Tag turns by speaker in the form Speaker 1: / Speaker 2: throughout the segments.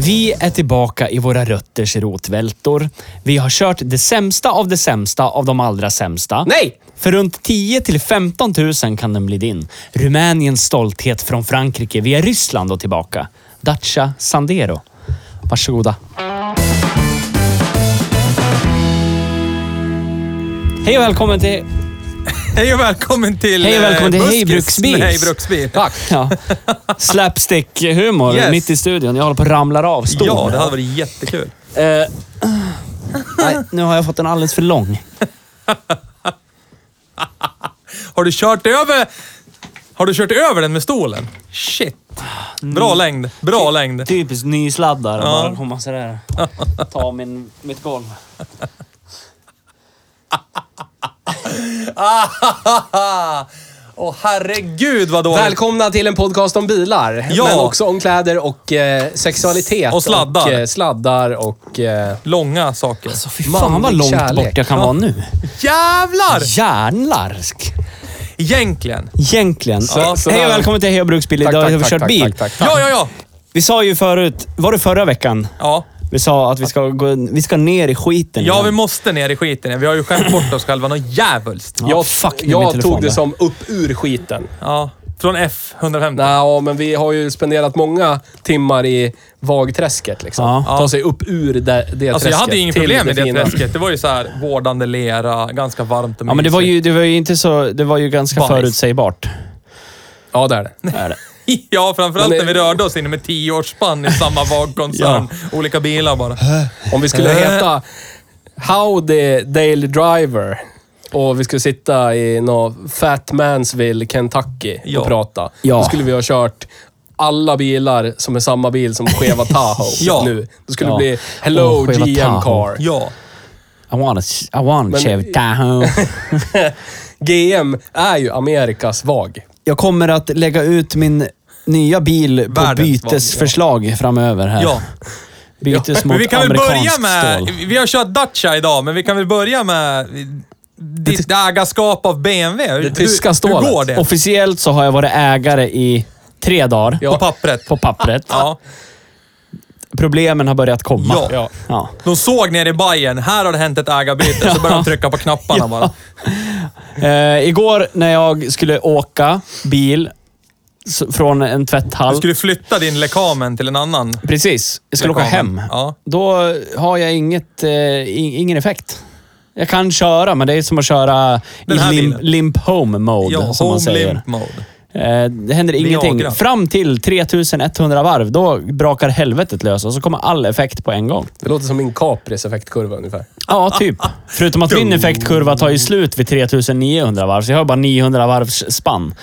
Speaker 1: Vi är tillbaka i våra rötters rotvältor. Vi har kört det sämsta av det sämsta av de allra sämsta.
Speaker 2: Nej!
Speaker 1: För runt 10 till 15 000 kan den bli din. Rumäniens stolthet från Frankrike via Ryssland och tillbaka. Dacia Sandero. Varsågoda. Hej och välkommen till...
Speaker 3: Hej och välkommen till
Speaker 1: Hej och välkommen till
Speaker 3: eh,
Speaker 1: Hej
Speaker 3: Buskis
Speaker 1: Bruksbils.
Speaker 3: med Hej Bruksbil.
Speaker 1: Tack! Ja. Slapstick-humor
Speaker 3: Yes.
Speaker 1: mitt i studion. Jag håller på att ramlar av stolen.
Speaker 3: Ja, det hade varit jättekul.
Speaker 1: Eh, nej, nu har jag fått en alldeles för lång.
Speaker 3: Har du kört över... Har du kört över den med stolen? Shit. Bra längd. Bra längd.
Speaker 1: Typiskt nysladdar.
Speaker 3: Ja.
Speaker 1: Bara komma sådär. Ta min, mitt golv.
Speaker 3: Åh herregud vad dåligt.
Speaker 2: Välkomna till en podcast om bilar,
Speaker 3: Ja.
Speaker 2: men också om kläder och eh, sexualitet.
Speaker 3: Och sladdar.
Speaker 2: Och, eh, sladdar och... Eh,
Speaker 3: Långa saker.
Speaker 1: Så fy fan vad
Speaker 2: Manlig
Speaker 1: långt
Speaker 2: kärlek.
Speaker 1: bort jag kan
Speaker 3: Ja.
Speaker 1: vara nu.
Speaker 3: Jävlar!
Speaker 1: Järnlarsk.
Speaker 3: Egentligen.
Speaker 1: Egentligen.
Speaker 3: Ja, så
Speaker 1: Hej och
Speaker 3: där.
Speaker 1: välkommen till Hej och Bruksbil. Idag har vi kört bil.
Speaker 2: Tack, tack, tack.
Speaker 3: Ja, ja, ja.
Speaker 1: Vi sa ju förut, var det förra veckan?
Speaker 3: Ja,
Speaker 1: Vi sa att vi ska, gå, vi ska ner i skiten.
Speaker 3: ja
Speaker 1: igen.
Speaker 3: vi måste ner i skiten. igen. Vi har ju skämt bort oss själva något djävulskt.
Speaker 1: Ja,
Speaker 2: Jag,
Speaker 1: fuck, nu är min
Speaker 2: jag
Speaker 1: telefon
Speaker 2: tog det
Speaker 1: där.
Speaker 2: som upp ur skiten.
Speaker 3: Ja. Från F150.
Speaker 2: Nå, men vi har ju spenderat många timmar i vagträsket liksom.
Speaker 1: Ja.
Speaker 2: Ta sig upp ur det, det
Speaker 3: Alltså
Speaker 2: träsket.
Speaker 3: jag hade inget
Speaker 2: till
Speaker 3: problem med det
Speaker 2: fina.
Speaker 3: träsket. Det var ju så här vårdande lera, ganska varmt och
Speaker 1: Ja, men det var ju, det var ju inte så... Det var ju ganska
Speaker 3: Bajs.
Speaker 1: förutsägbart.
Speaker 2: Ja, det är det.
Speaker 1: Är det.
Speaker 3: mysigt. Ja, framförallt
Speaker 2: Men
Speaker 3: när
Speaker 2: det-
Speaker 3: vi rörde oss inom ett tioårsspann i samma vagkoncern. Olika bilar bara.
Speaker 1: Äh.
Speaker 2: Om vi skulle
Speaker 3: Eh.
Speaker 2: heta Howdy Daily Driver och vi skulle sitta i någon Fat Mansville, Kentucky
Speaker 3: Ja.
Speaker 2: och prata.
Speaker 1: Ja.
Speaker 2: Då skulle vi ha kört alla bilar som är samma bil som Cheva Tahoe
Speaker 3: Ja.
Speaker 2: nu. Då skulle
Speaker 1: Ja.
Speaker 2: det bli Hello
Speaker 1: Åh, Cheva
Speaker 2: GM
Speaker 1: Tahoe.
Speaker 2: Car.
Speaker 3: Ja.
Speaker 1: I wanna... I wanna
Speaker 2: Men-
Speaker 1: Chevy Tahoe.
Speaker 2: GM är ju Amerikas VAG.
Speaker 1: Jag kommer att lägga ut min nya bil på
Speaker 3: Världens
Speaker 1: bytesförslag framöver här.
Speaker 3: Ja.
Speaker 1: Bytes mot
Speaker 3: Men vi kan väl börja
Speaker 1: amerikanskt
Speaker 3: med...
Speaker 1: stål.
Speaker 3: Vi har kört Dacia idag, men vi kan väl börja med ditt ägarskap av BMW. Hur-
Speaker 2: tyska
Speaker 3: hur,
Speaker 2: stålet.
Speaker 3: hur går det?
Speaker 1: Officiellt så har jag varit ägare i tre dagar
Speaker 3: På pappret.
Speaker 1: på pappret.
Speaker 3: Ja.
Speaker 1: Problemen har börjat komma.
Speaker 3: Ja.
Speaker 2: Ja.
Speaker 1: Ja.
Speaker 3: De såg nere i Bayern, här har det hänt ett ägarbyte, så började de trycka på knapparna bara.
Speaker 1: Eh, igår när jag skulle åka bil s- från en
Speaker 3: Du
Speaker 1: tvätthall.
Speaker 3: skulle flytta din lekamen till en annan.
Speaker 1: Precis. Jag skulle åka
Speaker 3: Lekamen.
Speaker 1: hem.
Speaker 3: Ja.
Speaker 1: Då har jag inget, eh, i- ingen effekt. Jag kan köra, men det är som att köra
Speaker 3: Den här
Speaker 1: i limp,
Speaker 3: bilen.
Speaker 1: limp home mode,
Speaker 3: Ja,
Speaker 1: som man
Speaker 3: home
Speaker 1: säger.
Speaker 3: limp mode.
Speaker 1: Eh, Det händer ingenting.
Speaker 3: Viagra.
Speaker 1: Fram till 3100 varv, då brakar helvetet lös och så kommer all effekt på en gång.
Speaker 2: Det låter som min Capris effektkurva ungefär.
Speaker 1: Ja, typ. Förutom att min effektkurva tar ju slut vid 3900 varv, så jag har bara 900 varvs spann.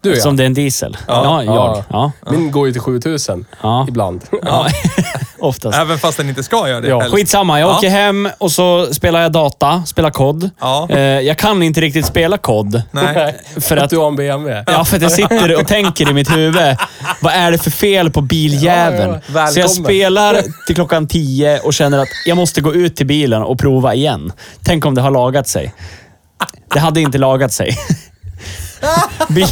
Speaker 2: Du ja.
Speaker 1: Som det är en diesel. Ja, jag. Ja.
Speaker 2: Min går ju till 7000
Speaker 1: Ja.
Speaker 2: ibland.
Speaker 1: ja. Oftast.
Speaker 3: Även fast den inte ska göra det.
Speaker 2: Ja,
Speaker 3: helst.
Speaker 1: Skitsamma, jag
Speaker 3: Ja.
Speaker 1: åker hem och så spelar jag data, spelar kod.
Speaker 3: Ja.
Speaker 1: Eh, Jag kan inte riktigt spela kod.
Speaker 3: Nej.
Speaker 1: För att
Speaker 2: du har en BMW.
Speaker 1: Ja, för att jag sitter och tänker i mitt huvud. Vad är det för fel på biljäveln?
Speaker 2: Ja, ja, ja.
Speaker 1: Så jag
Speaker 2: Välkommen.
Speaker 1: spelar till klockan tio och känner att jag måste gå ut till bilen och prova igen. Tänk om det har lagat sig. Det hade inte lagat sig. Bil,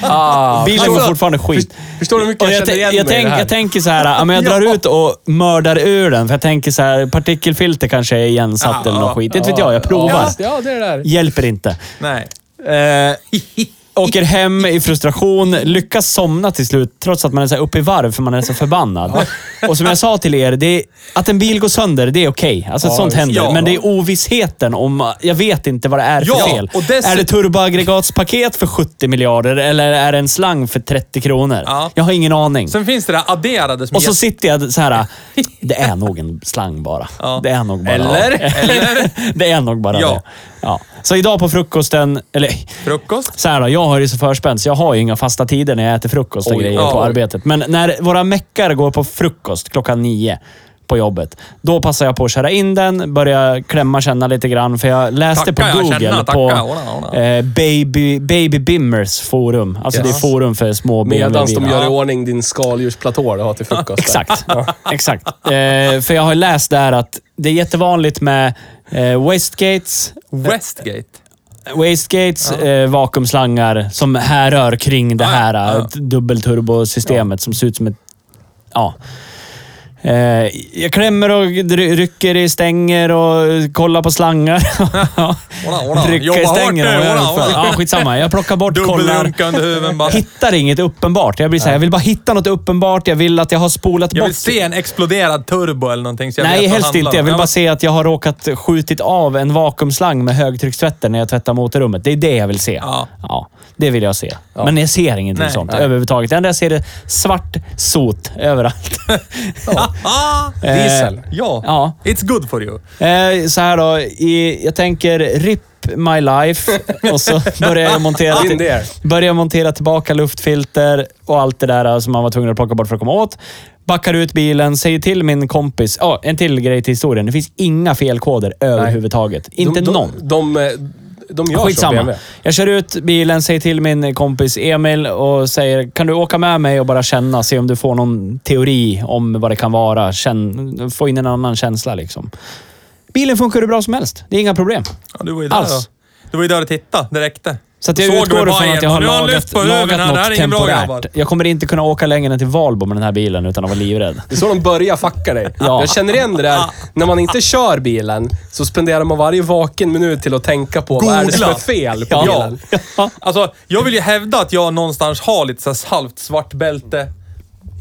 Speaker 2: Ah,
Speaker 1: bilen
Speaker 2: förstår-
Speaker 1: går fortfarande skit.
Speaker 2: för- Förstår du hur mycket
Speaker 1: Och
Speaker 2: jag,
Speaker 1: jag,
Speaker 2: känner igen
Speaker 1: tän- jag,
Speaker 2: mig i
Speaker 1: tänk,
Speaker 2: det här?
Speaker 1: jag tänker så här, ja, men jag drar ut och mördar ur den. För jag tänker så här, partikelfilter kanske är igensatt
Speaker 2: Ah,
Speaker 1: eller något skit. Det vet jag, jag provar.
Speaker 2: Ja, det är det där.
Speaker 1: Hjälper inte.
Speaker 3: Nej.
Speaker 1: Eh, Åker hem i frustration, lyckas somna till slut trots att man är så här uppe i varv för man är så förbannad. Och som jag sa till er, det är, att en bil går sönder, det är okej. Alltså
Speaker 2: Ja,
Speaker 1: sånt
Speaker 2: visst.
Speaker 1: händer.
Speaker 3: Ja.
Speaker 1: Men det är ovissheten om... Jag vet inte vad det är för
Speaker 3: Ja,
Speaker 1: fel.
Speaker 3: och dessutom-
Speaker 1: Är det turboaggregatspaket för 70 miljarder eller är det en slang för 30 kronor?
Speaker 3: Ja.
Speaker 1: Jag har ingen aning.
Speaker 3: Sen finns det där adderade som
Speaker 1: Och så
Speaker 3: jätte-
Speaker 1: sitter jag så här. Det är nog en slang bara.
Speaker 3: Ja.
Speaker 1: Det är nog bara
Speaker 2: Eller?
Speaker 3: Eller?
Speaker 1: Det är nog bara
Speaker 3: Ja.
Speaker 1: det. Ja. Så idag på frukosten, eller
Speaker 3: frukost.
Speaker 1: så här då, jag har ju så förspänt så jag har ju inga fasta tider när jag äter frukost och
Speaker 2: Oj,
Speaker 1: grejer
Speaker 3: ja.
Speaker 1: på arbetet. Men när våra meckar går på frukost klockan nio på jobbet, då passar jag på att köra in den, börja klämma känna lite grann. För jag läste
Speaker 3: Tacka,
Speaker 1: på
Speaker 3: ja,
Speaker 1: Google
Speaker 3: känna,
Speaker 1: på
Speaker 3: tacka, ora, ora.
Speaker 1: Eh, baby, baby Bimmers forum. Alltså
Speaker 2: Yes.
Speaker 1: det är forum för små
Speaker 2: Medan de
Speaker 1: BMW-bilar.
Speaker 2: gör i ordning din skaldjursplatå du har till frukost. där.
Speaker 1: Exakt. Exakt. Eh, för jag har läst där att det är jättevanligt med eh, wastegates,
Speaker 3: Westgate.
Speaker 1: wastegates eh, vakuumslangar som härrör kring det
Speaker 3: Ja, ja,
Speaker 1: här
Speaker 3: ja.
Speaker 1: eh, dubbelturbosystemet som ser ut som ett... Ja. Eh, jag klämmer och dry- rycker i stänger och kollar på slangar.
Speaker 3: Ora, ora.
Speaker 1: Rycka i
Speaker 3: Jobba hårt
Speaker 1: stänger.
Speaker 3: nu,
Speaker 1: och
Speaker 3: ora,
Speaker 1: gör-
Speaker 3: ora.
Speaker 1: Ja, skitsamma. Jag plockar bort, kollar.
Speaker 3: Dubbelrunka under huven bara.
Speaker 1: Hittar inget uppenbart. Jag blir så här, jag vill bara hitta något uppenbart. Jag vill att jag har spolat
Speaker 3: Jag
Speaker 1: bort
Speaker 3: vill se en exploderad turbo eller någonting. Så jag vet
Speaker 1: Nej,
Speaker 3: vad
Speaker 1: helst
Speaker 3: handlar
Speaker 1: inte.
Speaker 3: om.
Speaker 1: Jag vill
Speaker 3: Ja,
Speaker 1: bara se att jag har råkat skjutit av en vakuumslang med högtryckstvätten när jag tvättar motorrummet. Det är det jag vill se.
Speaker 3: Ja.
Speaker 1: det vill jag se. Men jag ser ingenting
Speaker 3: Nej,
Speaker 1: sånt
Speaker 3: nej.
Speaker 1: överhuvudtaget. Det enda jag ser är svart sot överallt.
Speaker 3: Ah,
Speaker 2: Diesel.
Speaker 3: ja.
Speaker 1: Eh, Ja.
Speaker 3: It's good for you.
Speaker 1: Eh, så här då. I, jag tänker RIP my life och så börjar jag montera,
Speaker 2: In there.
Speaker 1: börjar jag montera tillbaka luftfilter och allt det där eh, som man var tvungen att plocka bort för att komma åt. Backar ut bilen, säger till min kompis. Ja, en till grej till historien. Det finns inga felkoder överhuvudtaget. Inte
Speaker 2: de,
Speaker 1: någon.
Speaker 2: De, de, de gör så,
Speaker 1: Skitsamma.
Speaker 2: BMW.
Speaker 1: Jag kör ut bilen, säger till min kompis Emil och säger kan du åka med mig och bara känna, se om du får någon teori om vad det kan vara. Känn, få in en annan känsla liksom. Bilen funkar hur bra som helst. Det är inga problem.
Speaker 3: Ja, du var ju där
Speaker 1: Alls.
Speaker 3: då. Du var ju där och tittade. Det räckte.
Speaker 1: Så att jag
Speaker 3: Såg du
Speaker 1: utgår ifrån
Speaker 3: Bayern?
Speaker 1: att jag har
Speaker 3: Nu han
Speaker 1: lagat,
Speaker 3: lyft på huven
Speaker 1: lagat
Speaker 3: här. Det här
Speaker 1: något
Speaker 3: är ingen bra grabbar.
Speaker 1: temporärt. Jag kommer inte kunna åka längre än till Valbo med den här bilen utan att vara livrädd.
Speaker 2: Det är så de börjar fucka dig.
Speaker 1: Ja.
Speaker 2: Jag känner igen det där. När man inte kör bilen så spenderar man varje vaken minut till att tänka på vad är det som är
Speaker 3: Googla.
Speaker 2: fel på
Speaker 3: Ja.
Speaker 2: bilen.
Speaker 1: Ja.
Speaker 3: Alltså, jag vill ju hävda att jag någonstans har lite så här halvt svart bälte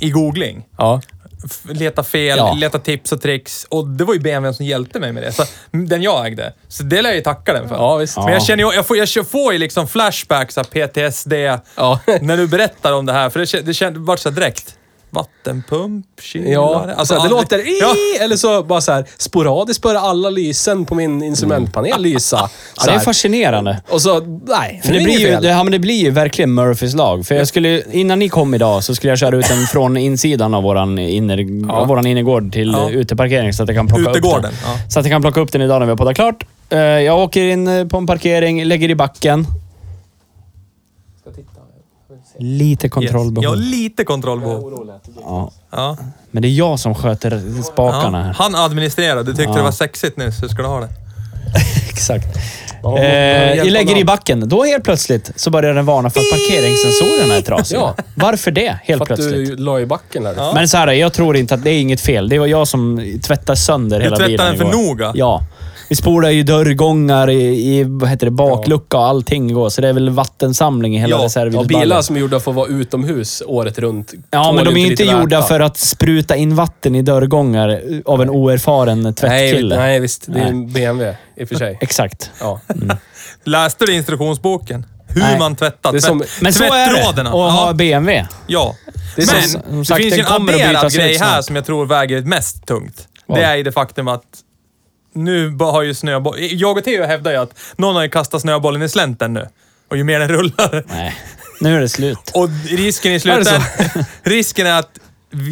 Speaker 3: i googling.
Speaker 2: Ja.
Speaker 3: F- Leta fel,
Speaker 1: Ja.
Speaker 3: leta tips och tricks. Och det var ju BMW som hjälpte mig med det. Så, m, den jag ägde. Så det lär jag ju tacka den för.
Speaker 2: Ja, visst.
Speaker 3: Men
Speaker 1: Ja.
Speaker 3: jag känner ju, jag får, jag får ju liksom flashbacks, så här PTSD,
Speaker 2: Ja.
Speaker 3: när du berättar om det här. För det, kän- det, kän- det vart så här direkt. Vattenpump, kylare.
Speaker 2: Ja, alltså, det
Speaker 3: aldrig-
Speaker 2: låter i,
Speaker 3: Ja.
Speaker 2: eller så bara så här sporadiskt börjar alla lysen på min instrumentpanel lysa.
Speaker 1: Ja,
Speaker 2: Så
Speaker 1: det är
Speaker 2: här.
Speaker 1: fascinerande.
Speaker 2: Och så, nej,
Speaker 1: För det,
Speaker 2: är
Speaker 1: blir
Speaker 2: inget
Speaker 1: ju,
Speaker 2: fel.
Speaker 1: det, ja, men det blir ju verkligen Murphys lag. För jag skulle, innan ni kom idag så skulle jag köra ut den från insidan av våran, inner, av våran innergård till
Speaker 3: Ja.
Speaker 1: ja. uteparkering så att jag kan plocka upp
Speaker 3: Utegården,
Speaker 1: den.
Speaker 3: ja.
Speaker 1: Så att jag kan plocka upp den idag när vi har poddat klart. Eh, Jag åker in eh, på en parkering, lägger i backen. Lite
Speaker 3: Yes. Jag
Speaker 1: kontrollbehov.
Speaker 3: har lite kontrollbehov.
Speaker 1: Ja.
Speaker 3: Ja.
Speaker 1: Men det är jag som sköter spakarna
Speaker 3: Ja.
Speaker 1: här.
Speaker 3: Han administrerade. Du tyckte det var sexigt nyss. Hur ska du ha det?
Speaker 1: Exakt.
Speaker 2: Ja,
Speaker 1: Eh, jag
Speaker 2: hjälp
Speaker 1: lägger i
Speaker 2: honom.
Speaker 1: backen. Då helt plötsligt så börjar den varna för att parkeringssensorerna är trasiga.
Speaker 2: Ja.
Speaker 1: Varför det, helt
Speaker 2: För att
Speaker 1: plötsligt?
Speaker 2: du la i backen där.
Speaker 1: Men så här, jag tror inte att det är inget fel. Det var jag som tvättade sönder hela
Speaker 3: tvättade
Speaker 1: bilen
Speaker 3: den för
Speaker 1: igår.
Speaker 3: noga?
Speaker 1: Ja. Vi spolade ju dörrgångar i, i vad heter det, baklucka och allting igår, så det är väl vattensamling i hela
Speaker 3: Ja,
Speaker 2: Ja,
Speaker 1: reservbilsballen.
Speaker 2: bilar som är gjorda för att vara utomhus året runt.
Speaker 1: Ja,
Speaker 2: tål
Speaker 1: men de är ju inte
Speaker 2: lite
Speaker 1: gjorda
Speaker 2: väta.
Speaker 1: för att spruta in vatten i dörrgångar av en oerfaren
Speaker 2: nej,
Speaker 1: tvättkille.
Speaker 2: nej, visst. Det är en BMW i och för sig.
Speaker 1: Exakt.
Speaker 2: Ja.
Speaker 3: Läste du instruktionsboken? Hur
Speaker 1: Nej.
Speaker 3: man tvättar.
Speaker 2: Det är som-
Speaker 3: tvätt-
Speaker 1: Men så är det
Speaker 3: tvättrådorna.
Speaker 1: att ha
Speaker 3: Ja.
Speaker 1: BMW.
Speaker 3: ja.
Speaker 1: Det är som-
Speaker 3: Men
Speaker 1: som
Speaker 3: det
Speaker 1: sagt,
Speaker 3: finns ju
Speaker 1: den
Speaker 3: en
Speaker 1: kommer att
Speaker 3: adderad
Speaker 1: bytas ut
Speaker 3: grej här
Speaker 1: snart.
Speaker 3: som jag tror väger mest tungt.
Speaker 1: Vad?
Speaker 3: Det är ju det faktum att nu bara har ju snöboll... Jag och Theo hävdar ju att någon har ju kastat snöbollen i slänten nu. Och ju mer den rullar.
Speaker 1: Nej, nu är det slut.
Speaker 3: Och risken i
Speaker 2: det
Speaker 3: slutändan... risken är att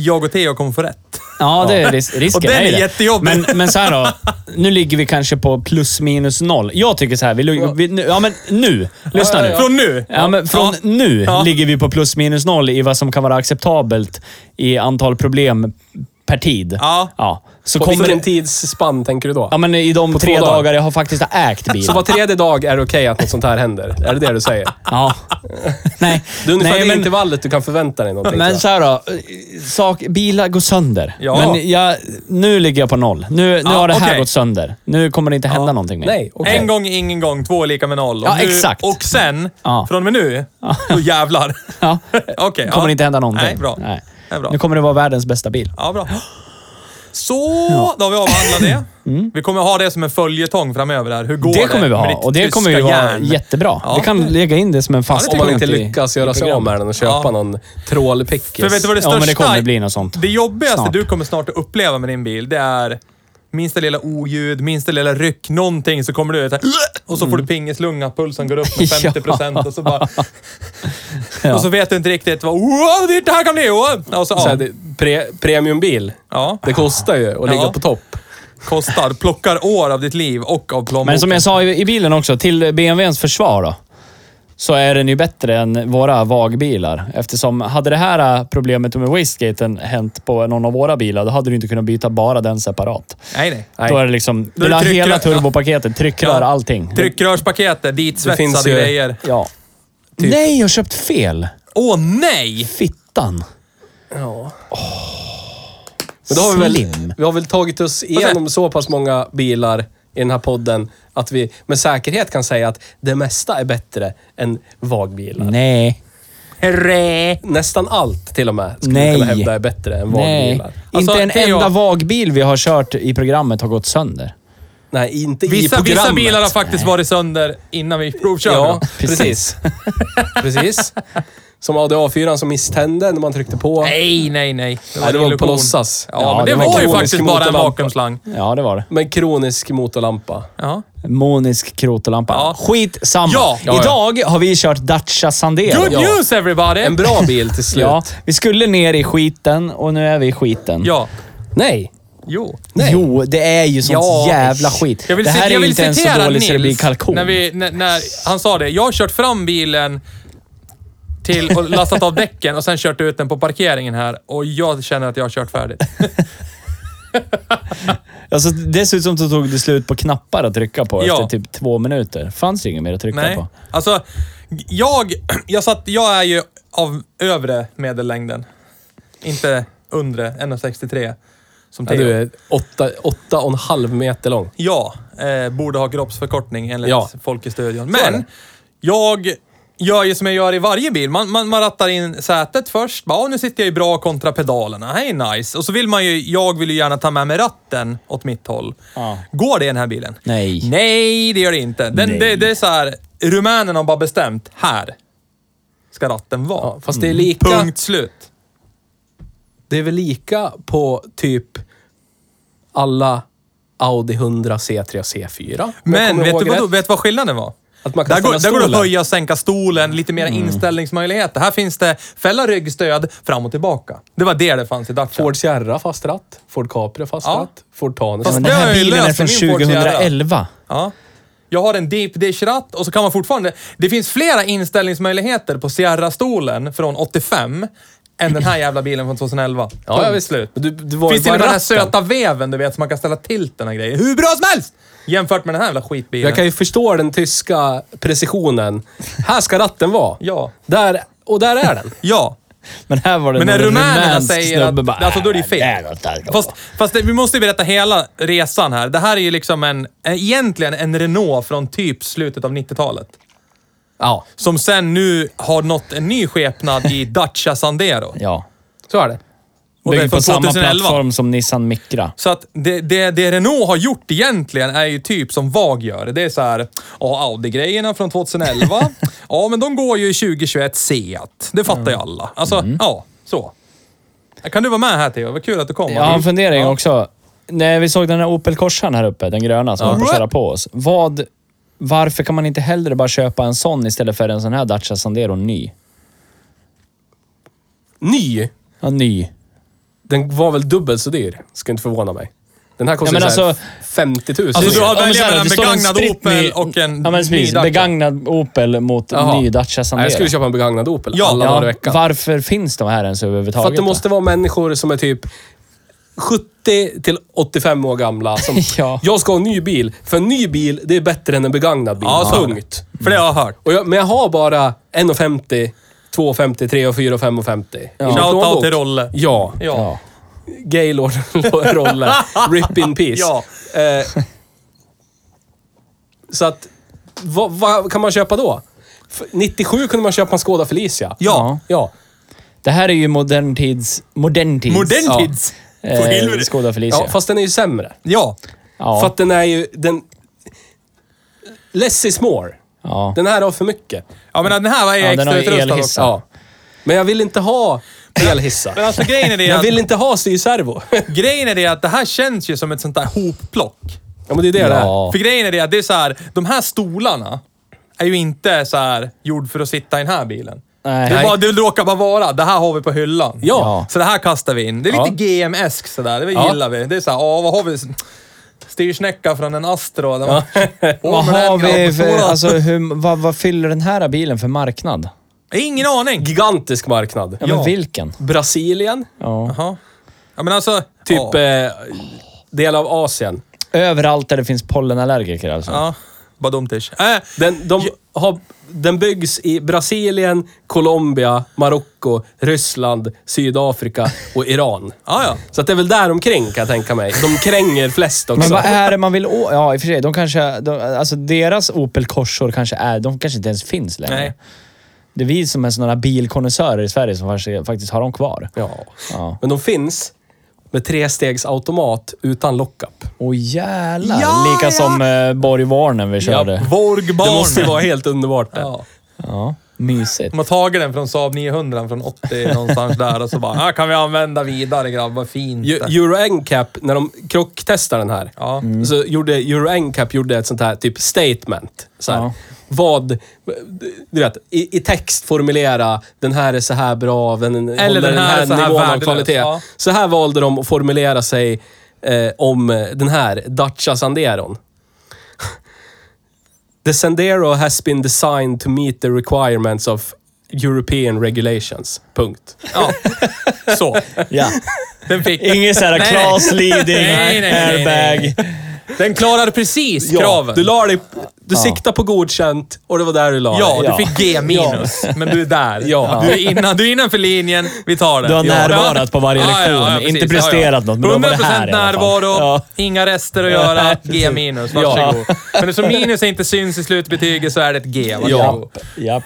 Speaker 3: jag och Theo kommer få rätt.
Speaker 1: Ja, det är ris- risken.
Speaker 3: Och den
Speaker 1: ju
Speaker 3: är
Speaker 1: det.
Speaker 3: jättejobbig.
Speaker 1: Men, men så här då. Nu ligger vi kanske på plus minus noll. Jag tycker så här. Vi, lug- vi, nu- ja, men nu. Lyssna nu.
Speaker 3: Från nu?
Speaker 1: Ja, men från nu
Speaker 3: Ja.
Speaker 1: ligger vi på plus minus noll i vad som kan vara acceptabelt i antal problem per tid.
Speaker 3: Ja.
Speaker 1: Så
Speaker 2: På
Speaker 1: kommer
Speaker 2: vilken
Speaker 1: det,
Speaker 2: tidsspann tänker du då?
Speaker 1: ja, men i de
Speaker 2: två
Speaker 1: tre
Speaker 2: dagar.
Speaker 1: dagar jag har faktiskt har ägt bilen.
Speaker 2: Så var tredje dag är det okej att något sånt här händer? Är det det du säger?
Speaker 1: Ja. Nej.
Speaker 2: Det är ungefär
Speaker 1: Nej,
Speaker 2: det
Speaker 1: men,
Speaker 2: intervallet du kan förvänta dig någonting. tror
Speaker 1: men
Speaker 2: jag.
Speaker 1: så här då. Sak, bilar går sönder.
Speaker 3: Ja.
Speaker 1: Men jag, nu ligger jag på noll. Nu, nu
Speaker 3: Ja,
Speaker 1: har det här
Speaker 3: okej.
Speaker 1: gått sönder. Nu kommer det inte hända
Speaker 3: Ja.
Speaker 1: någonting mer.
Speaker 2: Nej, okej.
Speaker 3: En gång, ingen gång. Två är lika med noll. Och
Speaker 1: Ja, exakt.
Speaker 3: Och sen,
Speaker 1: Ja.
Speaker 3: från och med nu, då jävlar.
Speaker 1: Ja.
Speaker 3: Okej.
Speaker 1: kommer
Speaker 3: ja.
Speaker 1: det inte hända någonting.
Speaker 3: Nej, bra.
Speaker 1: Nej.
Speaker 3: Det är bra.
Speaker 1: Nu kommer det vara världens bästa bil.
Speaker 3: Ja, bra. Så, då har vi avhandlat det. Vi kommer ha det som en följetong framöver. Här. Hur går
Speaker 1: Mm. Det kommer vi
Speaker 3: med
Speaker 1: ha
Speaker 3: ditt
Speaker 1: och det kommer
Speaker 3: tyska
Speaker 1: ju vara
Speaker 3: järn?
Speaker 1: jättebra.
Speaker 3: Ja.
Speaker 1: Vi kan lägga in det som en fast
Speaker 3: Ja,
Speaker 2: Om
Speaker 3: det
Speaker 2: man
Speaker 3: tycker
Speaker 2: inte
Speaker 3: jag.
Speaker 2: lyckas göra sig av med den och köpa
Speaker 3: Ja.
Speaker 2: någon trålpickis.
Speaker 3: För vet du vad det största...
Speaker 1: Ja, men det kommer bli något sånt.
Speaker 3: Det jobbigaste
Speaker 1: Snart.
Speaker 3: du kommer snart att uppleva med din bil, det är minsta lilla oljud, minsta lilla ryck, någonting så kommer du ut här, och så får
Speaker 1: Mm.
Speaker 3: du pingislunga, pulsen går upp med 50 procent och så bara...
Speaker 1: Ja.
Speaker 3: Och så vet du inte riktigt vad... Wow, det här kan bli! Wow. Och så,
Speaker 2: Så här,
Speaker 3: ja,
Speaker 2: det, pre, premiumbil,
Speaker 3: ja,
Speaker 2: det kostar ju att ligga
Speaker 3: Ja.
Speaker 2: på topp.
Speaker 3: kostar, plockar år av ditt liv och av plånboken.
Speaker 1: Men som jag sa i, i bilen också, till BMWns försvar då. Så är den ju bättre än våra VAG-bilar. Eftersom hade det här eh, problemet med wastegaten hänt på någon av våra bilar, då hade du inte kunnat byta bara den separat.
Speaker 3: Nej, nej.
Speaker 1: Då är det liksom...
Speaker 3: är
Speaker 1: Vill ha
Speaker 3: det tryckrör-
Speaker 1: hela turbopaketet, tryckrör,
Speaker 3: Ja.
Speaker 1: allting.
Speaker 3: Tryckrörspaketet, ditsvetsade
Speaker 2: finns ju-
Speaker 3: grejer.
Speaker 1: Ja.
Speaker 3: Typ.
Speaker 1: Nej, jag har köpt fel!
Speaker 3: Åh nej!
Speaker 1: Fittan.
Speaker 2: Men då har vi, väl,
Speaker 1: Slim.
Speaker 2: vi har väl tagit oss igenom så pass många bilar i den här podden att vi med säkerhet kan säga att det mesta är bättre än vagbilar.
Speaker 1: Nej.
Speaker 3: Hurra!
Speaker 2: Nästan allt till och med, skulle
Speaker 1: Nej.
Speaker 2: man kunna hävda är bättre än
Speaker 1: Nej.
Speaker 2: vagbilar.
Speaker 3: Alltså,
Speaker 1: inte en
Speaker 3: Theo-
Speaker 1: enda VAG-bil vi har kört i programmet har gått sönder.
Speaker 2: Nej, inte i
Speaker 3: Vissa,
Speaker 2: programmet.
Speaker 3: vissa bilar har faktiskt varit sönder innan vi provkörde
Speaker 2: Ja,
Speaker 3: dem.
Speaker 2: precis. precis. Som ADA4 som misstände när man tryckte på.
Speaker 3: Nej, nej, nej. Det
Speaker 2: Nej, det
Speaker 3: en
Speaker 2: var
Speaker 3: illusion.
Speaker 2: på låtsas.
Speaker 3: Ja,
Speaker 1: Ja,
Speaker 3: men det,
Speaker 1: det var
Speaker 3: var ju
Speaker 1: kronisk
Speaker 3: faktiskt bara en
Speaker 2: motorlampa.
Speaker 3: vakuumslang.
Speaker 1: Ja, det var det.
Speaker 2: Med kronisk motorlampa.
Speaker 3: Ja.
Speaker 1: Monisk krotolampa.
Speaker 3: Ja.
Speaker 1: Skit samma.
Speaker 3: Ja, ja, ja.
Speaker 1: Idag har vi kört Dacia Sandero.
Speaker 3: Good
Speaker 1: ja.
Speaker 3: news everybody!
Speaker 2: En bra bil till slut.
Speaker 1: Ja, vi skulle ner i skiten och nu är vi i skiten.
Speaker 3: Ja.
Speaker 2: Nej.
Speaker 3: Jo.
Speaker 1: Jo, det är ju sånt
Speaker 3: Ja.
Speaker 1: jävla skit.
Speaker 3: Jag vill,
Speaker 1: det här
Speaker 3: cit-
Speaker 1: är
Speaker 3: jag
Speaker 1: ju
Speaker 3: vill
Speaker 1: inte ens så
Speaker 3: citera
Speaker 1: dåligt
Speaker 3: Nils
Speaker 1: så det blir kalkon.
Speaker 3: När, vi, när, när han sa det. Jag har kört fram bilen till och lastat av däcken och sen kört ut den på parkeringen här och jag känner att jag har kört färdigt.
Speaker 1: Alltså, dessutom så tog det slut på knappar att trycka på
Speaker 3: Ja.
Speaker 1: efter typ två minuter. Fanns det inget mer att trycka
Speaker 3: Nej.
Speaker 1: på.
Speaker 3: Alltså, jag, jag, satt, jag är ju av övre medellängden. Inte undre, 1,63. Som
Speaker 2: Ja,
Speaker 3: Theo.
Speaker 2: du är åtta, åtta och en halv meter lång.
Speaker 3: Ja, eh, borde ha kroppsförkortning enligt
Speaker 2: Ja.
Speaker 3: folk i studion.
Speaker 2: Så är
Speaker 3: Men
Speaker 2: det.
Speaker 3: jag gör ju som jag gör i varje bil. Man, man, man rattar in sätet först. Bara, "Åh, nu sitter jag ju bra kontra pedalerna. Här är nice. Och så vill man ju, jag vill ju gärna ta med mig ratten åt mitt håll.
Speaker 1: Ja.
Speaker 3: Går det i den här bilen?
Speaker 1: Nej.
Speaker 3: Nej, det gör det inte. Den,
Speaker 1: Nej.
Speaker 3: Det, det är så här, rumänen har bara bestämt, här ska ratten vara. Mm.
Speaker 2: Ja, fast det är lika...
Speaker 3: Punkt slut.
Speaker 2: Det är väl lika på typ alla Audi 100 C3 och C4. om jag
Speaker 3: Men
Speaker 2: kommer
Speaker 3: vet
Speaker 2: ihåg
Speaker 3: du vad,
Speaker 2: rätt.
Speaker 3: då- vet vad skillnaden var?
Speaker 2: Att man kan
Speaker 3: Där går, där
Speaker 2: ställa
Speaker 3: går det att
Speaker 2: stolen. Mm.
Speaker 3: höja och sänka stolen, lite mer inställningsmöjligheter. Här finns det fälla ryggstöd fram och tillbaka. Det var det det fanns i Dacia.
Speaker 2: Ford Sierra fast ratt. Ford Capri fast
Speaker 3: Ja.
Speaker 2: ratt. Ford Tanus.
Speaker 3: Fast
Speaker 1: Men
Speaker 3: det
Speaker 1: den
Speaker 3: har
Speaker 1: här
Speaker 3: jag ju
Speaker 1: bilen är
Speaker 3: löst i
Speaker 1: från
Speaker 3: min Ford Sierra.
Speaker 1: 2011.
Speaker 3: Ja. Jag har en deep dish-ratt och så kan man fortfarande... Det finns flera inställningsmöjligheter på Sierra-stolen från 85 än den här jävla bilen från 2011.
Speaker 2: ja, ja,
Speaker 3: Punkt
Speaker 2: visst.
Speaker 3: slut.
Speaker 2: Men Du, du var
Speaker 3: finns
Speaker 2: ju
Speaker 3: till
Speaker 2: bara
Speaker 3: och med den här
Speaker 2: ratten.
Speaker 3: söta veven du vet som man kan ställa till den här grejen. Hur bra som helst! Jämfört med den här jävla skitbilen.
Speaker 2: Jag kan ju förstå den tyska precisionen. Här ska ratten vara.
Speaker 3: Ja.
Speaker 2: Där, och där är den.
Speaker 3: Ja.
Speaker 1: Men här var det
Speaker 3: Men när
Speaker 1: någon
Speaker 3: rumänerna
Speaker 1: rumänsk
Speaker 3: säger
Speaker 1: snubbe
Speaker 3: att...
Speaker 1: bara,
Speaker 3: alltså då är det ju
Speaker 1: "Äh, där
Speaker 3: fel.
Speaker 1: går inte alls att
Speaker 3: Fast,
Speaker 1: gå."
Speaker 3: fast det, vi måste ju berätta hela resan här. Det här är ju liksom en, egentligen en Renault från typ slutet av 90-talet.
Speaker 2: Ja,
Speaker 3: Som sen nu har nått en ny skepnad i Dacia Sandero.
Speaker 1: Ja.
Speaker 2: så är det.
Speaker 3: Och det är
Speaker 1: Bygger på
Speaker 3: från
Speaker 1: samma
Speaker 3: 2011.
Speaker 1: plattform som Nissan Micra.
Speaker 3: Så att det, det, det Renault har gjort egentligen är ju typ som VAG gör. Det är så här, ja Audi-grejerna från 2011. ja, men de går ju i 2021 Seat. Det fattar
Speaker 1: Mm.
Speaker 3: ju alla. Alltså, ja, så. Kan du vara med här Theo? Vad kul att du kom.
Speaker 1: Jag har en fundering också. När vi såg den här Opel Corsan här uppe, den gröna som höll på att köra på oss. Vad, varför kan man inte hellre bara köpa en sån istället för en sån här Dacia Sandero ny?
Speaker 2: Ny.
Speaker 1: Ja, ny.
Speaker 2: Den var väl dubbelt så dyr. Skulle inte förvåna mig. Den här kostar
Speaker 1: Ja,
Speaker 2: ju
Speaker 1: men
Speaker 2: så här
Speaker 1: alltså-
Speaker 2: 50 000.
Speaker 3: Alltså, du har-
Speaker 1: Ja, men
Speaker 3: välja
Speaker 1: så här,
Speaker 3: mellan
Speaker 1: det står en
Speaker 3: begagnad
Speaker 1: spritt
Speaker 3: Opel och en
Speaker 1: ja, men
Speaker 3: ny
Speaker 1: precis,
Speaker 3: Dacia.
Speaker 1: Begagnad Opel mot
Speaker 2: Jaha.
Speaker 1: ny Dacia
Speaker 2: Nej,
Speaker 1: Sandero.
Speaker 2: jag skulle köpa en begagnad Opel
Speaker 3: Ja.
Speaker 2: alla dagar i
Speaker 1: ja,
Speaker 2: veckan.
Speaker 1: varför finns de här ens överhuvudtaget?
Speaker 2: För att det
Speaker 1: då?
Speaker 2: måste vara människor som är typ 70 till 85 år gamla som...
Speaker 4: Ja.
Speaker 2: Jag ska ha en ny bil. För en ny bil, det är bättre än en begagnad bil.
Speaker 3: Ja, så är det.
Speaker 2: Punkt.
Speaker 3: För det har jag hört.
Speaker 2: Och jag, men jag har bara 1,50, 2,50, 3,4 och 5,50. Ja.
Speaker 3: Shoutout till Rolle.
Speaker 2: Ja.
Speaker 3: Ja.
Speaker 2: Gaylord Rolle. Rip in peace.
Speaker 3: Ja.
Speaker 2: Eh, så att, vad, vad kan man köpa då? F- 97 kunde man köpa en Skoda Felicia.
Speaker 3: Ja.
Speaker 2: Ja.
Speaker 4: Det här är ju modern tids... Modern tids.
Speaker 3: Modern
Speaker 2: Ja.
Speaker 3: tids. För
Speaker 4: Eh,
Speaker 3: helvete.
Speaker 4: Skoda Felicia.
Speaker 2: ja, fast den är ju sämre.
Speaker 3: Ja.
Speaker 4: ja.
Speaker 2: För att den är ju... Den, less is more.
Speaker 4: ja.
Speaker 2: Den här har för mycket.
Speaker 3: Ja, men den här var ju
Speaker 4: Ja, den har
Speaker 3: extra
Speaker 4: ju
Speaker 3: utrustad
Speaker 4: elhiss.
Speaker 3: också.
Speaker 2: Ja. Men jag vill inte ha elhissar.
Speaker 3: Men alltså grejen är det
Speaker 2: Jag vill
Speaker 3: att,
Speaker 2: inte ha styrservo.
Speaker 3: grejen är det att det här känns ju som ett sånt där hopplock.
Speaker 2: Ja, men det är det det är.
Speaker 4: Ja.
Speaker 3: För grejen är det att det är så här, de här stolarna är ju inte så här gjord för att sitta i den här bilen.
Speaker 4: Nej.
Speaker 3: Det, är bara, det råkar bara vara, det här har vi på hyllan.
Speaker 2: Ja.
Speaker 3: Så det här kastar vi in. Det är
Speaker 2: Ja.
Speaker 3: lite GM-esk sådär, det
Speaker 2: Ja.
Speaker 3: gillar vi. Det är såhär, ja vad har vi? Styrsnäcka från en Astra. Den var- Åh,
Speaker 4: Vad
Speaker 3: men den
Speaker 4: har vi
Speaker 3: gamla
Speaker 4: för...
Speaker 3: stora-
Speaker 4: Alltså, hur, vad, vad fyller den här bilen för marknad?
Speaker 3: Ingen aning.
Speaker 2: Gigantisk marknad.
Speaker 4: Ja,
Speaker 3: Ja.
Speaker 4: men vilken?
Speaker 2: Brasilien.
Speaker 4: Ja.
Speaker 3: Jaha. Ja men alltså...
Speaker 2: Typ
Speaker 3: Ja.
Speaker 2: eh, del av Asien.
Speaker 4: Överallt där det finns pollenallergiker alltså.
Speaker 3: ja. Bara dumt ish. Äh,
Speaker 2: Den, de har, den byggs i Brasilien, Colombia, Marocko, Ryssland, Sydafrika och Iran.
Speaker 3: Ah, ja, ja.
Speaker 2: Så att det är väl däromkring kan jag tänka mig. De kränger flest också.
Speaker 4: Men vad är det man vill å... Ja, i och för sig. De kanske... De, alltså deras Opel Corsor kanske är... De kanske inte ens finns längre.
Speaker 3: Nej.
Speaker 4: Det är vi som är sådana bilkonnässörer i Sverige som faktiskt- faktiskt har dem kvar.
Speaker 2: Ja.
Speaker 4: Ja.
Speaker 2: Men de finns med trestegsautomat utan lockup.
Speaker 4: Åh jävlar.
Speaker 3: Ja,
Speaker 4: Lika
Speaker 3: ja.
Speaker 4: som eh, Borg Warnen vi körde. Ja.
Speaker 3: Vorgbarn.
Speaker 2: Det måste ju vara helt underbart. det.
Speaker 3: Ja.
Speaker 4: Mysigt.
Speaker 3: De har tagit den från Saab 900 från 80 någonstans där och så bara, här kan vi använda vidare grabbar, fint.
Speaker 2: Eu- Euro NCAP, när de krocktestade den här,
Speaker 3: Ja.
Speaker 4: Mm.
Speaker 2: så gjorde Euro NCAP gjorde ett sånt här typ statement. Så här.
Speaker 4: Ja.
Speaker 2: Vad, du vet, i, i text formulera den här är så här bra, den Eller håller
Speaker 3: den
Speaker 2: den
Speaker 3: här
Speaker 2: här,
Speaker 3: är så här
Speaker 2: nivån av
Speaker 3: värdelös,
Speaker 2: kvalitet.
Speaker 3: ja.
Speaker 2: Så här valde de att formulera sig eh, om eh, den här Dacia Sanderon. The Sandero has been designed to meet the requirements of European regulations. Punkt.
Speaker 3: Ja. Så.
Speaker 4: Ja.
Speaker 3: Den fick...
Speaker 4: Inget såhär
Speaker 3: Nej.
Speaker 4: Klas Liding,
Speaker 3: Nej, nej, nej, nej.
Speaker 4: airbag.
Speaker 3: Den klarade precis kraven.
Speaker 2: Du la dig, du
Speaker 4: Ja.
Speaker 2: siktade på godkänt och det var där du la
Speaker 3: ja,
Speaker 2: dig.
Speaker 3: du
Speaker 4: Ja.
Speaker 3: fick G minus, men du är där.
Speaker 2: Ja.
Speaker 3: Du, är innan, du är innanför linjen, vi tar det.
Speaker 4: Du har
Speaker 3: Ja.
Speaker 4: närvarat på varje lektion,
Speaker 3: precis.
Speaker 4: inte presterat något, men då var det här i alla fall.
Speaker 3: närvaro,
Speaker 4: Ja.
Speaker 3: inga rester att göra, G minus. Varsågod. Men så minus inte syns i slutbetyget så är det ett G. Varsågod.
Speaker 4: Japp. Japp.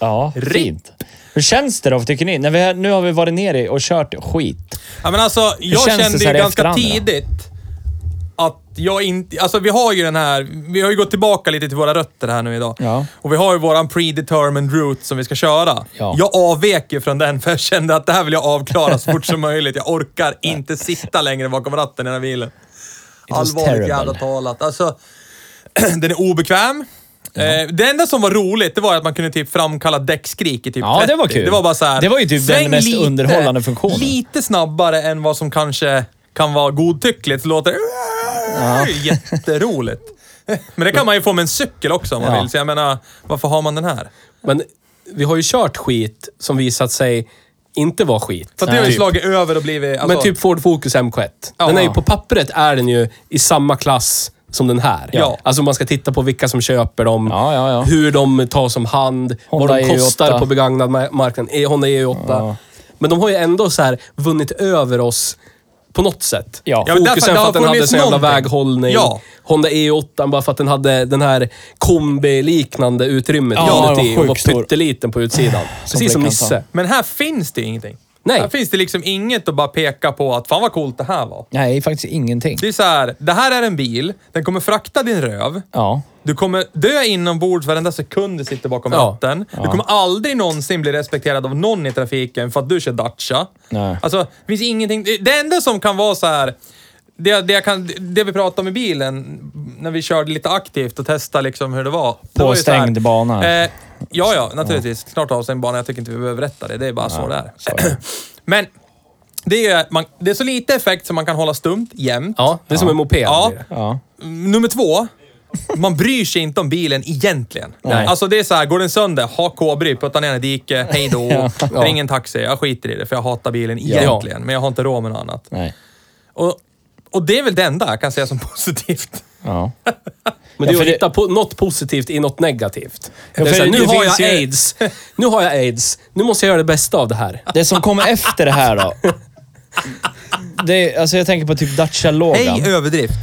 Speaker 4: Ja,
Speaker 3: Rip.
Speaker 4: fint. Hur känns det då, tycker ni? När vi, nu har vi varit nere och kört skit.
Speaker 3: Ja, men alltså, jag
Speaker 4: känns det
Speaker 3: kände
Speaker 4: så
Speaker 3: ju
Speaker 4: här i
Speaker 3: ganska
Speaker 4: efterhand, då?
Speaker 3: tidigt att jag inte... Alltså vi har ju den här... Vi har ju gått tillbaka lite till våra rötter här nu idag.
Speaker 4: Ja.
Speaker 3: Och vi har ju våran predetermined route som vi ska köra.
Speaker 4: Ja.
Speaker 3: Jag avvek ju från den för jag kände att det här vill jag avklara så fort som möjligt. Jag orkar inte sitta längre bakom ratten i den här bilen.
Speaker 4: was
Speaker 3: Allvarligt
Speaker 4: terrible.
Speaker 3: jävla talat. Alltså, den är obekväm. Eh, Det enda som var roligt, det var att man kunde typ framkalla däckskrik i typ
Speaker 4: Ja,
Speaker 3: 30.
Speaker 4: det var kul.
Speaker 3: Det var bara så här,
Speaker 4: Det var ju typ den
Speaker 3: sväng
Speaker 4: mest underhållande funktionen.
Speaker 3: Lite snabbare än vad som kanske kan vara godtyckligt. Så låter det jätteroligt. Men det kan man ju få med en cykel också om man
Speaker 4: Ja.
Speaker 3: vill. Så jag menar, varför har man den här?
Speaker 2: Men vi har ju kört skit som visat sig inte vara skit.
Speaker 3: Så att det har ju
Speaker 2: Typ.
Speaker 3: slagit över och blivit... Alltså,
Speaker 2: Men typ Ford Focus MK1. Den är ju på pappret är den ju i samma klass som den här.
Speaker 3: Ja.
Speaker 2: Alltså man ska titta på vilka som köper dem,
Speaker 4: Ja, ja, ja.
Speaker 2: hur de tas om hand,
Speaker 4: Honda
Speaker 2: vad de
Speaker 4: EU8.
Speaker 2: kostar på begagnad ma- marknaden. Eh, Honda EU8.
Speaker 4: Ja.
Speaker 2: Men de har ju ändå så här vunnit över oss på något sätt.
Speaker 4: Ja. Ja,
Speaker 3: men därför-
Speaker 2: Fokusen
Speaker 3: det
Speaker 2: för
Speaker 3: har
Speaker 2: att den hade
Speaker 3: funnits
Speaker 2: sån jävla
Speaker 3: någonting.
Speaker 2: väghållning.
Speaker 3: Ja.
Speaker 2: Honda EU8 bara för att den hade den här kombi-liknande utrymmet
Speaker 4: Ja, den var
Speaker 2: inuti och
Speaker 4: sjukt
Speaker 2: var
Speaker 4: stor.
Speaker 2: pytteliten på utsidan. Precis som
Speaker 4: Blake
Speaker 2: Nisse.
Speaker 4: Hansen.
Speaker 3: Men här finns det ju ingenting.
Speaker 2: Nej.
Speaker 3: Här finns det liksom inget att bara peka på att fan vad coolt det här var.
Speaker 4: Nej, faktiskt ingenting.
Speaker 3: Det är så här, det här är en bil, den kommer frakta din röv.
Speaker 4: Ja.
Speaker 3: Du kommer dö inombords varenda sekund du sitter bakom
Speaker 2: Ja.
Speaker 3: ratten. Du kommer aldrig någonsin bli respekterad av någon i trafiken för att du kör Dacia.
Speaker 4: Nej.
Speaker 3: Alltså, det finns ingenting... Det enda som kan vara så här... Det, det, jag kan, det vi pratade om i bilen, när vi körde lite aktivt och testade liksom hur det var. det var ju så här,
Speaker 4: stängd bana.
Speaker 3: Eh, ja, ja, naturligtvis. Snart avstängd bana. Jag tycker inte vi behöver berätta det. Det är bara så det är. Men det är, man, det är så lite effekt som man kan hålla stumt jämt.
Speaker 2: Ja, det är som en moped.
Speaker 3: Ja.
Speaker 2: det är det.
Speaker 4: Ja.
Speaker 3: Nummer två. Man bryr sig inte om bilen egentligen.
Speaker 4: Nej.
Speaker 3: Alltså det är så här, går den sönder, ha kobry, putta ner den i diket, hej då. Ring en taxi, jag skiter i det för jag hatar bilen egentligen. Men jag har inte råd med något annat.
Speaker 4: Nej.
Speaker 3: Och, och det är väl det enda jag kan säga som positivt.
Speaker 1: Ja.
Speaker 2: Men det är
Speaker 1: Ja,
Speaker 2: ju
Speaker 1: för
Speaker 2: att
Speaker 1: det-
Speaker 2: hitta på något positivt i något negativt.
Speaker 1: Ja,
Speaker 2: det
Speaker 1: för
Speaker 2: är så här,
Speaker 1: det
Speaker 2: nu har
Speaker 1: finns
Speaker 2: jag
Speaker 1: ju-
Speaker 2: aids. Nu har jag aids. Nu måste jag göra det bästa av det här.
Speaker 1: Det som kommer efter det här då. Det, är- alltså jag tänker på typ Dacia Logan.
Speaker 3: Hej överdrift.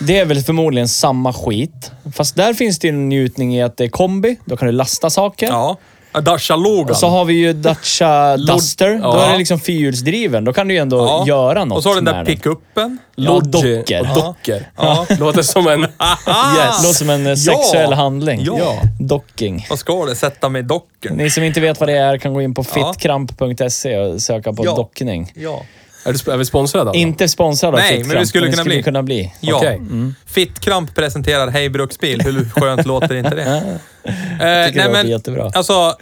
Speaker 1: Det är väl förmodligen samma skit. Fast där finns det ju en njutning i att det är kombi. Då kan du lasta saker.
Speaker 3: Ja. Dasha Logan.
Speaker 1: Och så har vi ju Dacia Duster. Då
Speaker 2: Ja.
Speaker 1: är det liksom fyrhjulsdriven. Då kan du ju ändå
Speaker 3: Ja.
Speaker 1: göra något
Speaker 3: Och så har den där
Speaker 1: med den.
Speaker 3: pickuppen.
Speaker 1: Ja,
Speaker 2: Lodge
Speaker 1: docker.
Speaker 2: och dockor.
Speaker 3: Ja.
Speaker 2: Låter som en...
Speaker 1: Yes. Låter som en eh, sexuell handling.
Speaker 3: Ja.
Speaker 1: Docking.
Speaker 3: Vad ska det? Sätta mig i dockern.
Speaker 1: Ni som inte vet vad det är kan gå in på
Speaker 3: Ja.
Speaker 1: fittkramp.se E och söka på
Speaker 3: Ja.
Speaker 1: dockning.
Speaker 3: Ja.
Speaker 2: Är, du, sp- är vi sponsrade av dem?
Speaker 1: Inte sponsrad av
Speaker 3: Nej, men vi
Speaker 1: Fittkramp,
Speaker 3: skulle
Speaker 1: vi
Speaker 3: kunna
Speaker 1: skulle
Speaker 3: bli.
Speaker 1: kunna bli.
Speaker 3: Ja. Mm.
Speaker 2: Okej.
Speaker 3: Fittkramp presenterar Hej Bruksbil. Hur skönt låter inte det? Eh, nej,
Speaker 1: det låter jättebra.
Speaker 3: Alltså,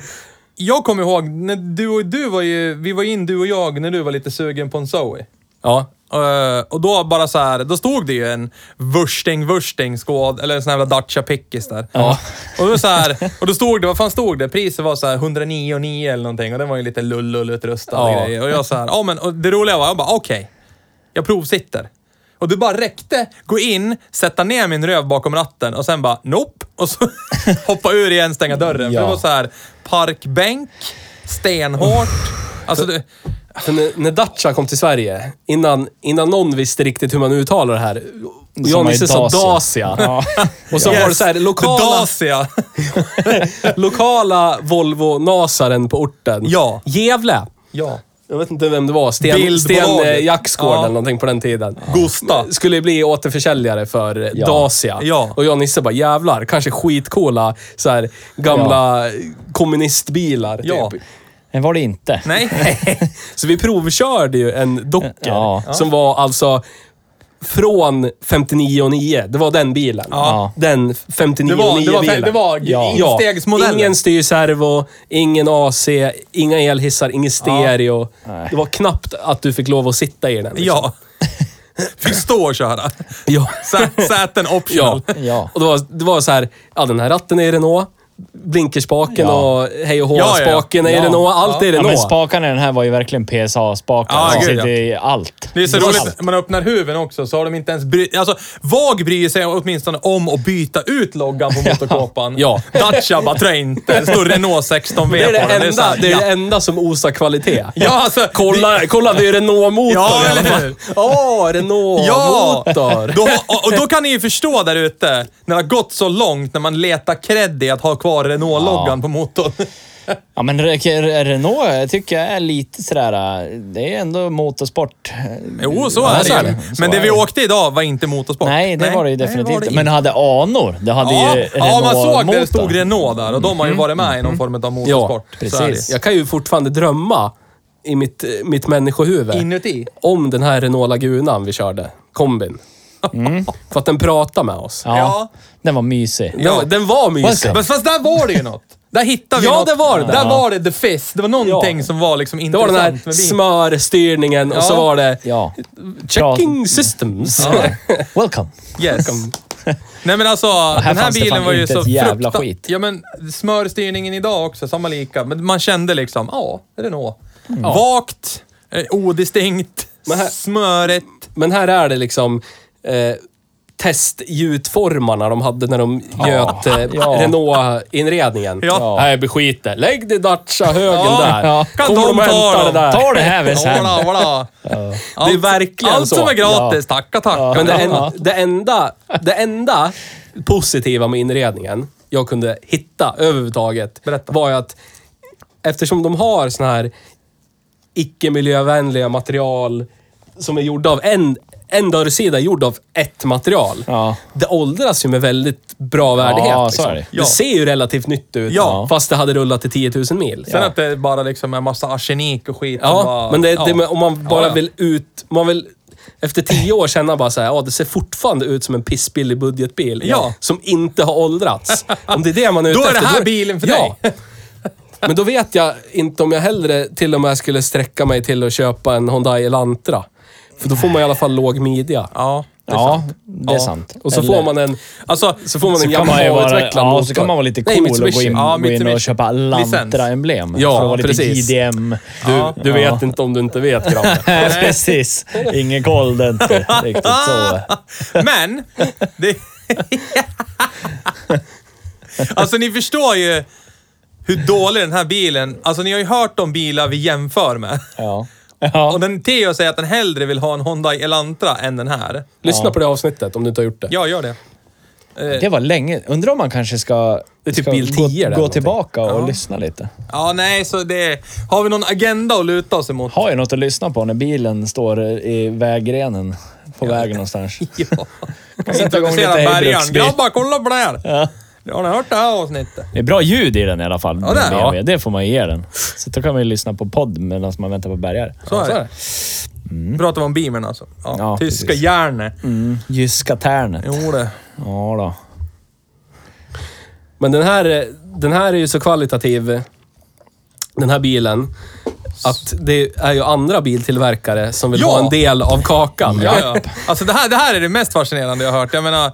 Speaker 3: jag kommer ihåg, när du och du var ju, vi var in du och jag när du var lite sugen på en Zoe.
Speaker 2: Ja.
Speaker 3: Eh, och då bara så här, då stod det ju en Wursting Wursting skåd, eller en sån här jävla Dacia Pickis där. Och då, så här, och då stod det, vad fan stod det? Priset var så här 109,9 eller någonting och den var ju lite lull-lull-utrustad
Speaker 2: Ja.
Speaker 3: och grejer. Och jag så här, ja men och det roliga var, jag bara okej, jag provsitter. Och du bara räckte gå in, sätta ner min röv bakom ratten och sen bara nope. Och så hoppa ur igen, stänga dörren. För
Speaker 1: Ja.
Speaker 3: det var så här parkbänk, stenhårt. Alltså, det,
Speaker 2: För när, när Dacia kom till Sverige, innan, innan någon visste riktigt hur man uttalar det här. Och jag och
Speaker 1: är
Speaker 2: Nisse sa
Speaker 1: Dacia.
Speaker 2: Dacia.
Speaker 1: Ja.
Speaker 2: Och så var det så här, lokala,
Speaker 3: Dacia.
Speaker 2: lokala Volvo-nasaren på orten.
Speaker 3: Ja.
Speaker 2: Gävle.
Speaker 3: Ja.
Speaker 2: Jag vet inte vem det var. Sten,
Speaker 3: Bildbolaget.
Speaker 2: Sten eh, Jacksgård
Speaker 3: Ja.
Speaker 2: eller någonting på den tiden. Eh,
Speaker 3: Gusta.
Speaker 2: Skulle bli återförsäljare för eh,
Speaker 1: Ja.
Speaker 2: Dacia.
Speaker 3: Ja.
Speaker 2: Och jag och Nisse bara, jävlar, kanske skitcoola så här, gamla kommunistbilar.
Speaker 3: Ja.
Speaker 2: Typ.
Speaker 1: Men var det inte.
Speaker 3: Nej.
Speaker 2: Så vi provkörde ju en docker
Speaker 1: Ja.
Speaker 2: som var alltså från 59,9. Det var den bilen.
Speaker 1: Ja.
Speaker 2: Den 59,9
Speaker 3: Det var, det var,
Speaker 2: bilen.
Speaker 3: det var
Speaker 1: Ja.
Speaker 3: instegsmodellen.
Speaker 2: Ingen styrservo, ingen AC, inga elhissar, ingen stereo. Det var knappt att du fick lov att sitta i den. liksom.
Speaker 3: Ja. Fick stå och köra.
Speaker 2: ja.
Speaker 3: Sä- Säten
Speaker 2: Ja.
Speaker 3: optional.
Speaker 1: Ja.
Speaker 2: Och det var, det var så här, ja den här ratten är i Renault. Blinkerspaken
Speaker 1: Ja.
Speaker 2: och hej och hå,
Speaker 3: Ja, ja, ja.
Speaker 2: spaken är i
Speaker 1: Ja.
Speaker 2: Renault. Allt är i
Speaker 1: Ja, men
Speaker 2: Renault.
Speaker 1: spakarna i den här var ju verkligen PSA-spakar.
Speaker 3: Ja,
Speaker 1: som
Speaker 3: gud,
Speaker 1: sitter i Alltså, allt. Alltså,
Speaker 3: Det är så
Speaker 1: var
Speaker 3: roligt,
Speaker 1: allt.
Speaker 3: när man öppnar huven också så har de inte ens bry- Alltså, VAG bryr sig åtminstone om att byta ut loggan på motorkåpan.
Speaker 2: Ja.
Speaker 3: Dacia bara tror jag inte. Det står Renault 16V
Speaker 2: Det är det,
Speaker 3: på den. så
Speaker 2: enda,
Speaker 3: här,
Speaker 2: det, är
Speaker 3: ja.
Speaker 2: det enda som osar kvalitet.
Speaker 3: ja, alltså.
Speaker 2: Kolla, kolla det är Renault-motor
Speaker 3: Ja,
Speaker 2: i alla
Speaker 3: eller
Speaker 2: fall.
Speaker 3: hur?
Speaker 2: Åh,
Speaker 3: Ja!
Speaker 2: Renault-motor.
Speaker 3: Då, och, och då kan ni ju förstå där ute, när det har gått så långt, när man letar cred i att ha kvar Renault-loggan på motorn.
Speaker 1: Ja, men Re- Re- Renault jag tycker jag är lite sådär... äh, Det är ändå motorsport.
Speaker 3: Jo, så
Speaker 1: Ja,
Speaker 3: är det
Speaker 1: så är
Speaker 3: ju.
Speaker 1: det. Så
Speaker 3: Men det
Speaker 1: är
Speaker 3: vi
Speaker 1: det.
Speaker 3: åkte idag var inte motorsport.
Speaker 1: Nej, det var det ju
Speaker 3: nej,
Speaker 1: definitivt
Speaker 3: var det
Speaker 1: inte. Men hade anor. Det hade
Speaker 3: Ja,
Speaker 1: ju
Speaker 3: ja, man såg där det
Speaker 1: Renault-motor.
Speaker 3: stod Renault där och de har ju varit med i någon form av motorsport.
Speaker 2: Ja,
Speaker 3: Så är det.
Speaker 1: Mm. precis.
Speaker 2: Jag kan ju fortfarande drömma i mitt, mitt människohuvud
Speaker 3: Inuti?
Speaker 2: om den här Renault Lagunan vi körde, kombin. För att den pratade med oss.
Speaker 1: Ja.
Speaker 3: Mm. Ja.
Speaker 1: Den var mysig.
Speaker 2: Den, var- den var mysig.
Speaker 1: Welcome.
Speaker 3: Men fast där var det ju något. Där hittade vi
Speaker 2: Ja,
Speaker 3: något.
Speaker 2: det var det där.
Speaker 3: Där var det the fizz. Det var någonting
Speaker 2: Ja.
Speaker 3: som var liksom
Speaker 2: Det var
Speaker 3: intressant
Speaker 2: den här
Speaker 3: med bilen.
Speaker 2: smörstyrningen och så
Speaker 3: Ja.
Speaker 2: var det
Speaker 1: Ja.
Speaker 2: checking systems.
Speaker 1: Welcome.
Speaker 3: Yes. Nej men alltså, den här
Speaker 1: fanns det
Speaker 3: bilen
Speaker 1: fan
Speaker 3: var ju
Speaker 1: inte
Speaker 3: så
Speaker 1: ett jävla
Speaker 3: fruktan-
Speaker 1: skit.
Speaker 3: Ja men smörstyrningen idag också, samma lika. Men man kände liksom, ja, Renault. Vagt, eh, odistinkt,
Speaker 2: Men här-
Speaker 3: smörigt.
Speaker 2: Men här är det liksom eh, testgjutformarna de hade när de göt eh,
Speaker 1: Ja.
Speaker 2: Renault-inredningen.
Speaker 3: Ja.
Speaker 2: Nej, beskit det. Lägg det Dacia högen
Speaker 3: Ja.
Speaker 2: där.
Speaker 3: Ja. Kan
Speaker 2: Kommer
Speaker 3: de
Speaker 2: de
Speaker 3: ta
Speaker 2: hämta det
Speaker 3: dem?
Speaker 2: där?
Speaker 1: Ta det här väl sen.
Speaker 3: Voilà, voilà.
Speaker 2: Det är verkligen
Speaker 3: Allt
Speaker 2: så.
Speaker 3: som är gratis, tacka, tacka.
Speaker 2: Men det, en, det, enda, det enda positiva med inredningen jag kunde hitta överhuvudtaget
Speaker 3: Berätta.
Speaker 2: var ju att eftersom de har såna här icke-miljövänliga material som är gjorda av en, en dörrsida är gjord av ett material.
Speaker 1: Ja.
Speaker 2: Det åldras ju med väldigt bra värdighet. liksom.
Speaker 1: Ja, så är det.
Speaker 3: Ja.
Speaker 2: det ser ju relativt nytt ut,
Speaker 3: Ja.
Speaker 2: fast det hade rullat till 10 000 mil.
Speaker 3: Sen att det bara liksom är massa arsenik och skit.
Speaker 2: Ja,
Speaker 3: som bara,
Speaker 2: men det,
Speaker 3: ja.
Speaker 2: det, men om man bara
Speaker 3: Ja, ja.
Speaker 2: vill ut... Man vill efter tio år känna bara så här, ja det ser fortfarande ut som en pissbillig budgetbil.
Speaker 3: Ja.
Speaker 2: Som inte har åldrats. Om det är det man är ute
Speaker 3: Då är
Speaker 2: efter.
Speaker 3: det här bilen för
Speaker 2: ja.
Speaker 3: dig.
Speaker 2: Men då vet jag inte om jag hellre till och med skulle sträcka mig till att köpa en Hyundai Elantra. För då får man i alla fall låg midja.
Speaker 3: Ja.
Speaker 1: Ja, det är
Speaker 2: Ja.
Speaker 1: sant.
Speaker 2: Och så
Speaker 1: Eller-
Speaker 2: får man en,
Speaker 3: Alltså,
Speaker 2: så får man en
Speaker 1: kan man ju vara,
Speaker 2: Yamaha-utvecklad
Speaker 1: ja, så kan man vara lite
Speaker 2: Nej,
Speaker 1: cool och gå
Speaker 2: Mitsubishi.
Speaker 1: in,
Speaker 3: Ja,
Speaker 1: gå in och
Speaker 3: Mitsubishi.
Speaker 1: köpa Lantra-emblem.
Speaker 2: Ja,
Speaker 1: för att vara
Speaker 2: precis.
Speaker 1: lite JDM.
Speaker 2: Du,
Speaker 3: Ja.
Speaker 2: du vet inte om du inte vet, grabben.
Speaker 1: Nej, precis. Ingen koll, det är inte riktigt så.
Speaker 3: Ah! Men, det... alltså ni förstår ju hur dålig den här bilen... Alltså ni har ju hört om bilar vi jämför med.
Speaker 1: Ja. Ja.
Speaker 3: Och den Theo säger att den hellre vill ha en Honda Elantra än den här.
Speaker 2: Lyssna på det avsnittet om du inte har gjort det.
Speaker 3: Jag gör det.
Speaker 1: Det var länge. Undrar om man kanske ska,
Speaker 2: Det är typ
Speaker 1: ska
Speaker 2: bil
Speaker 1: gå,
Speaker 2: 10 eller
Speaker 1: gå
Speaker 2: någonting.
Speaker 1: tillbaka och lyssna lite.
Speaker 3: Ja, nej, så det... Har vi någon agenda att luta oss emot?
Speaker 1: Har jag något att lyssna på när bilen står i vägrenen på vägen någonstans?
Speaker 3: Ja. Kan
Speaker 1: Sätta igång
Speaker 3: introducera
Speaker 1: lite
Speaker 3: bärgaren.
Speaker 1: Heybruksbil.
Speaker 3: Grabbar, kolla på det här!
Speaker 1: Ja.
Speaker 3: Har ni hört det här avsnittet?
Speaker 1: Det är bra ljud i den i alla fall.
Speaker 3: Ja, det är det.
Speaker 1: BMW. det får man ge den. Så då kan man ju lyssna på podd medan man väntar på bärgare.
Speaker 3: Så är det. Pratar vi om Beamern alltså. Ja,
Speaker 1: Mm. Ja,
Speaker 3: tyska
Speaker 1: precis.
Speaker 3: järnet.
Speaker 1: Jyska Tärnet.
Speaker 3: Jo det.
Speaker 1: Ja då.
Speaker 2: Men den här, eh, den här är ju så kvalitativ, eh, den här bilen, att det är ju andra biltillverkare som vill
Speaker 3: Ja!
Speaker 2: ha en del av kakan.
Speaker 3: Ja, ja. Alltså det här, det här är det mest fascinerande jag har hört. Jag menar,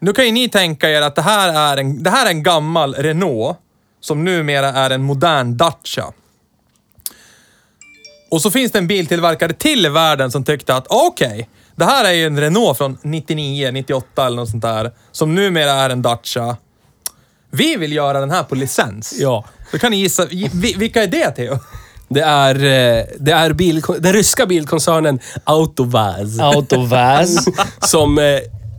Speaker 3: nu kan ju ni tänka er att det här är en, det här är en gammal Renault som numera är en modern Dacia. Och så finns det en biltillverkare till i världen som tyckte att okej, det här är ju en Renault från 99, 98 eller något sånt där. Som numera är en Dacia. Vi vill göra den här på licens.
Speaker 2: Ja.
Speaker 3: Då kan ni gissa, gi- vi- vilka är det Theo?
Speaker 2: Det är, eh, det är bil, den ryska bilkoncernen Autovaz.
Speaker 1: Autoväs.
Speaker 2: som, eh,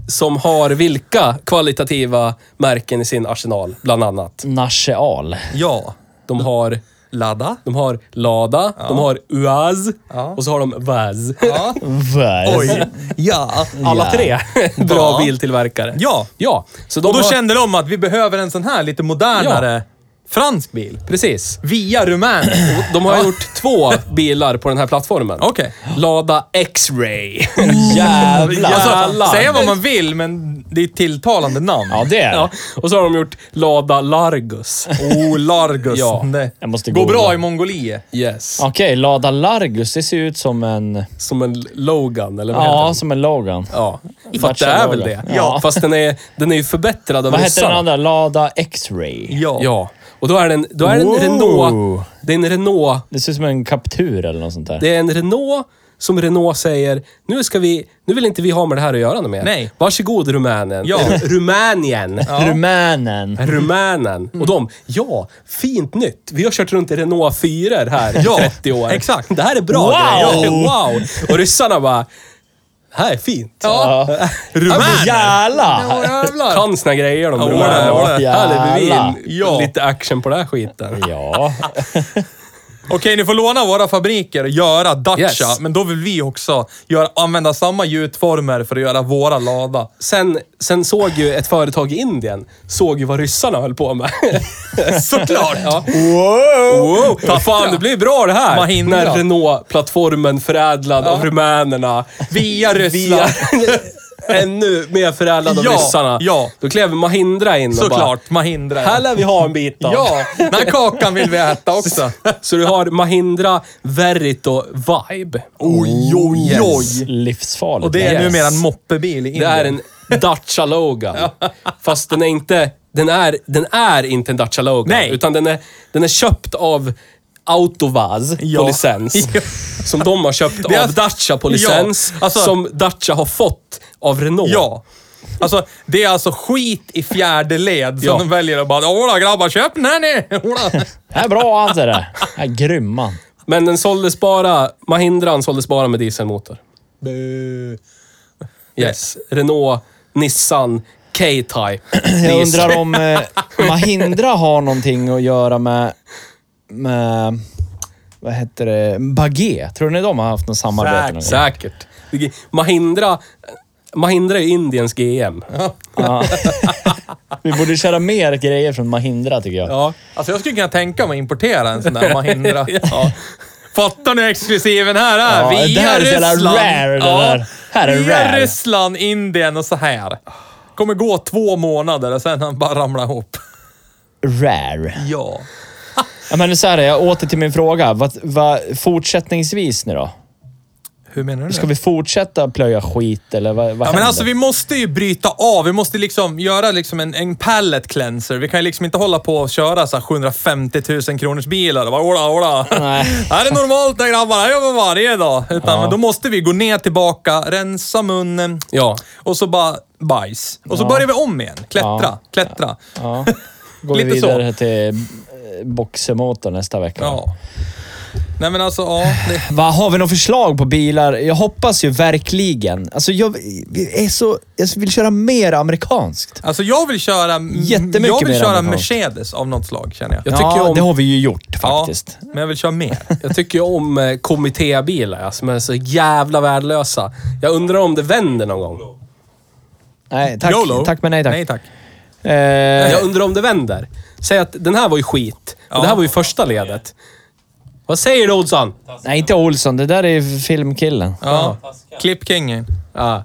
Speaker 2: som har vilka kvalitativa märken i sin arsenal, bland annat.
Speaker 1: Nascheal.
Speaker 3: Ja.
Speaker 2: De har,
Speaker 3: Ladda.
Speaker 2: de har Lada, de har Uaz
Speaker 3: Ja.
Speaker 2: och så har de Vaz.
Speaker 3: Ja.
Speaker 1: Väs.
Speaker 3: Oj. Ja.
Speaker 2: Alla tre bra
Speaker 3: Ja.
Speaker 2: biltillverkare.
Speaker 3: Ja.
Speaker 2: Ja, så de
Speaker 3: Och då
Speaker 2: har,
Speaker 3: kände de att vi behöver en sån här lite modernare fransk bil.
Speaker 2: Precis.
Speaker 3: Via Rumänien.
Speaker 2: Och De har gjort två bilar på den här plattformen.
Speaker 3: Okej.
Speaker 2: Lada X-Ray.
Speaker 1: Jävlar.
Speaker 3: Alltså,
Speaker 2: Jävlar.
Speaker 3: säga vad man vill, men det är ett tilltalande namn.
Speaker 1: Ja, det är det.
Speaker 2: Ja. Och så har de gjort Lada Largus.
Speaker 3: Oh, Largus.
Speaker 2: Ja.
Speaker 3: Det
Speaker 1: Jag måste
Speaker 3: går
Speaker 1: googla.
Speaker 3: bra i Mongoliet.
Speaker 2: Yes.
Speaker 1: Okej, Lada Largus. Det ser ut som en...
Speaker 2: Som en Logan, eller vad heter
Speaker 1: Ja,
Speaker 2: den?
Speaker 1: som en Logan.
Speaker 2: Ja. Fast det
Speaker 1: Matcha
Speaker 2: är väl
Speaker 1: Logan.
Speaker 2: det.
Speaker 1: Ja.
Speaker 2: Fast den är, den är ju förbättrad av
Speaker 1: Vad hette den
Speaker 2: ryssarna.
Speaker 1: andra? Lada X-Ray.
Speaker 3: Ja.
Speaker 2: Ja. Och då är den, då är den
Speaker 1: Wow.
Speaker 2: Renault. Det är en Renault.
Speaker 1: Det ser ut som en Captur eller något sånt där.
Speaker 2: Det är en Renault som Renault säger, nu ska vi, nu vill inte vi ha med det här att göra något mer.
Speaker 3: Nej.
Speaker 2: Varsågod Rumänien.
Speaker 3: Ja.
Speaker 2: Eller Rumänien.
Speaker 1: Rumänen.
Speaker 3: Mm.
Speaker 2: Rumänen. Och de, ja, fint nytt. Vi har kört runt i Renault 4 här i
Speaker 3: Ja,
Speaker 2: 30 år.
Speaker 3: exakt.
Speaker 2: Det här är bra
Speaker 1: Wow!
Speaker 2: grejer. Wow! Och ryssarna bara, det här är fint.
Speaker 3: Ja. Rumän.
Speaker 1: Jävlar!
Speaker 3: Jävlar.
Speaker 2: Kan sina grejer de
Speaker 3: Ja,
Speaker 2: rumänerna.
Speaker 3: det var det.
Speaker 2: Här lever vi in
Speaker 3: Ja.
Speaker 2: lite action på den här skiten.
Speaker 1: Ja.
Speaker 3: Okej, ni får låna våra fabriker och göra Dacia,
Speaker 2: Yes.
Speaker 3: men då vill vi också göra, använda samma gjutformer för att göra våra lada.
Speaker 2: Sen, sen såg ju ett företag i Indien, såg ju vad ryssarna höll på med.
Speaker 3: Såklart! Ja.
Speaker 2: Wow! Ta fan, det blir bra det här!
Speaker 3: Mahindra.
Speaker 2: När Renault-plattformen förädlad av rumänerna.
Speaker 3: Via Ryssland.
Speaker 2: Via, ännu mer förädlad av
Speaker 3: Ja,
Speaker 2: ryssarna.
Speaker 3: ja.
Speaker 2: Då klev Mahindra in och
Speaker 3: Såklart, Mahindra.
Speaker 2: bara, här lär vi ha en bit av.
Speaker 3: Ja, den här kakan vill vi äta också.
Speaker 2: Så du har Mahindra Verito Vibe.
Speaker 3: Oj, oj,
Speaker 1: Yes. Livsfarligt.
Speaker 3: Och det är
Speaker 1: Yes.
Speaker 3: numera en moppebil i
Speaker 2: Det
Speaker 3: Indien.
Speaker 2: är en Dacia Logan. Fast den är inte, den är, den är inte en Dacia Logan.
Speaker 3: Nej.
Speaker 2: Utan den är, den är köpt av Autovaz
Speaker 3: Ja.
Speaker 2: på licens.
Speaker 3: Ja.
Speaker 2: Som de har köpt
Speaker 3: Det är
Speaker 2: av
Speaker 3: alltså-
Speaker 2: Dacia på licens.
Speaker 3: Ja, alltså-
Speaker 2: som Dacia har fått av Renault.
Speaker 3: Ja. Alltså, det är alltså skit i fjärde led som
Speaker 2: Ja.
Speaker 3: de väljer att bara “Ola grabbar, köp den här ni!” Ola.
Speaker 1: Det här är bra han ser det. Det här är grym han.
Speaker 2: Men den såldes bara, Mahindran såldes bara med dieselmotor. Yes. Renault, Nissan, K-Type.
Speaker 1: Jag
Speaker 2: diesel.
Speaker 1: undrar om eh, Mahindra har någonting att göra med... med vad heter det? Bagé. Tror ni de har haft något samarbete någon gång?
Speaker 2: Säkert. Mahindra, Mahindra är Indiens GM.
Speaker 1: Ja. Vi borde köra mer grejer från Mahindra tycker jag.
Speaker 2: Ja.
Speaker 3: Alltså jag skulle kunna tänka mig att importera en sån där Mahindra. Fattar ni hur exklusiven här är?
Speaker 1: Ja,
Speaker 3: Via
Speaker 1: det här är så jävla
Speaker 3: Ryssland.
Speaker 1: rare, det där. Här är
Speaker 3: Via
Speaker 1: rare.
Speaker 3: Ryssland, Indien och så här. Kommer gå två månader och sen han bara ramlar ihop.
Speaker 1: Rare.
Speaker 3: Ja.
Speaker 1: Ja, men så här är jag åter till min fråga. Vad, vad, fortsättningsvis nu då?
Speaker 3: Hur menar du?
Speaker 1: Ska vi fortsätta plöja skit eller vad, vad
Speaker 3: Ja, men
Speaker 1: händer?
Speaker 3: alltså vi måste ju bryta av. Vi måste liksom göra liksom en, en pallet cleanser. Vi kan ju liksom inte hålla på och köra så här 750 000 kronors bilar och bara ola, ola.
Speaker 1: Nej.
Speaker 3: Det här är normalt det grabbar, jag jobbar varje dag. Utan men då måste vi gå ner tillbaka, rensa munnen
Speaker 2: Ja.
Speaker 3: och så bara bajs. Och så börjar vi om igen. Klättra,
Speaker 1: Ja.
Speaker 3: klättra. Ja.
Speaker 1: Ja. Går vi
Speaker 3: Lite så.
Speaker 1: vidare till boxemotor nästa vecka.
Speaker 3: Nej men alltså, ja. Det,
Speaker 1: Va, har vi några förslag på bilar? Jag hoppas ju verkligen. Alltså jag, är så, jag vill köra mer amerikanskt.
Speaker 3: alltså jag vill köra,
Speaker 1: Jättemycket
Speaker 3: jag vill
Speaker 1: mer
Speaker 3: köra
Speaker 1: amerikanskt.
Speaker 3: Mercedes av något slag känner jag.
Speaker 2: Jag tycker
Speaker 1: ja,
Speaker 2: om-
Speaker 1: det har vi ju gjort
Speaker 3: Ja,
Speaker 1: faktiskt.
Speaker 3: men jag vill köra mer.
Speaker 2: Jag tycker ju om eh, kommittébilar ja, som är så jävla värdelösa. Jag undrar om det vänder någon gång.
Speaker 1: Nej, tack,
Speaker 3: YOLO.
Speaker 1: tack men nej tack.
Speaker 3: Nej tack.
Speaker 1: Eh,
Speaker 2: Jag undrar om det vänder. Säg att den här var ju skit. Och
Speaker 3: Ja.
Speaker 2: Det här var ju första ledet. Vad säger du Olsson?
Speaker 1: nej, inte Olsson. Det där är ju filmkillen.
Speaker 3: Ja. Klipp kingen.
Speaker 2: Ja.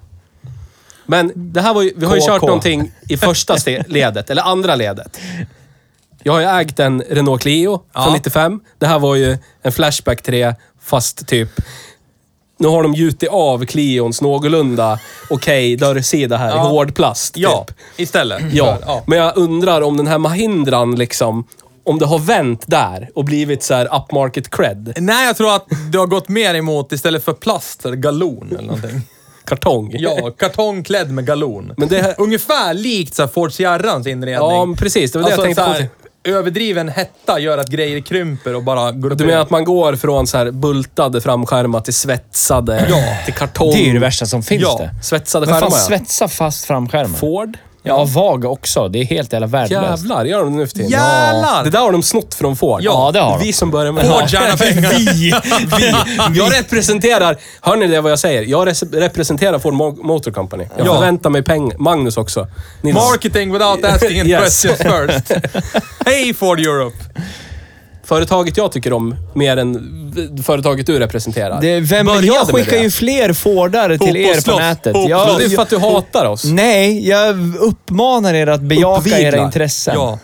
Speaker 2: Men det här var ju, vi har ju
Speaker 1: KK.
Speaker 2: kört någonting i första ste- ledet, eller andra ledet. Jag har ju ägt en Renault Clio
Speaker 3: Ja.
Speaker 2: från 95. Det här var ju en Flashback 3, fast typ... Nu har de gjutit av Clions någorlunda okej dörrsida här
Speaker 3: Ja.
Speaker 2: i hård plast.
Speaker 3: Ja,
Speaker 2: Typ.
Speaker 3: istället.
Speaker 2: Ja.
Speaker 3: För, ja.
Speaker 2: men jag undrar om den här Mahindran liksom, om det har vänt där och blivit så här upmarket cred.
Speaker 3: Nej, jag tror att du har gått mer emot istället för plast, så är det galon eller någonting.
Speaker 2: Kartong.
Speaker 3: Ja, kartongklädd med galon.
Speaker 2: Men det här-
Speaker 3: Ungefär likt så här Ford Sierrans inredning. Alltså,
Speaker 2: Ja, men precis. Det var det jag tänkte
Speaker 3: så
Speaker 2: på.
Speaker 3: här, Överdriven hetta gör att grejer krymper och bara går upp
Speaker 2: Du
Speaker 3: i
Speaker 2: menar
Speaker 3: rök.
Speaker 2: att man går från så här bultade framskärmar till svetsade, till kartong?
Speaker 1: Det är ju det värsta som finns
Speaker 3: Ja.
Speaker 1: det.
Speaker 2: Svetsade
Speaker 1: Men
Speaker 2: skärmar,
Speaker 1: fan,
Speaker 2: ja.
Speaker 1: svetsa fast framskärmen.
Speaker 2: Ford?
Speaker 1: Ja, VAG också. Det är helt jävla värdelöst.
Speaker 2: Jävlar, gör de det nu för tiden?
Speaker 3: Jävlar!
Speaker 2: Det där har de snott från Ford.
Speaker 1: Ja, det har de.
Speaker 2: Vi som börjar med
Speaker 3: Ford tjänar pengar.
Speaker 1: Vi, vi.
Speaker 2: Jag representerar, hör ni det vad jag säger? Jag res- representerar Ford Mo- Motor Company. Jag
Speaker 3: Ja.
Speaker 2: förväntar mig pengar. Magnus också. Nils.
Speaker 3: Marketing without asking any
Speaker 2: Yes.
Speaker 3: questions first. Hej Ford Europe!
Speaker 2: Företaget jag tycker om mer än v- företaget du representerar.
Speaker 1: Det, vem, men
Speaker 2: Började
Speaker 1: jag
Speaker 2: med
Speaker 1: skickar
Speaker 2: det.
Speaker 1: ju fler Fordar till er på
Speaker 3: Fotbollsslott.
Speaker 1: nätet.
Speaker 2: Ja,
Speaker 1: Jag,
Speaker 2: det är för att du hatar oss.
Speaker 1: nej, jag uppmanar er att bejaka
Speaker 2: Uppviglar.
Speaker 1: era intressen.
Speaker 3: Ja.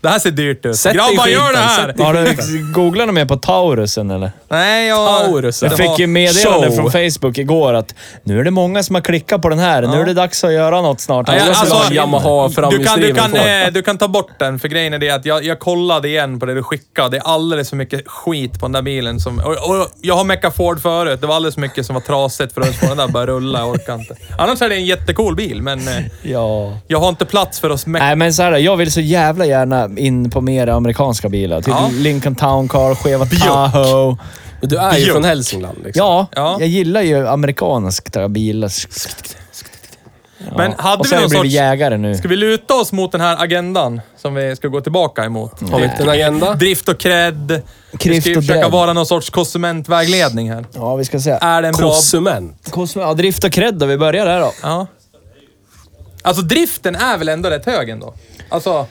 Speaker 3: Det här ser dyrt ut.
Speaker 2: Sätt dig i
Speaker 3: Grabbar, gör det
Speaker 2: skiten,
Speaker 3: här!
Speaker 2: sätt dig i
Speaker 1: Har du googlat mer på Taurusen eller?
Speaker 3: Nej, jag...
Speaker 2: Taurusen.
Speaker 3: Det
Speaker 1: Jag fick ju
Speaker 3: var-
Speaker 1: meddelande
Speaker 2: show.
Speaker 1: från Facebook igår att nu är det många som har klickat på den här. Nu är det dags att göra något snart.
Speaker 2: Ja,
Speaker 1: Alla
Speaker 2: jag
Speaker 1: som
Speaker 2: alltså,
Speaker 1: har-
Speaker 2: ha en Yamaha
Speaker 3: du kan, du,
Speaker 2: framhjulsdriven
Speaker 3: kan,
Speaker 2: Ford.
Speaker 3: eh, du kan ta bort den, för grejen är det att jag, jag kollade igen på det du skickade. Det är alldeles för mycket skit på den där bilen. Som, och, och jag har meckat Ford förut. Det var alldeles för mycket som var trasigt för att ens få den där bara rulla. Jag orkar inte. Annars är det en jättecool bil, men eh,
Speaker 1: ja.
Speaker 3: jag har inte plats för att smäcka.
Speaker 1: Nej, men så här, jag vill så jävla gärna in på mer amerikanska bilar. Typ
Speaker 3: Ja.
Speaker 1: Lincoln Town Car, Cheva Tahoe.
Speaker 2: Men Du är ju
Speaker 3: Björk.
Speaker 2: från Hälsingland. Liksom.
Speaker 1: Ja,
Speaker 3: Ja.
Speaker 1: jag gillar ju amerikanska bilar.
Speaker 3: Men hade
Speaker 1: Och
Speaker 3: vi
Speaker 1: så
Speaker 3: någon
Speaker 1: har jag blivit
Speaker 3: sorts...
Speaker 1: jägare nu.
Speaker 3: Ska vi luta oss mot den här agendan som vi ska gå tillbaka emot?
Speaker 2: Har vi inte en agenda?
Speaker 3: Drift och cred. Vi
Speaker 1: Drift
Speaker 3: ska ju
Speaker 1: och
Speaker 3: försöka
Speaker 1: cred.
Speaker 3: vara någon sorts konsumentvägledning här.
Speaker 1: Ja, vi ska se.
Speaker 3: Är det en bra
Speaker 2: Konsument.
Speaker 1: Kosmo, ja, drift och cred då. Vi börjar där då.
Speaker 3: Ja. Alltså driften är väl ändå rätt hög ändå? Alltså...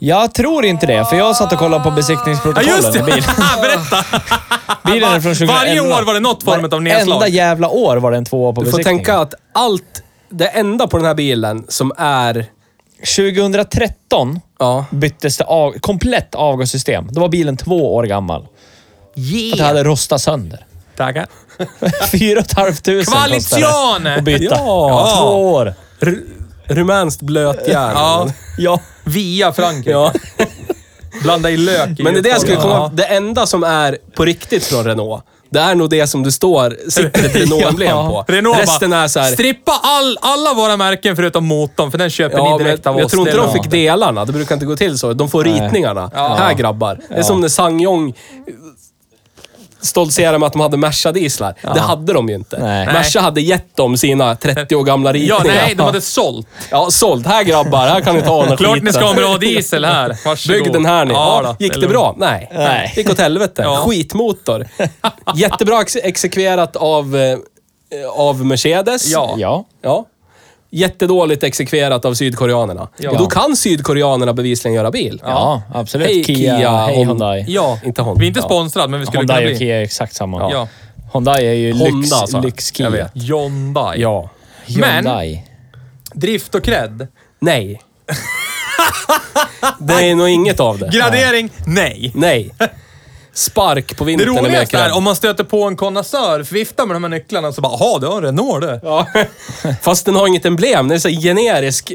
Speaker 1: Jag tror inte det, för jag satt och kollade på
Speaker 3: Ja,
Speaker 1: besiktningsprotokollen.
Speaker 3: just det!
Speaker 1: på bilen.
Speaker 3: Berätta!
Speaker 1: bilen är från 2011.
Speaker 3: Varje år Äh, var det något form av nedslag.
Speaker 1: Enda jävla år var det en tvåa på
Speaker 2: Du får
Speaker 1: besiktningen.
Speaker 2: tänka att allt, det enda på den här bilen som är...
Speaker 1: 2013
Speaker 2: Ja.
Speaker 1: byttes det av, komplett avgassystem. Då var bilen två år gammal. För att det hade rostat sönder.
Speaker 3: Tackar.
Speaker 1: Fyra och ett halvt tusen kostade det
Speaker 3: Kvalizione!
Speaker 1: att byta.
Speaker 3: Ja.
Speaker 1: Två år.
Speaker 2: R- rumänskt blötjärn.
Speaker 3: Ja.
Speaker 1: Ja.
Speaker 3: Via Frankrike.
Speaker 2: Ja.
Speaker 3: Blanda i lök i
Speaker 2: Men det är det jag skulle komma
Speaker 3: Ja.
Speaker 2: Det enda som är på riktigt från Renault, det är nog det som du står, sitter ett Renault-emblem
Speaker 1: Ja.
Speaker 2: på.
Speaker 3: Renault
Speaker 2: Resten
Speaker 3: bara,
Speaker 2: är så här,
Speaker 3: strippa all, alla våra märken förutom motorn, för den köper
Speaker 2: Ja,
Speaker 3: ni
Speaker 2: men
Speaker 3: direkt av oss.
Speaker 2: jag tror inte
Speaker 3: Det är
Speaker 2: de
Speaker 3: bra.
Speaker 2: fick delarna. Det brukar inte gå till så. De får ritningarna.
Speaker 3: Ja.
Speaker 2: Här grabbar. Det är som när Sangyong stoltserade med att de hade Merca dieslar. Det hade de ju inte.
Speaker 1: Nej.
Speaker 2: Merca hade gett dem sina 30 år gamla
Speaker 3: Ja,
Speaker 2: ritningar.
Speaker 3: nej, de hade sålt.
Speaker 2: Ja, sålt. Här grabbar, här kan ni ta den här
Speaker 3: Klart
Speaker 2: skiten.
Speaker 3: ni ska ha en bra diesel här. Varsågod.
Speaker 2: Bygg den här ni.
Speaker 3: Ja,
Speaker 2: Ja,
Speaker 3: då.
Speaker 2: Gick
Speaker 3: är
Speaker 2: det,
Speaker 3: lugnt.
Speaker 2: bra? Nej.
Speaker 1: Nej.
Speaker 2: Gick åt helvete.
Speaker 3: Ja.
Speaker 2: Skitmotor. Jättebra ex- exekverat av, eh, av Mercedes.
Speaker 3: Ja.
Speaker 1: Ja.
Speaker 2: Ja. Jättedåligt exekverat av sydkoreanerna.
Speaker 3: Ja.
Speaker 2: Och då kan sydkoreanerna bevisligen göra bil.
Speaker 1: Ja, absolut.
Speaker 2: Hej
Speaker 1: Kia,
Speaker 2: Kia,
Speaker 1: hej
Speaker 2: Hon-
Speaker 1: Hyundai.
Speaker 3: Ja.
Speaker 2: Inte Honda.
Speaker 3: Vi är inte sponsrad, men vi skulle kunna
Speaker 1: Hyundai och
Speaker 3: bli.
Speaker 1: Kia är exakt samma.
Speaker 3: Ja.
Speaker 1: Hyundai är ju
Speaker 2: Honda,
Speaker 1: lyx,
Speaker 2: alltså.
Speaker 1: lyx-Kia.
Speaker 2: Jag vet.
Speaker 3: Hyundai.
Speaker 2: Ja.
Speaker 3: Men,
Speaker 1: Hyundai.
Speaker 3: drift och cred.
Speaker 2: Nej. det är nog inget av det.
Speaker 3: Gradering, nej.
Speaker 2: Nej. spark på
Speaker 3: Det
Speaker 2: vintern i
Speaker 3: roligaste
Speaker 2: Mekerö.
Speaker 3: är om man stöter på en konnässör, viftar med de här nycklarna så bara “Jaha, du har en Renault du”.
Speaker 2: Ja. Fast den har inget emblem. Den är så här generisk,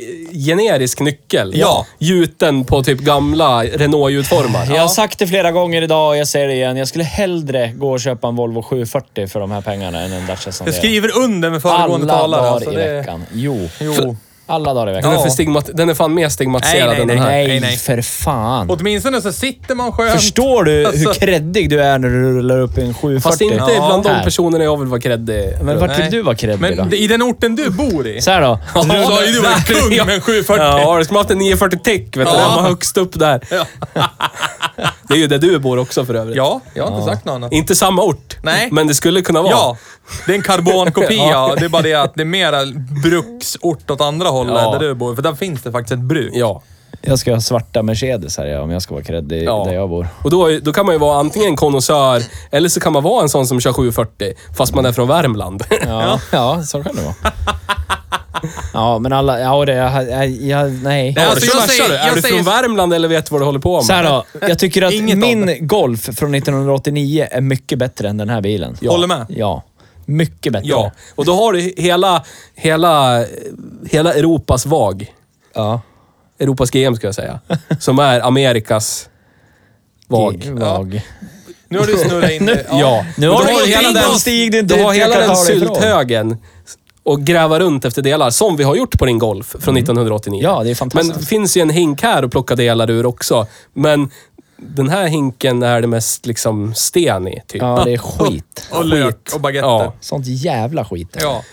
Speaker 2: generisk nyckel.
Speaker 3: Ja.
Speaker 2: Gjuten på typ gamla Renault-ljudformar.
Speaker 1: Jag har sagt det flera gånger idag och jag säger det igen. Jag skulle hellre gå och köpa en Volvo 740 för de här pengarna än en Dacia
Speaker 3: Jag
Speaker 1: Sandero.
Speaker 3: skriver under med
Speaker 1: Alla
Speaker 3: föregående talare.
Speaker 1: dagar
Speaker 3: alltså,
Speaker 1: i
Speaker 3: det-
Speaker 1: veckan. Jo.
Speaker 3: Jo.
Speaker 1: Alla dagar i
Speaker 2: Den,
Speaker 1: veckan.
Speaker 2: är för
Speaker 3: Ja.
Speaker 2: stigmat- den är fan mer stigmatiserad
Speaker 3: Nej, nej,
Speaker 2: än den här.
Speaker 3: nej.
Speaker 1: Nej, för fan.
Speaker 3: Åtminstone så sitter man skönt.
Speaker 1: Förstår du
Speaker 3: Alltså-
Speaker 1: hur kreddig du är när du rullar upp i en 740?
Speaker 2: Fast inte
Speaker 3: Ja.
Speaker 2: bland de
Speaker 1: Här.
Speaker 2: personerna jag vill vara creddig.
Speaker 1: Men vart
Speaker 3: Nej.
Speaker 1: vill du vara creddig då?
Speaker 3: Men i den orten du bor i.
Speaker 1: Så här då.
Speaker 3: Så har ju du varit kung med en 740.
Speaker 2: Ja, du skulle haft en 940 tick. Vet du,
Speaker 3: Ja.
Speaker 2: Den var högst upp där. Det är ju där du bor också för övrigt.
Speaker 3: Ja, jag har inte sagt något annat.
Speaker 2: Inte samma ort,
Speaker 3: Nej.
Speaker 2: men det skulle kunna vara.
Speaker 3: Ja, det är en karbonkopia.
Speaker 2: Ja.
Speaker 3: Det är bara det att det är mera bruksort åt andra hållet
Speaker 2: Ja.
Speaker 3: där du bor. För där finns det faktiskt ett bruk.
Speaker 2: ja.
Speaker 1: Jag ska ha svarta Mercedes här ja, om jag ska vara creddig
Speaker 2: Ja.
Speaker 1: där jag bor.
Speaker 2: Och då, är- då kan man ju vara antingen en konnässör, eller så kan man vara en sån som kör 740, fast man är från Värmland.
Speaker 1: Ja, ja så kan det vara. Ja, men alla... Ja, det... Jag, jag, jag, nej.
Speaker 3: Nej, alltså,
Speaker 2: Kör,
Speaker 3: jag
Speaker 2: kör du.
Speaker 3: säger,
Speaker 2: är
Speaker 3: jag
Speaker 2: du från
Speaker 3: säger,
Speaker 2: Värmland eller vet du vad du håller på med?
Speaker 1: Så här då. Jag tycker att
Speaker 3: Inget av det.
Speaker 1: min Golf från 1989 är mycket bättre än den här bilen. Ja.
Speaker 3: Håller med.
Speaker 1: Ja. Mycket bättre.
Speaker 2: Ja, och då har du hela, hela, hela Europas VAG.
Speaker 1: ja.
Speaker 2: Europas GM ska jag säga. Som är Amerikas VAG.
Speaker 1: Vag.
Speaker 3: nu har du snurrat in det.
Speaker 2: Ja.
Speaker 1: Nu
Speaker 2: Och
Speaker 1: har
Speaker 2: då
Speaker 1: du
Speaker 2: hela
Speaker 1: ingenting
Speaker 2: den-
Speaker 1: som Stig du inte
Speaker 2: Du har hela
Speaker 1: kan
Speaker 2: den
Speaker 1: ta dig ifrån.
Speaker 2: sylthögen och gräva runt efter delar, som vi har gjort på din Golf från 1989.
Speaker 1: Mm. Ja, det är fantastiskt.
Speaker 2: Men det finns ju en hink här att plocka delar ur också. Men den här hinken är det mest liksom sten i, typ.
Speaker 1: Ja, det är skit.
Speaker 3: Och lök och baguetter. Ja.
Speaker 2: Ja.
Speaker 1: Sånt jävla skit.
Speaker 3: ja.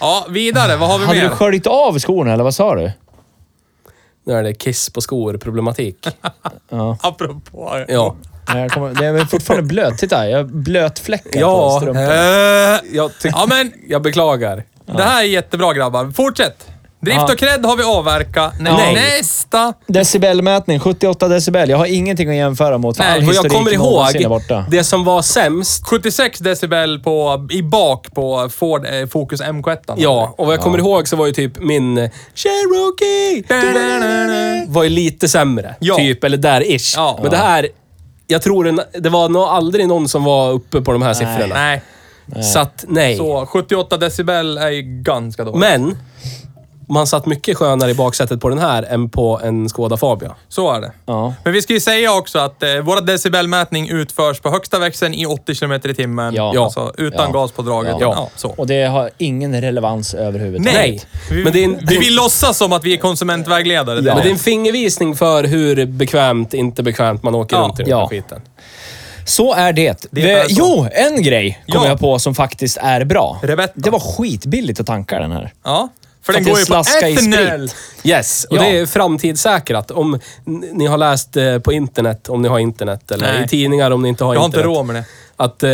Speaker 2: Ja.
Speaker 3: vidare. Vad har vi
Speaker 1: Hade du
Speaker 3: mer?
Speaker 1: sköljt av skorna eller vad sa du?
Speaker 2: Nu är det kiss på skor-problematik.
Speaker 3: Apropå.
Speaker 2: Ja.
Speaker 1: Nej, Jag kommer, det är fortfarande blöt. Titta, jag har blötfläckar på
Speaker 2: Ja,
Speaker 1: strumpan.
Speaker 3: Eh,
Speaker 2: Jag, tyck-
Speaker 3: ja, men
Speaker 2: jag beklagar.
Speaker 3: det här är jättebra grabbar. Fortsätt. Drift
Speaker 1: Ja.
Speaker 3: och cred har vi avverkat. Nä,
Speaker 1: Ja.
Speaker 3: Nästa.
Speaker 1: Decibelmätning, 78 decibel. Jag har ingenting att jämföra mot. All
Speaker 2: Nej, och jag
Speaker 1: historik
Speaker 2: kommer
Speaker 1: någonsin är
Speaker 2: ihåg
Speaker 1: borta.
Speaker 2: det som var sämst
Speaker 3: 76 decibel på, i bak på Ford eh, Focus MK1.
Speaker 2: Ja, och vad jag kommer ihåg så var ju typ min eh, Cherokee var ju lite sämre.
Speaker 3: Ja.
Speaker 2: Typ, eller där-ish.
Speaker 3: Ja.
Speaker 2: Men det här, jag tror den, det var nog aldrig någon som var uppe på de här siffrorna.
Speaker 3: Nej.
Speaker 2: Så att, nej.
Speaker 3: Så 78 decibel är ju ganska dåligt.
Speaker 2: Men, man satt mycket skönare i baksätet på den här än på en Skoda Fabia.
Speaker 3: Så är det.
Speaker 1: Ja.
Speaker 3: Men vi ska ju säga också att eh, vår decibelmätning utförs på högsta växeln i 80 km i timmen.
Speaker 1: Ja.
Speaker 3: Alltså utan
Speaker 1: Ja.
Speaker 3: gaspådraget.
Speaker 1: Ja.
Speaker 3: Ja. så.
Speaker 1: Och det har ingen relevans överhuvudtaget.
Speaker 3: Nej.
Speaker 2: Men det är en,
Speaker 3: Vi vill låtsas som att vi är konsumentvägledare.
Speaker 1: Ja.
Speaker 3: Det
Speaker 2: men
Speaker 3: är
Speaker 2: det är
Speaker 3: det.
Speaker 2: en fingervisning för hur bekvämt, inte bekvämt man åker
Speaker 3: Ja.
Speaker 2: runt i den här
Speaker 1: Ja.
Speaker 2: skiten.
Speaker 1: Så är det.
Speaker 3: Det är
Speaker 1: Eh,
Speaker 3: så.
Speaker 1: Jo, en grej kom
Speaker 3: Ja.
Speaker 1: jag på som faktiskt är bra.
Speaker 3: Rebetta.
Speaker 1: Det var skitbilligt att tanka den här.
Speaker 3: Ja. För
Speaker 1: För
Speaker 3: den
Speaker 1: att
Speaker 3: går ju
Speaker 1: jag
Speaker 3: på
Speaker 1: slaskar i
Speaker 3: etanol.
Speaker 2: Yes, och
Speaker 1: Ja.
Speaker 2: det är framtidssäkrat. Om n- ni har läst eh, på internet, om ni har internet, eller
Speaker 3: Nej.
Speaker 2: i tidningar om ni inte har
Speaker 3: Jag har inte
Speaker 2: internet.
Speaker 3: råd med det.
Speaker 2: Att eh,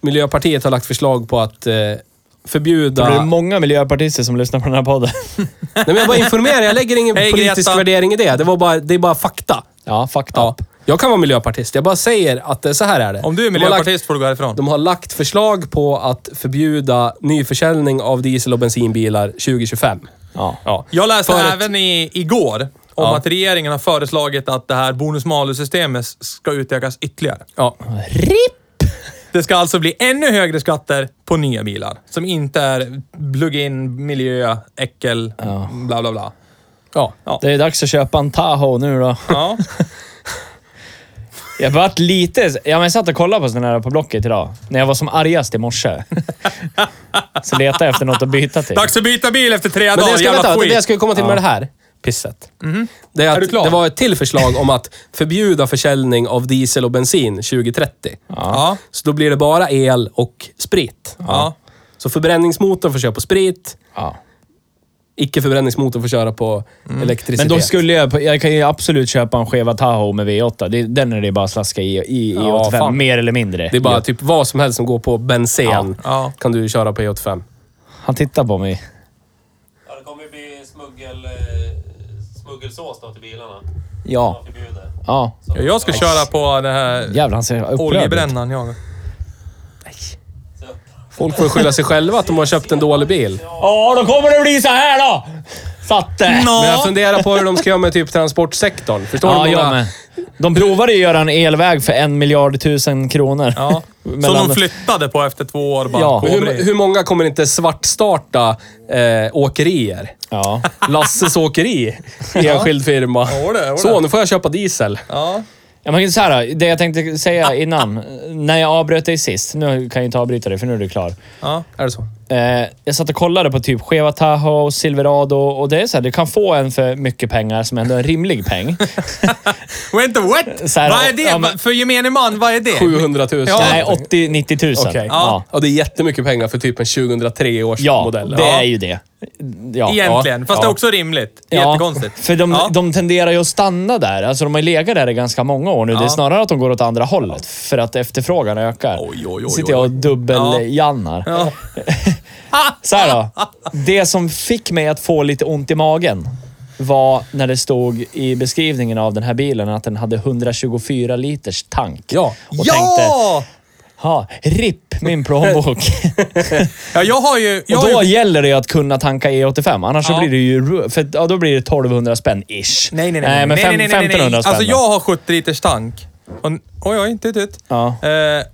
Speaker 2: Miljöpartiet har lagt förslag på att
Speaker 1: Det
Speaker 2: eh,
Speaker 1: är
Speaker 2: förbjuda...
Speaker 1: många miljöpartister som lyssnar på den här podden.
Speaker 2: Nej, men jag bara informerar, jag lägger ingen
Speaker 3: Hej,
Speaker 2: politisk
Speaker 3: Greta.
Speaker 2: värdering i det. Det, var bara, det är bara fakta.
Speaker 1: Ja, fucked
Speaker 2: Ja.
Speaker 1: up.
Speaker 2: Jag kan vara miljöpartist, jag bara säger att det, så här är det.
Speaker 3: Om du är
Speaker 2: De har lagt-
Speaker 3: miljöpartist får du gå härifrån.
Speaker 2: De har lagt förslag på att förbjuda nyförsäljning av diesel och bensinbilar 2025.
Speaker 1: Ja.
Speaker 2: Ja.
Speaker 3: Jag läste
Speaker 2: För att-
Speaker 3: även i, igår om
Speaker 2: Ja.
Speaker 3: att regeringen har föreslagit att det här bonus-malus-systemet ska utökas ytterligare.
Speaker 2: Ja.
Speaker 1: RIP!
Speaker 3: Det ska alltså bli ännu högre skatter på nya bilar som inte är plug-in, miljö, äckel, bla bla bla.
Speaker 2: ja.
Speaker 1: Det är dags att köpa en Tahoe nu då.
Speaker 3: Ja.
Speaker 1: Jag vart lite... Ja, men jag satt och kollade på sådana här på Blocket idag. När jag var som argast i morse. Så letade jag efter något att byta till.
Speaker 3: Dags att byta bil efter tre
Speaker 2: Men det
Speaker 3: dagar,
Speaker 2: jag ska,
Speaker 3: jävla
Speaker 2: vänta,
Speaker 3: skit.
Speaker 2: det jag skulle komma till med det här pisset. Det, är att,
Speaker 3: Är du klar?
Speaker 2: det var ett till förslag om att förbjuda försäljning av diesel och bensin 2030.
Speaker 3: Ja.
Speaker 2: Så då blir det bara el och sprit.
Speaker 3: Ja.
Speaker 2: Så förbränningsmotorn får köra på sprit.
Speaker 1: Ja.
Speaker 2: Icke-förbränningsmotorn får köra på elektricitet.
Speaker 1: Men då skulle jag... Jag kan ju absolut köpa en skeva Tahoe med V8. Det, den är det bara att slaska i, i, i
Speaker 2: Ja,
Speaker 1: 85,
Speaker 2: fan.
Speaker 1: mer eller mindre.
Speaker 2: Det är bara typ vad som helst som går på bensen
Speaker 1: Ja.
Speaker 3: Ja.
Speaker 2: kan du köra på E E85.
Speaker 1: Han tittar på mig.
Speaker 5: Ja, det kommer ju bli smuggel, eh, smuggelsås då till bilarna.
Speaker 1: Ja.
Speaker 5: Man förbjuder.
Speaker 1: Ja.
Speaker 3: Ja, Jag ska köra på den här
Speaker 1: Jävlar, han ser upprörd ut.
Speaker 3: oljebrännaren jag.
Speaker 2: Folk får skylla sig själva att de har köpt en dålig bil.
Speaker 1: Ja, då kommer det bli så här då! Satte!
Speaker 2: alltså, Men jag funderar på hur de ska göra med typ transportsektorn. Förstår
Speaker 1: Ja,
Speaker 2: du hur
Speaker 1: jag
Speaker 2: många
Speaker 1: med. De provade ju att göra en elväg för en miljard tusen kronor.
Speaker 3: Ja. Som
Speaker 1: Mellan-
Speaker 3: de flyttade på efter två år. Bara.
Speaker 1: Ja.
Speaker 3: K-
Speaker 2: Och Hur, hur många kommer inte svartstarta eh, åkerier?
Speaker 1: Ja.
Speaker 2: Lasses åkeri, enskild firma.
Speaker 3: Ja, det är det.
Speaker 2: Så, nu får jag köpa diesel.
Speaker 3: Ja.
Speaker 1: Ja, man kan så här, det jag tänkte säga innan, när jag avbröt dig sist, nu kan jag inte avbryta dig för nu är du klar.
Speaker 3: ja.
Speaker 2: Är det så?
Speaker 1: Eh, jag satt och kollade på typ Cheva Tahoe, Silverado och det är så här, du kan få en för mycket pengar som ändå är en rimlig peng.
Speaker 3: Wait, what?
Speaker 1: Så här,
Speaker 3: vad är det?
Speaker 1: ja, men-
Speaker 3: För gemene man, vad är det?
Speaker 2: 700 000.
Speaker 3: Ja.
Speaker 1: Nej, 80-90 tusen.
Speaker 2: Okej.
Speaker 1: Ja.
Speaker 2: Ja, det är jättemycket pengar för typ en 2003 års
Speaker 1: Ja,
Speaker 2: modell.
Speaker 1: det är ju det. Ja.
Speaker 3: Egentligen. Fast det är också rimligt. Det är Jättekonstigt.
Speaker 1: För de,
Speaker 3: ja.
Speaker 1: de tenderar ju att stanna där. Alltså de har ju legat där i ganska många år nu. Det är
Speaker 3: Ja.
Speaker 1: snarare att de går åt andra hållet för att efterfrågan ökar.
Speaker 3: Oj, oj, oj,
Speaker 1: Nu
Speaker 3: oj,
Speaker 1: sitter jag och dubbeljannar.
Speaker 3: Ja.
Speaker 1: Så här då. Det som fick mig att få lite ont i magen var när det stod i beskrivningen av den här bilen att den hade 124 liters tank.
Speaker 2: Ja.
Speaker 1: Och tänkte,
Speaker 3: ja!
Speaker 1: ha, RIP min plånbok.
Speaker 3: ja, jag har ju... Jag
Speaker 1: Och
Speaker 3: har
Speaker 1: då
Speaker 3: ju...
Speaker 1: gäller det ju att kunna tanka E85, annars så
Speaker 3: Ja.
Speaker 1: blir det ju... ru- För, ja, då blir det 1200 spänn ish.
Speaker 3: Nej, nej, nej.
Speaker 1: Nej, men
Speaker 3: nej, nej, nej, nej, nej.
Speaker 1: 1500 spänn
Speaker 3: Alltså,
Speaker 1: då.
Speaker 3: jag har 70 liters tank. Och, oj, oj, tut, tut.
Speaker 1: Ja.
Speaker 3: Eh,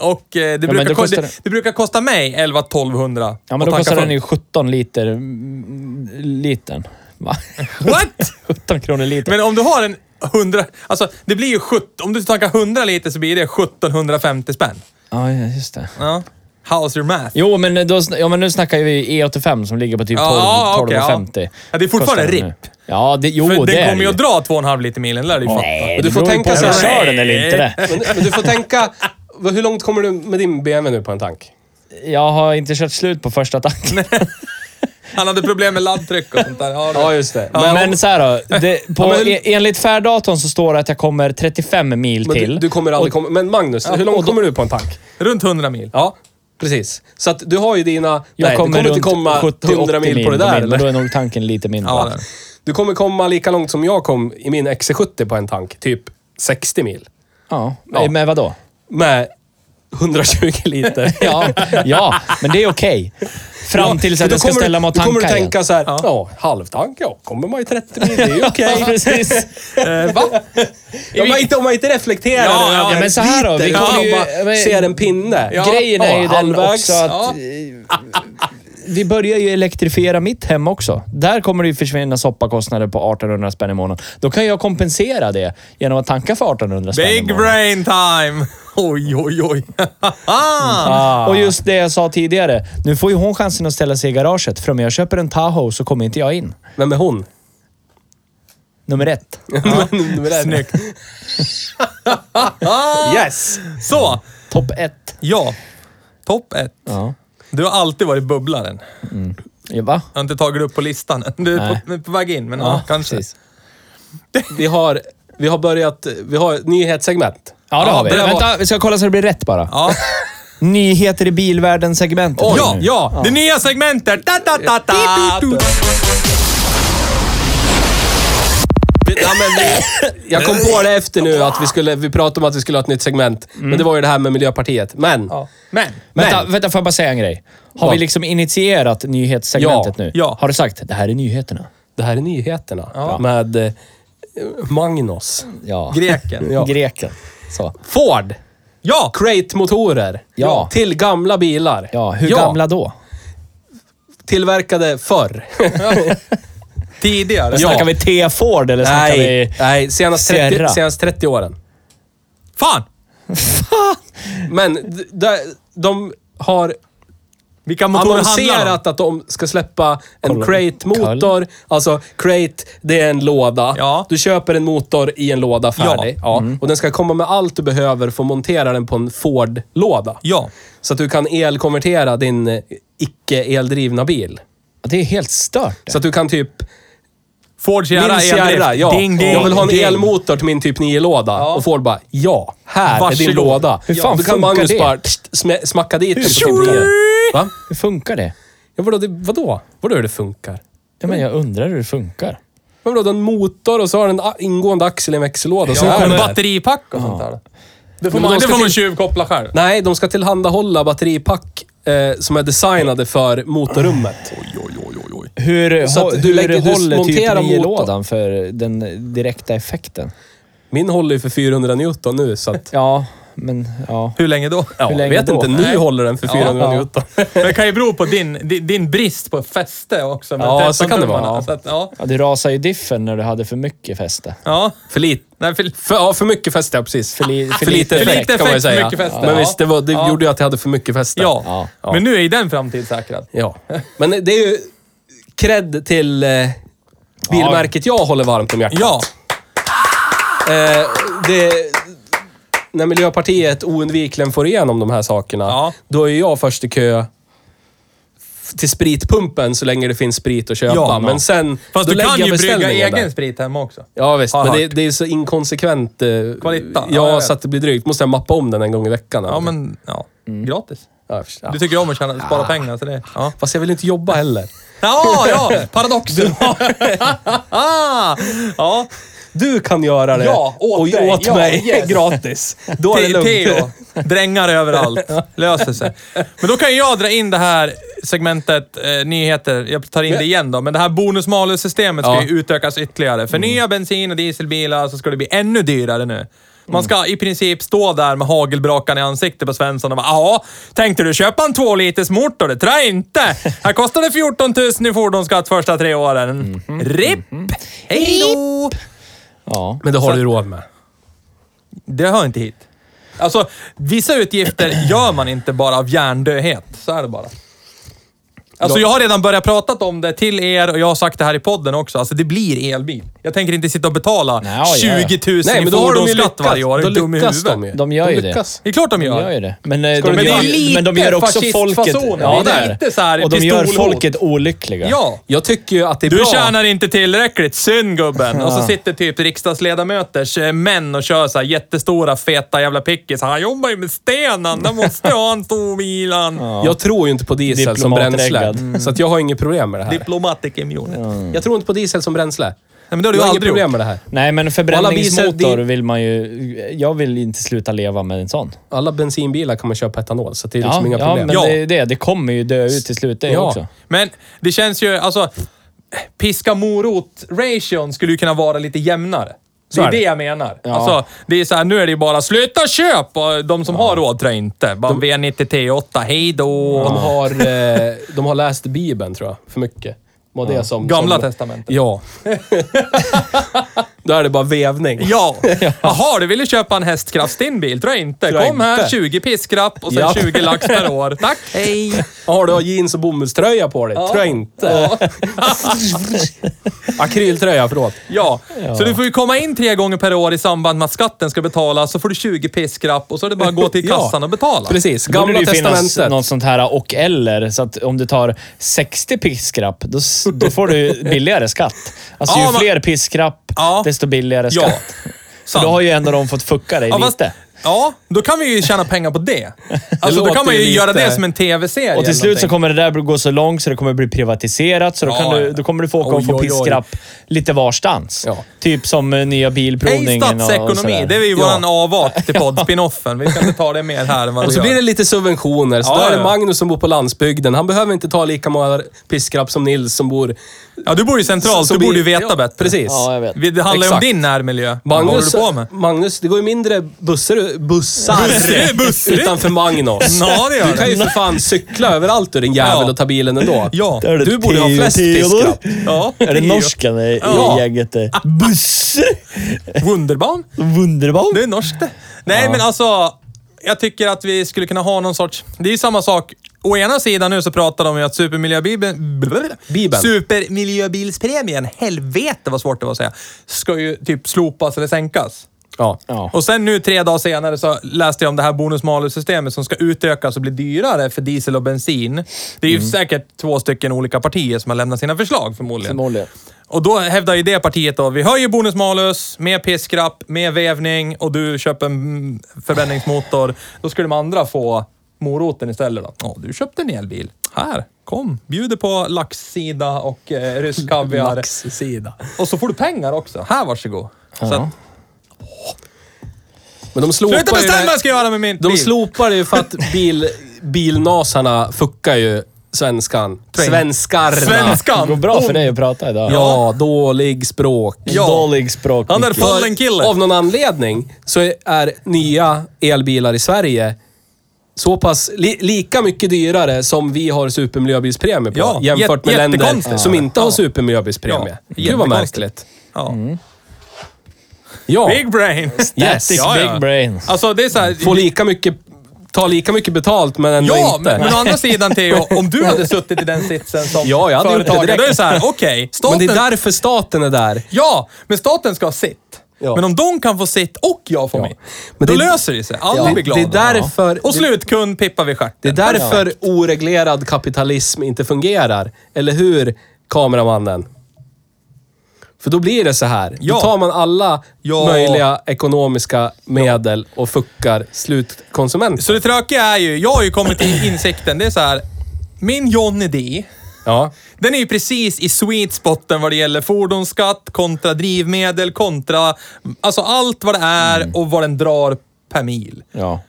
Speaker 3: och eh, det,
Speaker 1: men
Speaker 3: brukar,
Speaker 1: då
Speaker 3: ko-
Speaker 1: kostar
Speaker 3: det,
Speaker 1: det-
Speaker 3: det brukar kosta mig 11-1200
Speaker 1: Ja, men då kostar den ju 17 liter... mm, Litern. Va?
Speaker 3: What?
Speaker 1: 17 kronor litern.
Speaker 3: Men om du har en 100... Alltså, det blir ju 70... Om du tankar 100 liter så blir det 1750 spänn.
Speaker 1: Ja, ja, just det.
Speaker 3: Ja. How's your math?
Speaker 1: Jo, men, då, sn- ja, men nu snackar vi E85 som ligger på typ 12,
Speaker 3: Ja, okej, ja.
Speaker 1: 1250.
Speaker 3: Ja, det är fortfarande
Speaker 1: Kostar den nu.
Speaker 3: RIP.
Speaker 1: Ja, det, jo,
Speaker 3: För
Speaker 1: det
Speaker 3: den
Speaker 1: är
Speaker 3: kommer ju
Speaker 1: det
Speaker 3: att dra 2,5 liter milen, lär du ju fatta.
Speaker 1: Nej,
Speaker 2: Men
Speaker 1: du får tänka så
Speaker 2: här.
Speaker 1: kör den eller inte det.
Speaker 2: Men, men du får tänka, vad- hur långt kommer du med din BMW nu på en tank?
Speaker 1: Jag har inte kört slut på första tanken.
Speaker 3: Han hade problem med laddtryck och sånt där. Ja, det-
Speaker 2: Ja, just det.
Speaker 1: Men, men så här då. Det, på,
Speaker 2: Ja, men-
Speaker 1: e- enligt färddatorn så står det att jag kommer 35 mil
Speaker 2: men
Speaker 1: till.
Speaker 2: du, du kommer aldrig komma... Men Magnus, hur långt kommer du på en tank?
Speaker 3: Runt 100 mil.
Speaker 2: Ja, precis. Så att du har ju dina...
Speaker 1: jag
Speaker 2: nej,
Speaker 1: kommer,
Speaker 2: du kommer
Speaker 1: runt
Speaker 2: inte komma
Speaker 1: 70,
Speaker 2: 100 mil på det där,
Speaker 1: min, men då
Speaker 2: eller?
Speaker 1: är nog tanken lite mindre.
Speaker 3: Ja,
Speaker 1: va?
Speaker 3: det.
Speaker 2: Du kommer komma lika långt som jag kom i min XC70 på en tank. Typ 60 mil.
Speaker 1: ja.
Speaker 2: Ja.
Speaker 1: Men vadå?
Speaker 2: Med 120 liter.
Speaker 1: Ja, ja, men det är okej. Fram tills
Speaker 2: Men
Speaker 1: att
Speaker 2: då
Speaker 1: jag ska
Speaker 2: kommer du-
Speaker 1: ställa mig och
Speaker 2: då kommer
Speaker 1: tanka
Speaker 2: du
Speaker 1: igen.
Speaker 2: tänka så här, ja, halvtank, ja, kommer man ju 30 mil, det är ju okej.
Speaker 1: Ja, precis.
Speaker 3: Eh, va?
Speaker 2: Om man inte, om man inte reflekterar
Speaker 3: Ja,
Speaker 2: över
Speaker 3: ja,
Speaker 2: att
Speaker 3: men
Speaker 2: den
Speaker 1: så här då, vi
Speaker 2: sliter,
Speaker 1: kommer ju-
Speaker 2: utan bara
Speaker 1: men-
Speaker 2: ser en pinne.
Speaker 3: Ja.
Speaker 1: Grejen är ju
Speaker 2: Ja,
Speaker 1: den
Speaker 2: halvvägs.
Speaker 1: också att
Speaker 3: Ja.
Speaker 1: eh, vi börjar ju elektrifiera mitt hem också. Där kommer det ju försvinna soppakostnader på 1800 spänn i månaden. Då kan jag kompensera det genom att tanka för 1800 spänn i
Speaker 3: Big
Speaker 1: månaden.
Speaker 3: brain time! Oj, oj, oj.
Speaker 1: Och just det jag sa tidigare. Nu får ju hon chansen att ställa sig i garaget. För om jag köper en Tahoe så kommer inte jag in.
Speaker 2: Vem är hon?
Speaker 1: Nummer ett.
Speaker 2: Nummer ett.
Speaker 3: Snyggt.
Speaker 2: Yes!
Speaker 3: Så,
Speaker 1: Topp ett.
Speaker 3: ja. Topp ett.
Speaker 1: Ja.
Speaker 3: Du har alltid varit bubblaren.
Speaker 1: Ja, Va?
Speaker 3: Jag har inte tagit upp på listan. Du är
Speaker 1: Nej.
Speaker 3: på, på väg in, men ja, kanske.
Speaker 1: precis.
Speaker 2: Vi har, vi har börjat, vi har ett nyhetssegment.
Speaker 1: Ja, det
Speaker 3: Ja,
Speaker 1: har vi.
Speaker 3: det där var-
Speaker 1: Vänta, vi ska kolla så det blir rätt bara.
Speaker 3: Ja.
Speaker 1: Nyheter i bilvärlden-segmentet.
Speaker 3: ja, ja, det nya segmentet! Da, da, da, da.
Speaker 2: Vi, ja, men vi, jag kom på det efter nu att vi skulle, vi pratade om att vi skulle ha ett nytt segment.
Speaker 1: Mm.
Speaker 2: Men det var ju det här med Miljöpartiet. Men,
Speaker 3: Ja. Men,
Speaker 1: Vänta,
Speaker 2: Men-
Speaker 1: vänta, får jag bara säga en grej? Har
Speaker 2: Vad?
Speaker 1: vi liksom initierat nyhetssegmentet
Speaker 2: Ja,
Speaker 1: nu?
Speaker 3: ja.
Speaker 1: Har du sagt det här är nyheterna?
Speaker 2: det här är nyheterna. Med eh, Magnus.
Speaker 1: Ja.
Speaker 3: greken.
Speaker 2: Ja.
Speaker 1: Greken. Så.
Speaker 2: Ford.
Speaker 3: Ja!
Speaker 2: Crate-motorer.
Speaker 1: Ja.
Speaker 2: Till gamla bilar.
Speaker 1: Ja, hur gamla då?
Speaker 2: Tillverkade förr.
Speaker 3: Tidigare.
Speaker 2: Ja.
Speaker 1: Snackar vi T-Ford eller snackar
Speaker 2: Nej,
Speaker 1: vi...
Speaker 2: nej senast,
Speaker 1: Sierra?
Speaker 2: 30, senast 30 åren.
Speaker 3: Fan!
Speaker 2: Men d- de, de har
Speaker 3: Vilka motorer handlar det om?
Speaker 2: annonserat att de ska släppa en crate-motor. Alltså, crate, det är en låda.
Speaker 3: Ja.
Speaker 2: Du köper en motor i en låda färdig.
Speaker 3: Ja. Mm.
Speaker 2: Ja. Och den ska komma med allt du behöver för att montera den på en Ford-låda.
Speaker 3: Ja.
Speaker 2: Så att du kan elkonvertera din eh, icke-eldrivna bil.
Speaker 1: Det är helt stört.
Speaker 2: Så att du kan typ...
Speaker 3: Ford Sierra,
Speaker 2: Min Sierra,
Speaker 3: eldrift.
Speaker 2: ja.
Speaker 3: Ding, ding,
Speaker 2: jag vill ha en
Speaker 3: ding.
Speaker 2: elmotor till min typ 9-låda. Och Ford bara, ja, här är din
Speaker 3: Varsågod.
Speaker 2: låda.
Speaker 1: Hur fan
Speaker 2: Då kan
Speaker 1: funkar
Speaker 2: Magnus
Speaker 1: det?
Speaker 2: bara tst, smä- smacka dit den på sin 9. Va?
Speaker 1: Hur funkar det?
Speaker 2: Ja, vadå, det, vadå? Vadå hur det funkar?
Speaker 1: Ja, men jag undrar hur det funkar.
Speaker 2: Men vadå, du har en motor och så har den en a- ingående axel i en växellåda. och så
Speaker 3: Ja,
Speaker 2: är
Speaker 3: en
Speaker 2: det där.
Speaker 3: batteripack och sånt där. Det får
Speaker 2: Men
Speaker 3: man,
Speaker 2: de
Speaker 3: det
Speaker 2: ska
Speaker 3: får man
Speaker 2: till-
Speaker 3: tjuvkoppla själv.
Speaker 2: Nej, de ska tillhandahålla batteripack eh, som är designade för motorrummet.
Speaker 1: Hur,
Speaker 2: Så
Speaker 1: hå-
Speaker 2: att du
Speaker 1: hur
Speaker 2: lägger- du
Speaker 1: håller typ
Speaker 2: monterar motorn.
Speaker 1: i lådan för den direkta effekten?
Speaker 2: Min håller ju för 400 Newton nu, så att...
Speaker 1: Ja, men ja.
Speaker 3: Hur länge då?
Speaker 2: Ja,
Speaker 1: Hur länge
Speaker 2: vet
Speaker 1: då?
Speaker 2: inte. Nu
Speaker 1: Nej.
Speaker 2: håller den för 400
Speaker 1: ja.
Speaker 2: Newton.
Speaker 3: Men det kan ju bero på din, din, din brist på fäste också. med
Speaker 2: Ja, så kan det
Speaker 3: 13-tummarna.
Speaker 2: vara.
Speaker 3: Så att, ja.
Speaker 1: ja du rasade ju diffen när du hade för mycket fäste.
Speaker 3: ja.
Speaker 2: För lite.
Speaker 3: Nej, för,
Speaker 2: För, ja, för mycket fäste, ja precis. För,
Speaker 1: li- för
Speaker 2: lite
Speaker 1: lite
Speaker 2: effekt,
Speaker 3: effekt,
Speaker 2: kan man ju
Speaker 3: för
Speaker 2: säga.
Speaker 3: mycket fäste.
Speaker 2: Men
Speaker 3: Ja.
Speaker 2: visst, det, var, det
Speaker 3: Ja.
Speaker 2: gjorde ju att jag hade för mycket fäste.
Speaker 3: ja.
Speaker 1: Ja.
Speaker 3: Men nu är ju den framtidssäkrad.
Speaker 2: ja. Men det är ju cred till eh, bilmärket jag håller varmt om hjärtat.
Speaker 3: Ja.
Speaker 2: Eh, det, när Miljöpartiet oundvikligen får igenom de här sakerna,
Speaker 3: Ja.
Speaker 2: då är jag först i kö f- till spritpumpen så länge det finns sprit att köpa.
Speaker 3: Ja,
Speaker 2: men sen...
Speaker 3: Fast
Speaker 2: då
Speaker 3: du
Speaker 2: lägger
Speaker 3: kan
Speaker 2: jag
Speaker 3: ju brygga
Speaker 2: beställningen
Speaker 3: egen
Speaker 2: där.
Speaker 3: sprit hemma också.
Speaker 2: Ja visst,
Speaker 3: Har jag
Speaker 2: men det,
Speaker 3: hört.
Speaker 2: det är så inkonsekvent. eh,
Speaker 3: Kvalitta. Ja,
Speaker 2: Ja,
Speaker 3: jag
Speaker 2: så
Speaker 3: vet.
Speaker 2: att det blir drygt. Måste jag mappa om den en gång i veckan. eller?
Speaker 3: Ja, men ja. Gratis.
Speaker 2: Mm. Ja, jag förstår.
Speaker 3: Du tycker ju om att tjäna, spara pengar, så det... Ja,
Speaker 2: Fast jag vill inte jobba heller.
Speaker 3: ja, ja. paradoxen. ah, ja,
Speaker 2: Du kan göra det.
Speaker 3: Ja, åt
Speaker 2: och
Speaker 3: dig.
Speaker 2: åt
Speaker 3: Ja,
Speaker 2: mig.
Speaker 3: yes.
Speaker 2: Gratis. Då är det
Speaker 3: Te-
Speaker 2: lugnt.
Speaker 3: Teo. Drängar överallt. Löser sig. Men då kan jag dra in det här segmentet eh, nyheter. Jag tar in det igen då. Men det här bonus-malus-systemet ska
Speaker 2: Ja.
Speaker 3: ju utökas ytterligare. För nya bensin och dieselbilar så ska det bli ännu dyrare nu. Man ska i princip stå där med hagelbrakan i ansiktet på Svensson och bara ”Ja, tänkte du köpa en två liters motor? Det tror jag inte! Här kostar det 14 000 i fordonsskatt första tre åren. RIP! Hej då!
Speaker 1: Ja.
Speaker 2: Men det har du råd med.
Speaker 3: Det hör inte hit. Alltså, vissa utgifter gör man inte bara av hjärndödhet. Så är det bara. Alltså jag har redan börjat prata om det till er och jag har sagt det här i podden också. Alltså det blir elbil. Jag tänker inte sitta och betala
Speaker 1: Nej, ja, ja.
Speaker 3: 20 000 i fordonsskatt varje år.
Speaker 2: Då
Speaker 3: Är du dum i
Speaker 2: lyckas de ju.
Speaker 3: huvudet?
Speaker 1: De gör ju det.
Speaker 2: lyckas.
Speaker 3: Det är klart de gör.
Speaker 1: De gör ju det. Men, eh,
Speaker 3: du-
Speaker 1: de,
Speaker 3: Men det är
Speaker 1: gör,
Speaker 3: lite
Speaker 1: men de gör också
Speaker 3: fascistfasoner.
Speaker 1: folket... Ja,
Speaker 3: Det är
Speaker 1: där.
Speaker 3: lite så här
Speaker 1: Och de gör
Speaker 3: pistolhot.
Speaker 1: folket olyckliga.
Speaker 3: Ja.
Speaker 2: Jag tycker ju att det är
Speaker 3: Du
Speaker 2: bra.
Speaker 3: tjänar inte tillräckligt, synd gubben. Och så sitter typ riksdagsledamöters eh, män och kör så här jättestora, feta jävla pickis. Han jobbar ju med stenen, han måste ha en stor bil han.
Speaker 2: Jag tror ju inte på diesel som bränsle.
Speaker 1: Diplomatreggad.
Speaker 2: Så att jag har inget problem med det här.
Speaker 3: Diplomatic immunity. Nej,
Speaker 2: Jag tror inte på diesel som bränsle.
Speaker 3: Mm. men det har du
Speaker 2: Jag
Speaker 3: ju
Speaker 2: har inget
Speaker 3: aldrig gjort.
Speaker 2: problem med det här.
Speaker 1: Nej, men
Speaker 2: Alla
Speaker 1: förbränningsmotor
Speaker 2: visar-
Speaker 1: vill man ju... Jag vill inte sluta leva med en sån.
Speaker 2: Alla bensinbilar kan man köpa etanol, så det är liksom inga
Speaker 1: ja
Speaker 2: problem.
Speaker 1: men
Speaker 3: Ja.
Speaker 1: Det, är det, det kommer ju dö ut till slut det
Speaker 2: Ja.
Speaker 1: också.
Speaker 3: Men det känns ju, alltså, piska morot-ration skulle ju kunna vara lite jämnare. Det
Speaker 2: Så
Speaker 3: är
Speaker 2: är
Speaker 3: det
Speaker 2: det.
Speaker 3: jag menar. Alltså, det är så här, nu är det ju bara sluta köp! Och de som har råd tror jag inte. Bara V90 T8, hej då!
Speaker 2: De, har, eh, de har läst Bibeln, tror jag, för mycket. Var det som,
Speaker 3: Gamla
Speaker 2: som,
Speaker 3: testamentet.
Speaker 2: Ja. Då är det bara vävning.
Speaker 3: Ja! Jaha, du ville köpa en hästkrafts din bil? Tror jag inte.
Speaker 2: Tror jag
Speaker 3: Kom här,
Speaker 2: inte.
Speaker 3: 20 piskrapp och sen
Speaker 2: Ja.
Speaker 3: 20 lax per år. Tack, hej!
Speaker 2: Har du jeans och bomullströja på dig? Tror jag inte. Akryltröja, förlåt.
Speaker 3: Ja. så du får ju komma in tre gånger per år i samband med att skatten ska betalas, så får du 20 piskrapp och så är det bara att gå till
Speaker 2: Ja.
Speaker 3: kassan och betala.
Speaker 2: Precis.
Speaker 1: Då borde
Speaker 2: Gamla
Speaker 1: det ju finnas
Speaker 2: testamentet.
Speaker 1: något sånt här och eller. Så att om du tar 60 piskrapp, då, s- då får du billigare skatt. Alltså
Speaker 3: Ja,
Speaker 1: ju
Speaker 3: men-
Speaker 1: fler piskrapp,
Speaker 3: Ja.
Speaker 1: desto billigare
Speaker 3: Ja,
Speaker 1: skatt. För då har ju ändå de fått fucka dig
Speaker 3: Ja, fast-
Speaker 1: lite.
Speaker 3: Ja, då kan vi ju tjäna pengar på det. Alltså, då
Speaker 2: låter
Speaker 3: kan man ju
Speaker 2: lite-
Speaker 3: göra det som en tv-serie.
Speaker 1: Och till
Speaker 3: eller
Speaker 1: slut så
Speaker 3: någonting.
Speaker 1: kommer det där gå så långt så det kommer bli privatiserat. Så då,
Speaker 3: Ja,
Speaker 1: kan du,
Speaker 3: ja.
Speaker 1: då kommer du få åka och
Speaker 2: Oj,
Speaker 1: få
Speaker 2: oj, oj.
Speaker 1: piskrapp lite varstans.
Speaker 2: Ja.
Speaker 1: Typ som eh, nya
Speaker 3: Hej
Speaker 1: bilprovningen och- och
Speaker 3: statsekonomi!
Speaker 1: sådär.
Speaker 3: Det är ju våran avart till poddspinoffen. Vi ska inte ta det mer här än vad
Speaker 2: Och
Speaker 3: vi
Speaker 2: så
Speaker 3: gör.
Speaker 2: blir det lite subventioner. Så
Speaker 3: Ja,
Speaker 2: då är det
Speaker 3: ja.
Speaker 2: Magnus som bor på landsbygden. Han behöver inte ta lika många piskrapp som Nils som bor...
Speaker 3: Ja, du bor ju centralt.
Speaker 2: som
Speaker 3: du borde ju
Speaker 2: blir-
Speaker 3: veta
Speaker 2: ja,
Speaker 3: bättre.
Speaker 2: Precis.
Speaker 1: Ja, jag vet.
Speaker 3: Vi- Det handlar ju om
Speaker 2: Exakt.
Speaker 3: din närmiljö. Vad håller du
Speaker 2: Magnus,
Speaker 3: på med?
Speaker 2: Magnus, det går ju mindre bussar, bussar
Speaker 3: bussar.
Speaker 2: utanför Magnus.
Speaker 3: Ja, det gör
Speaker 2: Du kan ju
Speaker 3: det.
Speaker 2: för fan cykla överallt du din jävel
Speaker 3: Ja.
Speaker 2: och ta bilen ändå.
Speaker 3: Ja.
Speaker 1: Där är det
Speaker 2: Du borde ha
Speaker 1: Theo-
Speaker 2: flest
Speaker 1: Theodor.
Speaker 2: piskrapp.
Speaker 3: Ja.
Speaker 1: Är det norskan i,
Speaker 3: Ja. Ah.
Speaker 1: i gänget? eh? Busse!
Speaker 3: Wunderbaum.
Speaker 1: Wunderbaum!
Speaker 3: Det är norskt det. Nej, men alltså. Jag tycker att vi skulle kunna ha någon sorts... Det är ju samma sak. Å ena sidan nu så pratar de ju att supermiljöbibeln...
Speaker 2: Bibeln.
Speaker 3: Supermiljöbilspremien, helvete vad svårt det var att säga, ska ju typ slopas eller sänkas.
Speaker 2: Ja.
Speaker 1: Ja.
Speaker 3: Och sen nu tre dagar senare så läste jag om det här bonus-malus-systemet som ska utökas och bli dyrare för diesel och bensin. Det är ju säkert två stycken olika partier som har lämnat sina förslag förmodligen.
Speaker 1: Förmodligen.
Speaker 3: Och då hävdar ju det partiet då, vi höjer bonusmalus, mer piskrapp, mer vävning och du köper en förbränningsmotor. Då skulle de andra få moroten istället då. Ja, du köpte en elbil. Här, kom. Bjuder på laxsida och eh, rysk kaviar.
Speaker 2: Laxsida.
Speaker 3: Och så får du pengar också. Här, varsågod. Så att,
Speaker 2: Men de
Speaker 3: sluta
Speaker 2: slopar ju det-
Speaker 3: bestämma vad jag ska göra med min
Speaker 2: De
Speaker 3: bil!
Speaker 2: slopar det ju för att bil, bilnasarna fuckar ju Svenskan.
Speaker 3: Train.
Speaker 2: Svenskarna.
Speaker 1: Det går
Speaker 3: Svenskan!
Speaker 1: bra för dig att prata idag.
Speaker 2: Ja, dålig språk.
Speaker 3: Ja.
Speaker 1: Dålig språk.
Speaker 3: Han är
Speaker 1: Micke.
Speaker 3: full en kille.
Speaker 2: Av någon anledning så är nya elbilar i Sverige så pass, li, lika mycket dyrare som vi har supermiljöbilspremie på.
Speaker 3: Ja,
Speaker 2: jämfört
Speaker 3: jätte-
Speaker 2: med länder
Speaker 3: jättekonstigt.
Speaker 2: som inte har
Speaker 3: Ja.
Speaker 2: supermiljöbilspremie.
Speaker 3: Ja,
Speaker 2: Gud vad
Speaker 3: jättekonstigt.
Speaker 2: märkligt.
Speaker 3: Ja.
Speaker 1: Mm.
Speaker 2: Ja,
Speaker 3: Big brain!
Speaker 2: yes.
Speaker 1: Sticks big brain.
Speaker 3: Alltså det är så här,
Speaker 2: Får lika mycket, ta lika mycket betalt men ändå
Speaker 3: Ja,
Speaker 2: inte.
Speaker 3: men, men å andra sidan Theo, om du hade suttit i den sitsen som
Speaker 2: Ja, jag hade gjort det
Speaker 3: företagare,
Speaker 2: direkt.
Speaker 3: då är det så här, okej,
Speaker 2: men
Speaker 3: staten...
Speaker 2: det är därför staten är där.
Speaker 3: Ja, men staten ska ha sitt.
Speaker 2: Ja.
Speaker 3: Men om de kan få sitt och jag får mitt,
Speaker 2: Men
Speaker 3: då
Speaker 2: det-
Speaker 3: löser det sig. Alla
Speaker 2: Ja.
Speaker 3: blir glada.
Speaker 2: Det är därför-
Speaker 3: Och slutkund pippar vi stjärten.
Speaker 2: Det är därför oreglerad kapitalism inte fungerar. Eller hur, kameramannen? För då blir det så här. Då
Speaker 3: Ja.
Speaker 2: tar man alla
Speaker 3: Ja.
Speaker 2: möjliga ekonomiska medel och fuckar slutkonsumenten.
Speaker 3: Så det tråkiga är ju, jag har ju kommit till insikten, det är så här, min Johnny D,
Speaker 2: Ja.
Speaker 3: den är ju precis i sweet spoten vad det gäller fordonsskatt, kontra drivmedel, kontra alltså allt vad det är
Speaker 2: Mm.
Speaker 3: och vad den drar per mil.
Speaker 1: Ja.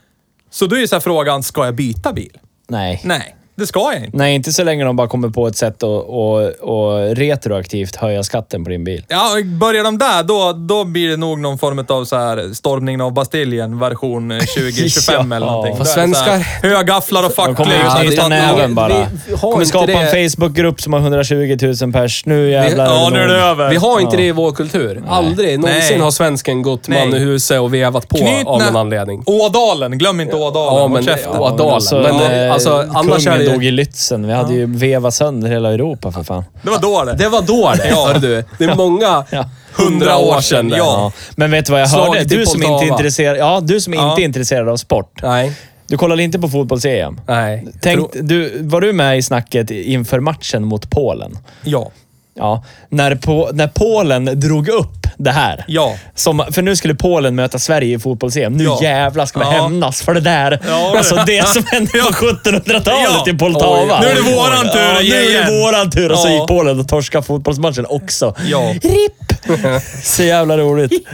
Speaker 3: Så då är ju så här frågan, ska jag byta bil?
Speaker 1: Nej.
Speaker 3: Nej, det ska jag inte.
Speaker 1: Nej, inte så länge de bara kommer på ett sätt att att- att retroaktivt höja skatten på din bil.
Speaker 3: Ja, börjar de där, då, då blir det nog någon form av så här stormningen av Bastiljen version 2025 eller någonting.
Speaker 1: Ja,
Speaker 3: Då är det så här,
Speaker 2: svenskar-
Speaker 3: Högafflar och
Speaker 1: De kommer
Speaker 3: facklor.
Speaker 1: att
Speaker 2: Ja,
Speaker 1: knyta
Speaker 2: det-
Speaker 1: näven
Speaker 2: vi-
Speaker 1: bara.
Speaker 2: vi har
Speaker 1: kommer
Speaker 2: inte
Speaker 1: skapa
Speaker 2: det-
Speaker 1: en Facebookgrupp som har 120 000 pers. Nu jävlar.
Speaker 3: Ja, nu är det över.
Speaker 2: Vi har inte det i vår kultur. Aldrig någonsin
Speaker 3: Nej.
Speaker 2: har svensken gått
Speaker 3: Nej.
Speaker 2: man i huset och vevat på
Speaker 3: Knyt
Speaker 2: av någon
Speaker 3: nä-
Speaker 2: anledning.
Speaker 3: Ådalen, glöm inte Ådalen.
Speaker 2: Ja,
Speaker 3: Håll
Speaker 2: men-
Speaker 3: käften.
Speaker 2: ja. Dalen. Men, eh, alltså, annars är
Speaker 1: kungen
Speaker 2: det ju-
Speaker 1: dog i Lützen. Vi hade ju vevat sönder hela Europa för fan.
Speaker 3: Det var då det.
Speaker 2: Det var då det, hörde du. Det är många
Speaker 1: Ja.
Speaker 2: hundra år sedan. det.
Speaker 3: Ja.
Speaker 1: Men vet du vad jag
Speaker 2: Slaget
Speaker 1: hörde?
Speaker 2: i
Speaker 1: Du som,
Speaker 2: Poltava.
Speaker 1: inte är intresserad, ja, du som
Speaker 3: Ja.
Speaker 1: inte är intresserad av sport.
Speaker 2: Nej.
Speaker 1: Du kollade inte på fotbolls-EM.
Speaker 2: Nej.
Speaker 1: Tänk, du, var du med i snacket inför matchen mot Polen?
Speaker 3: Ja.
Speaker 1: Ja, när, på, när Polen drog upp det här.
Speaker 3: Ja.
Speaker 1: Som, för nu skulle Polen möta Sverige i fotbolls Nu
Speaker 3: Ja.
Speaker 1: jävlar ska vi
Speaker 3: Ja.
Speaker 1: hämnas för det där.
Speaker 3: Ja.
Speaker 1: Alltså det som hände på 1700-talet
Speaker 3: Ja.
Speaker 1: i Poltava.
Speaker 3: Oj. Nu är det våran tur
Speaker 1: ja, Nu är
Speaker 3: igen.
Speaker 1: det våran tur och så
Speaker 3: Ja.
Speaker 1: gick Polen och torskade fotbollsmatchen också.
Speaker 3: Ja.
Speaker 1: RIP! Så jävla roligt.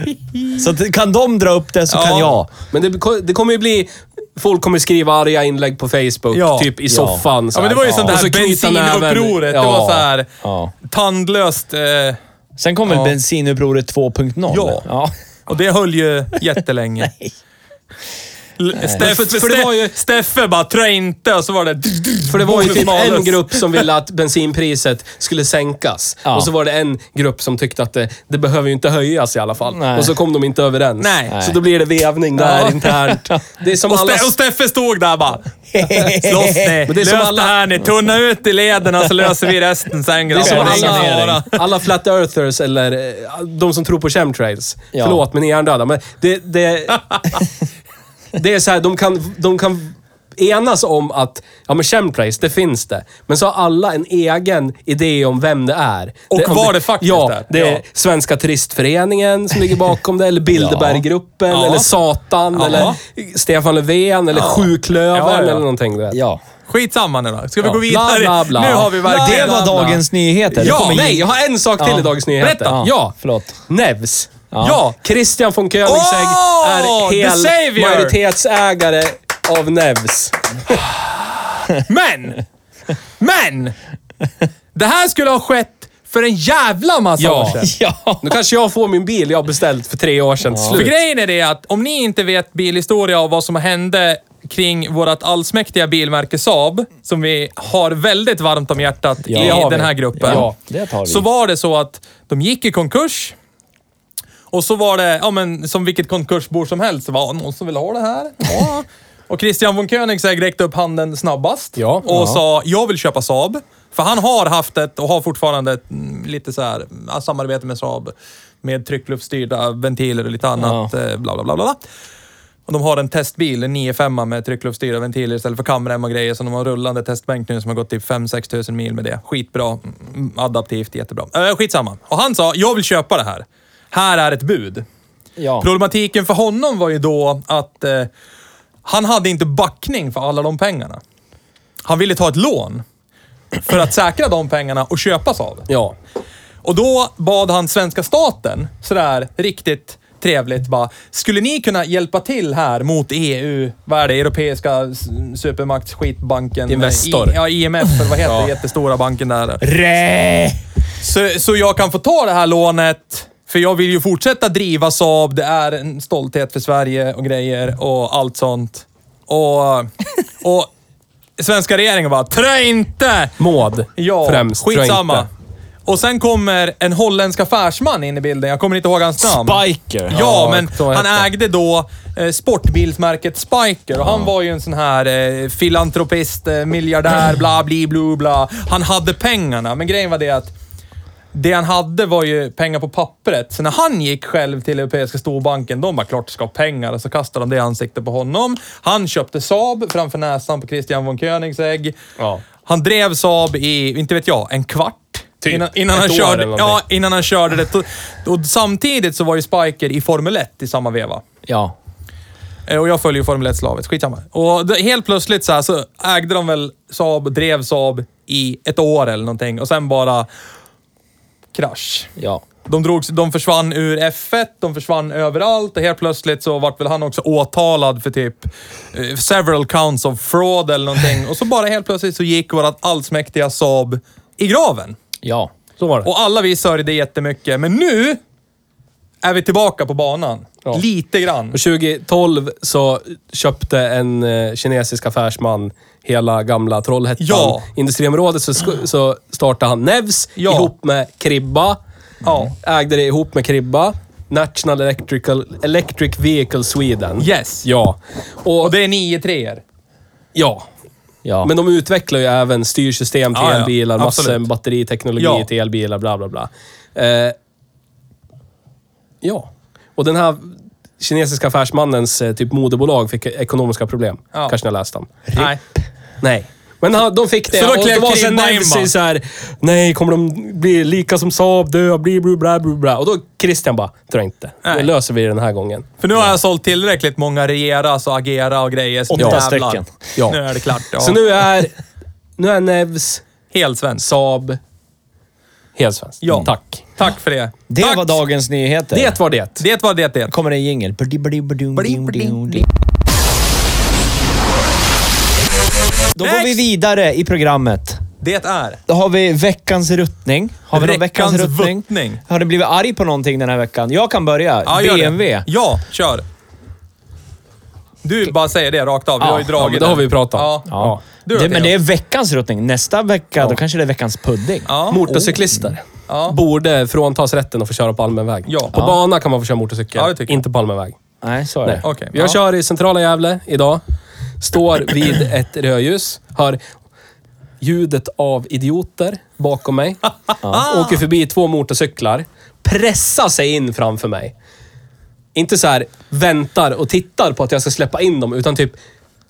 Speaker 1: Så att kan de dra upp det så
Speaker 3: Ja.
Speaker 1: kan jag.
Speaker 2: Men det, det kommer ju bli... Folk kommer skriva arga inlägg på Facebook,
Speaker 3: Ja.
Speaker 2: typ i
Speaker 1: Ja.
Speaker 2: soffan. så
Speaker 3: ja, men det
Speaker 2: här.
Speaker 3: var ju sånt
Speaker 2: Och
Speaker 3: där
Speaker 2: så knyta näven.
Speaker 3: bensinupproret.
Speaker 2: Ja.
Speaker 3: Det var så här
Speaker 1: Ja.
Speaker 3: tandlöst. Eh,
Speaker 1: Sen kom väl
Speaker 3: Ja.
Speaker 1: bensinupproret 2.0?
Speaker 3: Ja.
Speaker 1: ja.
Speaker 3: och det höll ju jättelänge. L- Steffe,
Speaker 2: För- för det
Speaker 3: Ste-
Speaker 2: var ju-
Speaker 3: Steffe bara trä inte och så var det...
Speaker 2: För det var ju typ en
Speaker 3: Malus.
Speaker 2: grupp som ville att bensinpriset skulle sänkas.
Speaker 1: Ja.
Speaker 2: Och så var det en grupp som tyckte att det, det behöver ju inte höjas i alla fall.
Speaker 1: Nej.
Speaker 2: Och så kom de inte överens.
Speaker 3: Nej.
Speaker 2: Så då blir det vevning där
Speaker 3: Ja.
Speaker 2: internt. Det är som
Speaker 3: Och,
Speaker 2: alla...
Speaker 3: Ste- och Steffe stod där bara. Slåss ni.
Speaker 2: Men
Speaker 3: det
Speaker 2: det är
Speaker 3: Lös
Speaker 2: som alla-
Speaker 3: det här ni. Tunna ut i lederna så löser vi resten sen
Speaker 2: Det är
Speaker 3: grabbar.
Speaker 2: som
Speaker 1: Ja, det är ingen
Speaker 2: alla,
Speaker 1: mening.
Speaker 2: alla flat earthers eller eh, de som tror på chemtrails.
Speaker 1: Ja.
Speaker 2: Förlåt, men ni är hjärndöda. Men det, det, det är så här, de kan, de kan enas om att ja, men chemtrails, det finns det. Men så har alla en egen idé om vem det är.
Speaker 3: Och
Speaker 2: om
Speaker 3: vad det faktiskt
Speaker 2: ja,
Speaker 3: är.
Speaker 2: Det är
Speaker 3: Ja.
Speaker 2: Svenska turistföreningen som ligger bakom det, eller Bilderberggruppen,
Speaker 3: Ja.
Speaker 2: eller Satan,
Speaker 3: Ja.
Speaker 2: eller Stefan Löfven, eller Sjuklövern,
Speaker 3: Ja, ja.
Speaker 2: eller någonting. Du vet.
Speaker 1: ja.
Speaker 3: Skitsamma nu då. Ska vi
Speaker 2: Ja.
Speaker 3: gå vidare?
Speaker 2: Bla, bla, bla.
Speaker 3: Nu har vi verkligen...
Speaker 1: Det var dagens nyheter. Det
Speaker 3: Ja,
Speaker 1: kommer-
Speaker 2: Nej, jag har en sak till i Dagens Nyheter.
Speaker 3: Berätta.
Speaker 2: Ja.
Speaker 1: Förlåt.
Speaker 2: Nevs.
Speaker 3: Ja.
Speaker 2: Christian von Koenigsegg
Speaker 3: Åh,
Speaker 2: är
Speaker 3: the
Speaker 2: hel
Speaker 3: savior!
Speaker 2: majoritetsägare av Nevs.
Speaker 3: Men! Men! Det här skulle ha skett för en jävla massa
Speaker 2: Ja.
Speaker 3: år sedan.
Speaker 1: Ja.
Speaker 2: Nu kanske jag får min bil jag har beställt för tre år sedan till
Speaker 3: För
Speaker 2: slut.
Speaker 3: grejen är det att om ni inte vet bilhistoria och vad som hände kring vårt allsmäktiga bilmärke Saab, som vi har väldigt varmt om hjärtat
Speaker 1: Ja,
Speaker 3: i
Speaker 1: det har
Speaker 3: den
Speaker 1: vi.
Speaker 3: här gruppen.
Speaker 1: Ja, det tar vi.
Speaker 3: Så var det så att de gick i konkurs. Och så var det, ja men som vilket konkursbord som helst, så var någon som vill ha det här. Ja. Och Christian von Koenigsegg räckte upp handen snabbast
Speaker 2: Ja.
Speaker 3: och
Speaker 2: Ja.
Speaker 3: sa, jag vill köpa Saab. För han har haft ett och har fortfarande ett, mm, lite så här, mm, samarbete med Saab. Med tryckluftstyrda ventiler och lite annat, eh, bla bla bla bla. Och de har en testbil, en 9-5 med tryckluftstyrda ventiler istället för kamrem och grejer. Så de har en rullande testbänk nu som har gått typ 5-6 tusen mil med det. Skitbra. Mm, Adaptivt, jättebra. Äh, skitsamma. Och han sa, jag vill köpa det här. Här är ett bud.
Speaker 1: Ja.
Speaker 3: Problematiken för honom var ju då att eh, han hade inte backning för alla de pengarna. Han ville ta ett lån för att säkra de pengarna och köpas av.
Speaker 2: Ja.
Speaker 3: Och då bad han svenska staten, sådär riktigt trevligt bara. Skulle ni kunna hjälpa till här mot EU? Vad är det? Europeiska s- supermaktsskitbanken?
Speaker 2: Investor.
Speaker 3: I, ja, IMF, eller vad heter det? Jättestora banken där.
Speaker 4: Rä!
Speaker 3: Så, så jag kan få ta det här lånet. För jag vill ju fortsätta driva Saab. Det är en stolthet för Sverige och grejer och allt sånt. Och... och svenska regeringen bara, trö inte!
Speaker 2: Maud.
Speaker 3: Ja,
Speaker 2: främst. tror jag
Speaker 3: skitsamma.
Speaker 2: inte.
Speaker 3: Och sen kommer en holländsk affärsman in i bilden. Jag kommer inte ihåg hans namn.
Speaker 1: Biker.
Speaker 3: Ja,
Speaker 2: Ja,
Speaker 3: men
Speaker 2: så
Speaker 3: han
Speaker 2: hette han.
Speaker 3: ägde då eh, sportbilsmärket Spiker och han var ju en sån här eh, filantropist, eh, miljardär, bla bli blu bla. Han hade pengarna, men grejen var det att det han hade var ju pengar på pappret. Så när han gick själv till Europeiska storbanken, de bara klart du ska ha pengar. Och så kastade de det i ansiktet på honom. Han köpte Saab framför näsan på Christian von Koenigsegg.
Speaker 2: Ja.
Speaker 3: Han drev Saab i, inte vet jag, en kvart.
Speaker 2: Typ
Speaker 3: innan, innan, han
Speaker 2: ett år
Speaker 3: körde,
Speaker 2: eller
Speaker 3: ja,
Speaker 2: någonting.
Speaker 3: innan han körde det. Och, och samtidigt så var ju Spiker i Formel 1 i samma veva.
Speaker 4: Ja.
Speaker 3: Eh, Och jag följer ju Formel 1 slavet, skitsamma. Och det, helt plötsligt så, här, så ägde de väl Saab, drev Saab i ett år eller någonting och sen bara krasch.
Speaker 1: Ja.
Speaker 3: De, drogs, de försvann ur F1, de försvann överallt och helt plötsligt så vart väl han också åtalad för typ eh, several counts of fraud eller någonting. Och så bara helt plötsligt så gick vårat allsmäktiga Saab i graven.
Speaker 1: Ja.
Speaker 2: Så var det.
Speaker 3: Och alla vi sörjde jättemycket, men nu är vi tillbaka på banan. Lite grann.
Speaker 2: Mm. Och 2012 så köpte en eh, kinesisk affärsman hela gamla Trollhättan.
Speaker 3: Ja.
Speaker 2: Industriområdet så, sk- så startade han Nevs
Speaker 3: Ja.
Speaker 2: ihop med Kribba.
Speaker 3: Ja.
Speaker 2: Ägde det ihop med Kribba. National Electrical, Electric Vehicle Sweden.
Speaker 3: Yes.
Speaker 2: Ja. Och,
Speaker 3: Och det är 9 3
Speaker 2: ja.
Speaker 1: Ja.
Speaker 2: Men de utvecklar ju även styrsystem till
Speaker 3: Ja, ja.
Speaker 2: elbilar, massor
Speaker 3: Absolut.
Speaker 2: batteriteknologi
Speaker 3: Ja.
Speaker 2: till elbilar, bla bla bla. Eh, ja. Och den här kinesiska affärsmannens eh, typ moderbolag fick ekonomiska problem.
Speaker 3: Ja.
Speaker 2: Kanske ni har läst den?
Speaker 3: Nej.
Speaker 2: Nej. Men han, de fick det.
Speaker 3: Så då
Speaker 2: och
Speaker 3: klev
Speaker 2: det var
Speaker 3: Kribba
Speaker 2: sen
Speaker 3: in, va?
Speaker 2: Nancy så här, Nej, kommer de bli lika som Saab, dö, bli bli bla bla bla. Och då Christian bara, tror jag inte.
Speaker 3: Nej.
Speaker 2: Det löser vi den här gången.
Speaker 3: För nu har jag sålt tillräckligt många regeras och agera och grejer. Så nu
Speaker 1: Åtta
Speaker 3: jävlar.
Speaker 1: stycken.
Speaker 2: Ja.
Speaker 3: Nu är det klart. Ja.
Speaker 2: Så nu är, nu är Nevs,
Speaker 3: Helt svenskt.
Speaker 2: Saab, helsvenskt.
Speaker 3: Ja.
Speaker 2: Mm. Tack.
Speaker 3: Tack för det.
Speaker 1: Det
Speaker 3: Tack.
Speaker 1: var dagens nyheter.
Speaker 2: Det var det.
Speaker 3: Det var det det.
Speaker 1: kommer en jingel. Då går vi
Speaker 3: Next!
Speaker 1: vidare i programmet.
Speaker 3: Det är.
Speaker 1: Då har vi veckans ruttning. Har vi någon veckans
Speaker 3: Veckans
Speaker 1: ruttning?
Speaker 3: vuttning.
Speaker 1: Har du blivit arg på någonting den här veckan? Jag kan börja.
Speaker 3: Ja, gör det.
Speaker 1: BMW.
Speaker 3: Ja, kör. Du bara säger det rakt av. Vi
Speaker 1: Ja,
Speaker 3: har ju
Speaker 2: Ja,
Speaker 3: dragit
Speaker 2: men det har vi ju pratat om.
Speaker 3: Ja.
Speaker 1: Ja.
Speaker 3: Du då,
Speaker 1: det, men
Speaker 3: Theo?
Speaker 1: det är veckans ruttning. Nästa vecka, då kanske det är veckans pudding.
Speaker 3: Ja.
Speaker 2: Motorcyklister
Speaker 3: Ja.
Speaker 2: borde fråntas rätten att få köra på allmän väg.
Speaker 3: Ja.
Speaker 2: På
Speaker 3: Ja.
Speaker 2: bana kan man få köra motorcykel,
Speaker 3: Ja, det tycker jag.
Speaker 2: inte på allmän väg.
Speaker 1: Nej, så är
Speaker 2: Nej.
Speaker 1: det.
Speaker 3: Okej,
Speaker 2: Jag
Speaker 3: ja.
Speaker 2: kör i centrala Gävle idag. Står vid ett rödljus. Hör ljudet av idioter bakom mig. Åker förbi två motorcyklar. Pressar sig in framför mig. Inte så här väntar och tittar på att jag ska släppa in dem, utan typ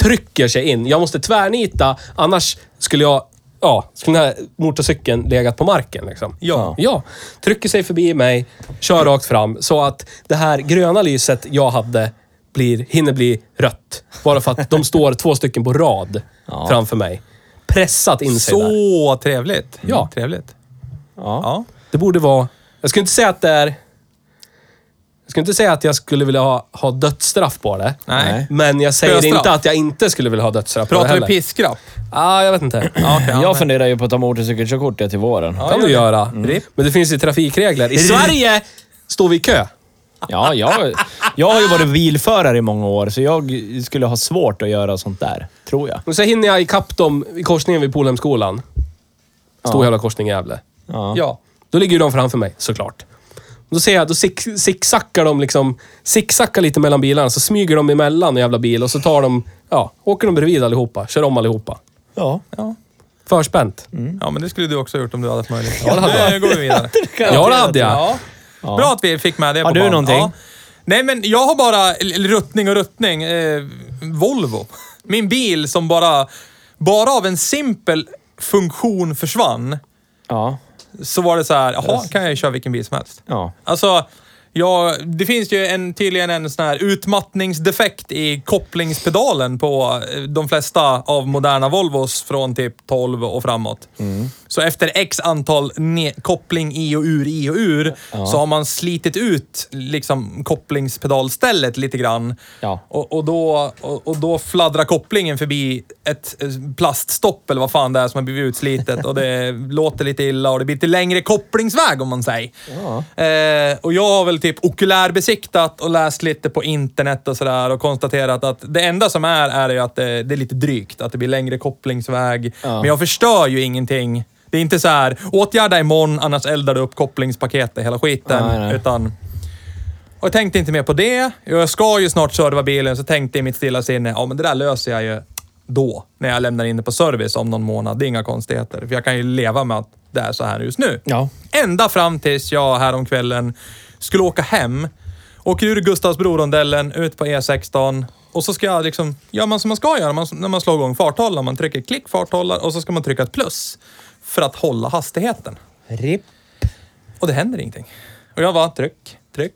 Speaker 2: trycker sig in. Jag måste tvärnita, annars skulle jag... Ja, skulle den här motorcykeln legat på marken liksom.
Speaker 3: Ja.
Speaker 2: Ja. Trycker sig förbi mig, kör rakt fram så att det här gröna lyset jag hade blir, hinner bli rött. Bara för att de står två stycken på rad framför mig. Pressat in sig där.
Speaker 3: Så trevligt.
Speaker 2: Ja.
Speaker 3: Mm. Trevligt.
Speaker 1: Ja.
Speaker 3: Ja.
Speaker 2: Det borde vara... Jag skulle inte säga att det är... Jag skulle inte säga att jag skulle vilja ha, ha dödsstraff på det.
Speaker 3: Nej. Nej.
Speaker 2: Men jag säger
Speaker 3: Dödsstraff.
Speaker 2: inte att jag inte skulle vilja ha dödsstraff på det
Speaker 3: Pratar vi
Speaker 2: heller.
Speaker 3: piskrapp?
Speaker 2: ah, jag vet inte.
Speaker 3: Ja, okej, ja, men-
Speaker 1: Jag funderar ju på att ta motorcykelkörkort det till våren. Ja,
Speaker 2: kan du göra.
Speaker 3: Ripp.
Speaker 2: Men det finns ju trafikregler. I Sverige står vi i kö.
Speaker 1: ja jag, jag har ju varit bilförare i många år, så jag skulle ha svårt att göra sånt där. Tror jag.
Speaker 2: Och så hinner jag ikapp dem i korsningen vid Polhemskolan. Stor jävla korsning i Gävle.
Speaker 1: Ja.
Speaker 3: Ja.
Speaker 2: Då ligger ju de framför mig, såklart. Då ser jag, då zick- zigzackar de liksom, zigzackar lite mellan bilarna, så smyger de emellan en jävla bil och så tar de, ja, åker de bredvid allihopa, kör om allihopa.
Speaker 1: Ja.
Speaker 2: Förspänt.
Speaker 3: Ja, men det skulle du också ha gjort om du hade haft möjlighet. Ja, det hade Nu går vi vidare.
Speaker 2: Ja, det hade jag.
Speaker 3: Ja. Bra att vi fick med det
Speaker 1: Har
Speaker 3: på
Speaker 1: du
Speaker 3: banan.
Speaker 1: någonting?
Speaker 3: Ja. Nej, men jag har bara l- l- ruttning och ruttning. Eh, Volvo. Min bil som bara, bara av en simpel funktion försvann.
Speaker 1: Ja.
Speaker 3: Så var det så här, jaha, kan jag ju köra vilken bil som helst.
Speaker 1: Ja.
Speaker 3: Alltså, ja, det finns ju en, tydligen en sån här utmattningsdefekt i kopplingspedalen på eh, de flesta av moderna Volvos från typ 12 och framåt. Så efter x antal ne- koppling i och ur, i och ur, så har man slitit ut liksom kopplingspedalstället lite grann.
Speaker 1: Ja.
Speaker 3: Och, och, då, och, och då fladdrar kopplingen förbi ett eh, plaststopp eller vad fan det är som har blivit utslitet och det låter lite illa och det blir lite längre kopplingsväg om man säger. Eh, och jag har väl typ okulärbesiktat och läst lite på internet och sådär och konstaterat att det enda som är, är ju att det, det är lite drygt. Att det blir längre kopplingsväg. Men jag förstör ju ingenting. Det är inte så här, åtgärda imorgon annars eldar du upp kopplingspaketet, hela skiten.
Speaker 1: Nej, nej.
Speaker 3: Utan och jag tänkte inte mer på det. Jag ska ju snart serva bilen, så tänkte jag i mitt stilla sinne, ja men det där löser jag ju då. När jag lämnar in det på service om någon månad. Det är inga konstigheter. För jag kan ju leva med att det är så här just nu.
Speaker 1: Ja.
Speaker 3: Ända fram tills jag häromkvällen skulle åka hem. Åker ur Gustavsbrorondellen, ut på E16. Och så ska jag liksom, gör man som man ska göra när man, när man slår igång farthållaren. Man trycker klick farthållare och så ska man trycka ett plus. För att hålla hastigheten.
Speaker 1: Ripp.
Speaker 3: Och det händer ingenting. Och jag bara, tryck, tryck,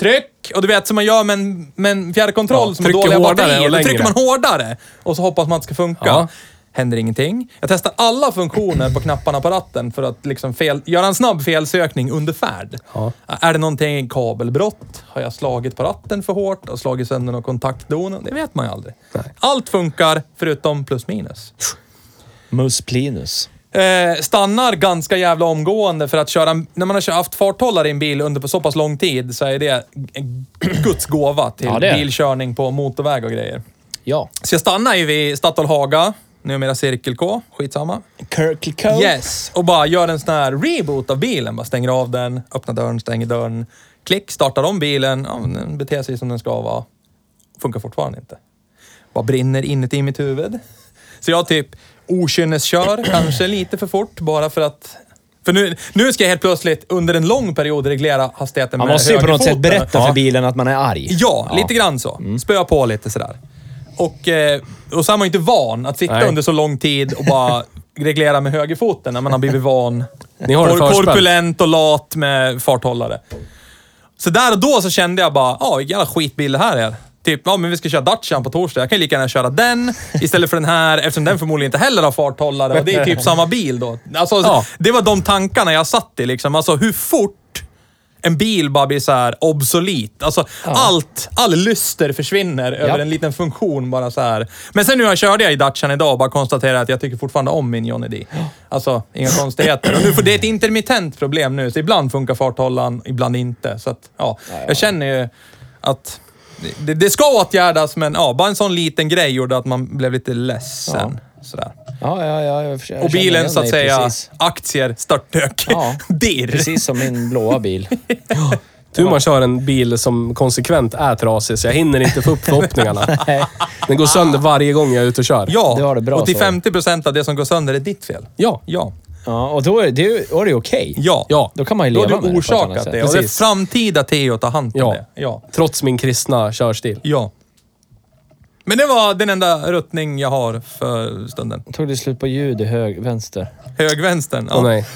Speaker 3: tryck. Och du vet som man gör med en, med en fjärrkontroll
Speaker 2: Ja,
Speaker 3: som har
Speaker 2: trycker
Speaker 3: dåliga
Speaker 2: hårdare
Speaker 3: batterier.
Speaker 2: och
Speaker 3: Då trycker
Speaker 2: längre.
Speaker 3: man hårdare och så hoppas man att det ska funka. Händer ingenting. Jag testar alla funktioner på knapparna på ratten för att liksom fel, göra en snabb felsökning under färd. Är det någonting kabelbrott? Har jag slagit på ratten för hårt? Har slagit sönder någon kontaktdon? Det vet man ju aldrig. Allt funkar förutom plus minus.
Speaker 1: Mus plinus.
Speaker 3: Eh, stannar ganska jävla omgående för att köra... När man har kört- haft farthållare i en bil under på så pass lång tid så är det en guds gåva till
Speaker 1: Ja, det är det.
Speaker 3: bilkörning på motorväg och grejer.
Speaker 1: Ja.
Speaker 3: Så jag stannar ju vid Statoil Haga, numera Cirkel K, skitsamma.
Speaker 1: Kirkle Cove.
Speaker 3: Yes! Och bara gör en sån här reboot av bilen. Bara stänger av den, öppnar dörren, stänger dörren. Klick, startar om bilen. Ja, men den beter sig som den ska vara. Funkar fortfarande inte. Bara brinner inuti mitt huvud. Så jag typ okynneskör, kanske lite för fort, bara för att... För nu, nu ska jag helt plötsligt under en lång period reglera hastigheten
Speaker 1: Man
Speaker 3: med
Speaker 1: måste ju på något sätt
Speaker 3: högerfoten.
Speaker 1: berätta
Speaker 3: Ja.
Speaker 1: för bilen att man är arg.
Speaker 3: Ja, lite grann så.
Speaker 2: Mm.
Speaker 3: Spöa på lite sådär. Och, eh, och så är man ju inte van att sitta under så lång tid och bara reglera med högerfoten när man har blivit van.
Speaker 2: Ni har det
Speaker 3: Kor-
Speaker 2: förspänt.
Speaker 3: Korpulent och lat med farthållare. Så där och då så kände jag bara, ja vilken jävla skitbil det här är. Typ, ja men vi ska köra Dacian på torsdag. Jag kan ju lika gärna köra den istället för den här eftersom den förmodligen inte heller har farthållare. Och det är typ samma bil då. Alltså,
Speaker 2: Ja.
Speaker 3: Det var de tankarna jag satt i liksom. Alltså hur fort en bil bara blir så här obsolet. Alltså allt, all lyster försvinner över en liten funktion bara så här. Men sen nu jag körde jag i Dacian idag och bara konstaterade att jag tycker fortfarande om min Johnny D. Alltså, inga konstigheter. Och nu får det är ett intermittent problem nu, så ibland funkar farthållaren, ibland inte. Så att, ja, jag känner ju att det, det ska åtgärdas, men ja, bara en sån liten grej gjorde att man blev lite ledsen. Sådär.
Speaker 1: Ja, ja, ja. Jag försöker-
Speaker 3: Och
Speaker 1: jag känner
Speaker 3: bilen
Speaker 1: igen
Speaker 3: så att
Speaker 1: dig
Speaker 3: säga,
Speaker 1: Precis.
Speaker 3: aktier störtdök.
Speaker 1: Ja.
Speaker 3: Dirr.
Speaker 1: precis som min blåa bil.
Speaker 2: Tur man kör en bil som konsekvent är trasig, så jag hinner inte få upp förhoppningarna. Den går sönder varje gång jag är ute och kör.
Speaker 3: Ja,
Speaker 1: Det var det bra
Speaker 3: och till
Speaker 1: så.
Speaker 3: 50 procent av det som går sönder är ditt fel.
Speaker 2: Ja.
Speaker 3: Ja.
Speaker 1: Ja, och då är det, ju- då är det okej.
Speaker 3: Ja.
Speaker 2: Ja.
Speaker 1: Då kan man ju
Speaker 3: Då
Speaker 1: leva
Speaker 3: har
Speaker 1: med det
Speaker 3: du
Speaker 1: på ett annat
Speaker 3: orsakat
Speaker 1: sätt.
Speaker 3: det. Och det är
Speaker 2: Precis.
Speaker 3: framtida Theo att ta hand om
Speaker 2: Ja.
Speaker 3: det. Ja.
Speaker 2: Trots min kristna körstil.
Speaker 3: Ja. Men det var den enda ruttning jag har för stunden.
Speaker 1: Tog det slut på ljud i hög, vänster? Eh,
Speaker 3: Högvänstern. Ja.
Speaker 2: Åh nej.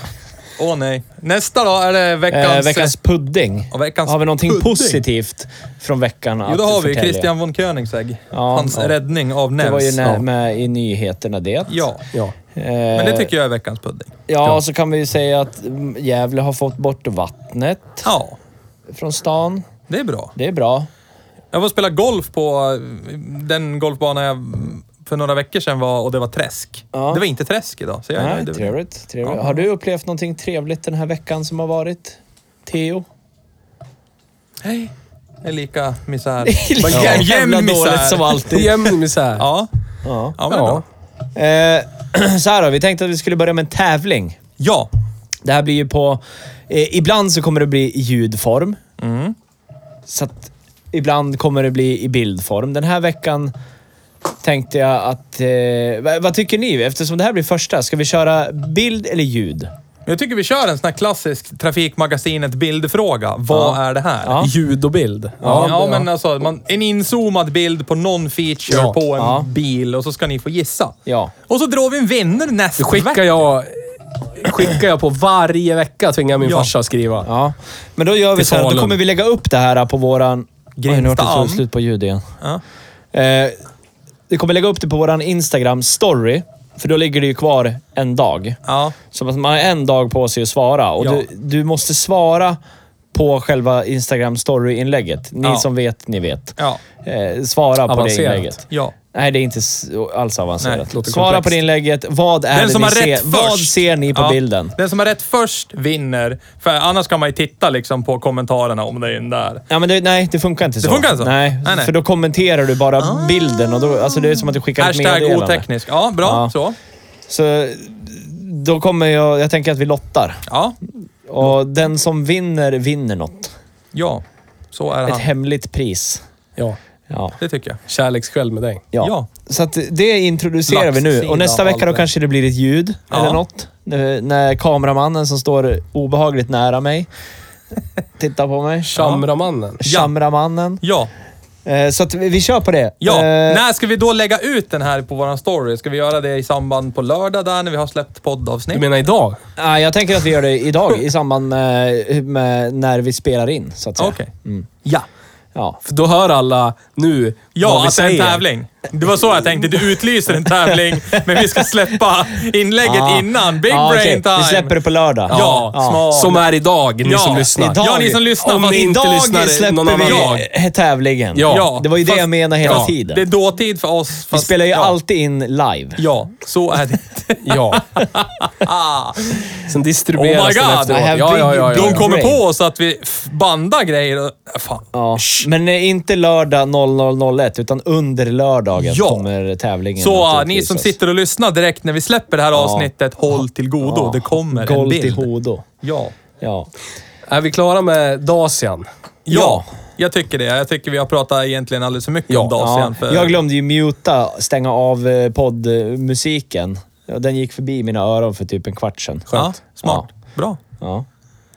Speaker 3: Åh nej. Nästa då är det veckans...
Speaker 1: Eh, veckans pudding.
Speaker 3: Ja, veckans
Speaker 1: har vi någonting
Speaker 3: pudding.
Speaker 1: positivt från veckan att
Speaker 3: Jo, då har vi
Speaker 1: förtälja?
Speaker 3: Christian von Koenigsegg.
Speaker 1: Ja,
Speaker 3: Hans
Speaker 1: ja.
Speaker 3: räddning av Nevs.
Speaker 1: Det var ju när, Eh.
Speaker 3: ja.
Speaker 1: med i nyheterna det.
Speaker 3: ja.
Speaker 2: Ja.
Speaker 3: Men det tycker jag är veckans pudding.
Speaker 1: Ja, så kan vi ju säga att mm, Gävle har fått bort vattnet
Speaker 3: Ja,
Speaker 1: från stan.
Speaker 3: det är bra.
Speaker 1: Det är bra.
Speaker 3: Jag var och spelade golf på eh, den golfbana jag för några veckor sedan var och det var träsk.
Speaker 1: Ja.
Speaker 3: Det var inte träsk idag, så jag är
Speaker 1: Nej,
Speaker 3: nöjd över det.
Speaker 1: trevligt. trevligt.
Speaker 3: Ja.
Speaker 1: Har du upplevt någonting trevligt den här veckan som har varit? Theo?
Speaker 3: Hej. Det är lika misär.
Speaker 1: Lika
Speaker 3: Vad jäm-
Speaker 1: jävla dåligt som alltid.
Speaker 2: Jämn misär.
Speaker 3: Ja.
Speaker 1: Ja.
Speaker 3: Ja, men ja. Bra.
Speaker 1: Eh, så här då, vi tänkte att vi skulle börja med en tävling.
Speaker 3: ja.
Speaker 1: Det här blir ju på... Eh, ibland så kommer det bli i ljudform.
Speaker 3: Mm.
Speaker 1: Så att ibland kommer det bli i bildform. Den här veckan tänkte jag att... Eh, vad, vad tycker ni? Eftersom det här blir första, ska vi köra bild eller ljud?
Speaker 3: Men Jag tycker vi kör en sån här klassisk Trafikmagasinet bildfråga. Vad är det här?
Speaker 1: Ja.
Speaker 2: Ljud och bild.
Speaker 3: Ja, men alltså man, en inzoomad bild på någon feature
Speaker 2: Ja.
Speaker 3: på en
Speaker 1: Ja.
Speaker 3: bil och så ska ni få gissa.
Speaker 1: Ja.
Speaker 3: Och så drar vi en vinnare nästa
Speaker 2: Skickar
Speaker 3: vecka.
Speaker 2: jag, skickar jag på varje vecka tvingar min
Speaker 3: Ja.
Speaker 2: farsa att skriva.
Speaker 1: Ja, men då gör vi
Speaker 2: Till
Speaker 1: så här. att Då
Speaker 2: Falun.
Speaker 1: kommer vi lägga upp det här på våran... Oj, nu vart det
Speaker 3: Grimstaam.
Speaker 1: så slut på ljud igen.
Speaker 3: Ja.
Speaker 1: Eh, vi kommer lägga upp det på våran Instagram-story. För då ligger det ju kvar en dag.
Speaker 3: Ja.
Speaker 1: Så att man har en dag på sig att svara och
Speaker 2: Ja.
Speaker 1: du, du måste svara på själva Instagram story-inlägget. Ni
Speaker 3: Ja.
Speaker 1: som vet, ni vet.
Speaker 3: Ja.
Speaker 1: Eh, svara på det
Speaker 2: Avancerat.
Speaker 1: inlägget.
Speaker 3: Ja.
Speaker 1: Nej, det är inte s- alls
Speaker 3: Nej,
Speaker 1: avancerat.
Speaker 3: det låter
Speaker 1: Svara
Speaker 3: komplext.
Speaker 1: på det inlägget. Vad är
Speaker 3: Den
Speaker 1: det
Speaker 3: som
Speaker 1: ni
Speaker 3: har
Speaker 1: ser?
Speaker 3: rätt först.
Speaker 1: Vad ser ni på
Speaker 3: Ja.
Speaker 1: bilden?
Speaker 3: Den som har rätt först vinner. För annars kan man ju titta liksom på kommentarerna om det är den där.
Speaker 1: Ja, men det, nej, det funkar inte så.
Speaker 3: funkar inte så?
Speaker 1: Nej,
Speaker 3: Nej, nej.
Speaker 1: för då kommenterar du bara bilden och då, alltså det är som att du skickar ett
Speaker 3: Hashtag
Speaker 1: meddelande.
Speaker 3: oteknisk. Ja, bra.
Speaker 1: Ja.
Speaker 3: Så.
Speaker 1: Så då kommer jag... Jag tänker att vi lottar.
Speaker 3: Ja.
Speaker 1: Och den som vinner, vinner något.
Speaker 3: Ja. Så är
Speaker 1: Ett
Speaker 3: han.
Speaker 1: hemligt pris.
Speaker 2: Ja.
Speaker 1: Ja.
Speaker 3: Det tycker jag.
Speaker 2: Kärleksskäll med dig.
Speaker 1: Ja.
Speaker 3: Ja.
Speaker 1: Så att det introducerar vi nu.
Speaker 2: Laxsida
Speaker 1: Och nästa
Speaker 2: och
Speaker 1: vecka då
Speaker 2: allt det.
Speaker 1: kanske det blir ett ljud
Speaker 3: Ja.
Speaker 1: eller något. Nu- När kameramannen som står obehagligt nära mig tittar på mig.
Speaker 2: Chamramannen.
Speaker 1: Chamramannen.
Speaker 3: Ja.
Speaker 1: Eh, Så att vi, vi kör på det.
Speaker 3: Ja.
Speaker 1: Eh,
Speaker 3: När ska vi då lägga ut den här på våran story? Ska vi göra det i samband på lördag där när vi har släppt
Speaker 2: Du
Speaker 3: poddavsnitt?
Speaker 2: menar idag?
Speaker 1: nej, jag tänker att vi gör det idag i samband med, med när vi spelar in, så Mm. att säga.
Speaker 3: Okej.
Speaker 2: Ja.
Speaker 1: Ja.
Speaker 2: För då hör alla nu vad
Speaker 3: Ja,
Speaker 2: vi
Speaker 3: att det är en
Speaker 2: säger.
Speaker 3: tävling. Det var så jag tänkte. Du utlyser en tävling, men vi ska släppa inlägget
Speaker 1: Ah.
Speaker 3: innan. Big
Speaker 1: Ja,
Speaker 3: brain
Speaker 1: okej.
Speaker 3: time!
Speaker 1: Vi släpper det på lördag.
Speaker 3: Ja, smart.
Speaker 2: Som är idag, ni
Speaker 3: Ja,
Speaker 2: som lyssnar.
Speaker 3: idag. Ja, ni som lyssnar,
Speaker 2: Om
Speaker 3: fast
Speaker 2: ni inte
Speaker 3: idag
Speaker 2: lyssnar
Speaker 1: släpper
Speaker 2: någon annan dag.
Speaker 1: vi dag. Eh, tävlingen.
Speaker 2: Ja.
Speaker 1: Det var ju det
Speaker 3: Fast-
Speaker 1: jag menade hela
Speaker 3: ja,
Speaker 1: tiden.
Speaker 3: Det är dåtid för oss.
Speaker 1: vi
Speaker 3: fast-
Speaker 1: spelar ju
Speaker 3: ja.
Speaker 1: alltid in live.
Speaker 3: Ja, så är det.
Speaker 2: Ja. Sen distribueras
Speaker 3: Oh my
Speaker 2: den
Speaker 3: God.
Speaker 2: efteråt.
Speaker 1: I have
Speaker 2: Ja,
Speaker 1: big-
Speaker 2: ja, ja, ja,
Speaker 3: De
Speaker 2: ja.
Speaker 3: kommer
Speaker 1: Brain.
Speaker 3: på oss att vi f- bandar grejer och... äh, Fan.
Speaker 1: Ja. Men eh, inte lördag 00.01, utan under lördagen
Speaker 3: Ja.
Speaker 1: kommer tävlingen
Speaker 3: Så
Speaker 1: att
Speaker 3: äh, ni som
Speaker 1: utvisas.
Speaker 3: sitter och lyssnar direkt när vi släpper det här avsnittet, håll till godo. Det kommer en
Speaker 1: Gol till
Speaker 3: bild.
Speaker 1: hodo.
Speaker 3: Ja.
Speaker 1: Ja.
Speaker 2: Är vi klara med Dacian?
Speaker 3: ja, jag tycker det. Jag tycker vi har pratat egentligen alldeles för mycket om
Speaker 1: Ja.
Speaker 3: Dacian. För...
Speaker 1: Jag glömde ju muta, stänga av eh, poddmusiken. Ja, Den gick förbi mina öron för typ en kvart sedan.
Speaker 3: ja, Smart. Bra.
Speaker 1: Ja. Ja.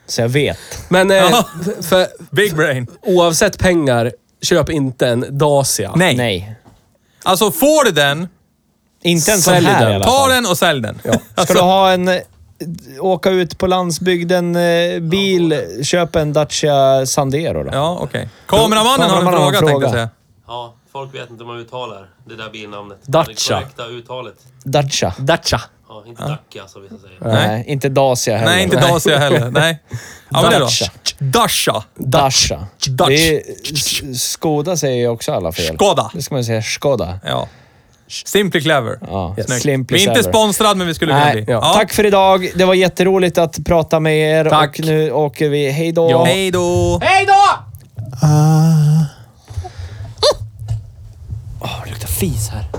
Speaker 1: Så jag vet.
Speaker 2: Men eh,
Speaker 3: Ja.
Speaker 2: för,
Speaker 3: Big brain.
Speaker 2: oavsett pengar, köp inte en Dacia.
Speaker 3: Nej.
Speaker 1: Nej.
Speaker 3: Alltså, får du den,
Speaker 1: Inte en sån
Speaker 2: Sälj
Speaker 1: här
Speaker 2: den.
Speaker 1: i alla
Speaker 3: ta
Speaker 1: fall.
Speaker 3: den och sälj den. Alltså,
Speaker 1: Ska du ha en... eh, Åka ut på landsbygden, eh, bil, köp en Dacia Sandero då.
Speaker 3: Ja, okej. Kameramannen har en
Speaker 1: Kameramannen har
Speaker 3: fråga,
Speaker 1: en
Speaker 3: tänkte jag
Speaker 1: fråga.
Speaker 3: säga.
Speaker 5: Ja, folk vet inte hur man uttalar det där bilnamnet.
Speaker 2: Dacia.
Speaker 5: Det korrekta uttalet.
Speaker 1: Dacia.
Speaker 2: Dacia.
Speaker 5: Ja, inte Dacia som vissa säger.
Speaker 1: Nej. inte Dacia heller.
Speaker 3: Nej, inte Dacia heller. Nej. Ja, men det då.
Speaker 1: Dacia.
Speaker 3: Dacia.
Speaker 1: Dacia.
Speaker 3: Dacia.
Speaker 1: Det är, S- Skoda säger ju också alla fel.
Speaker 3: Skoda.
Speaker 1: Det ska man säga. Skoda.
Speaker 3: Ja. Simply clever.
Speaker 1: Ja,
Speaker 3: Snyggt.
Speaker 1: Simply
Speaker 3: vi är inte
Speaker 1: clever.
Speaker 3: sponsrad, men vi skulle kunna bli.
Speaker 1: Nej, Tack för idag. Det var jätteroligt att prata med er.
Speaker 2: Tack.
Speaker 1: Och nu åker vi. Hej då.
Speaker 3: Hej då!
Speaker 1: Åh, det luktar fis här.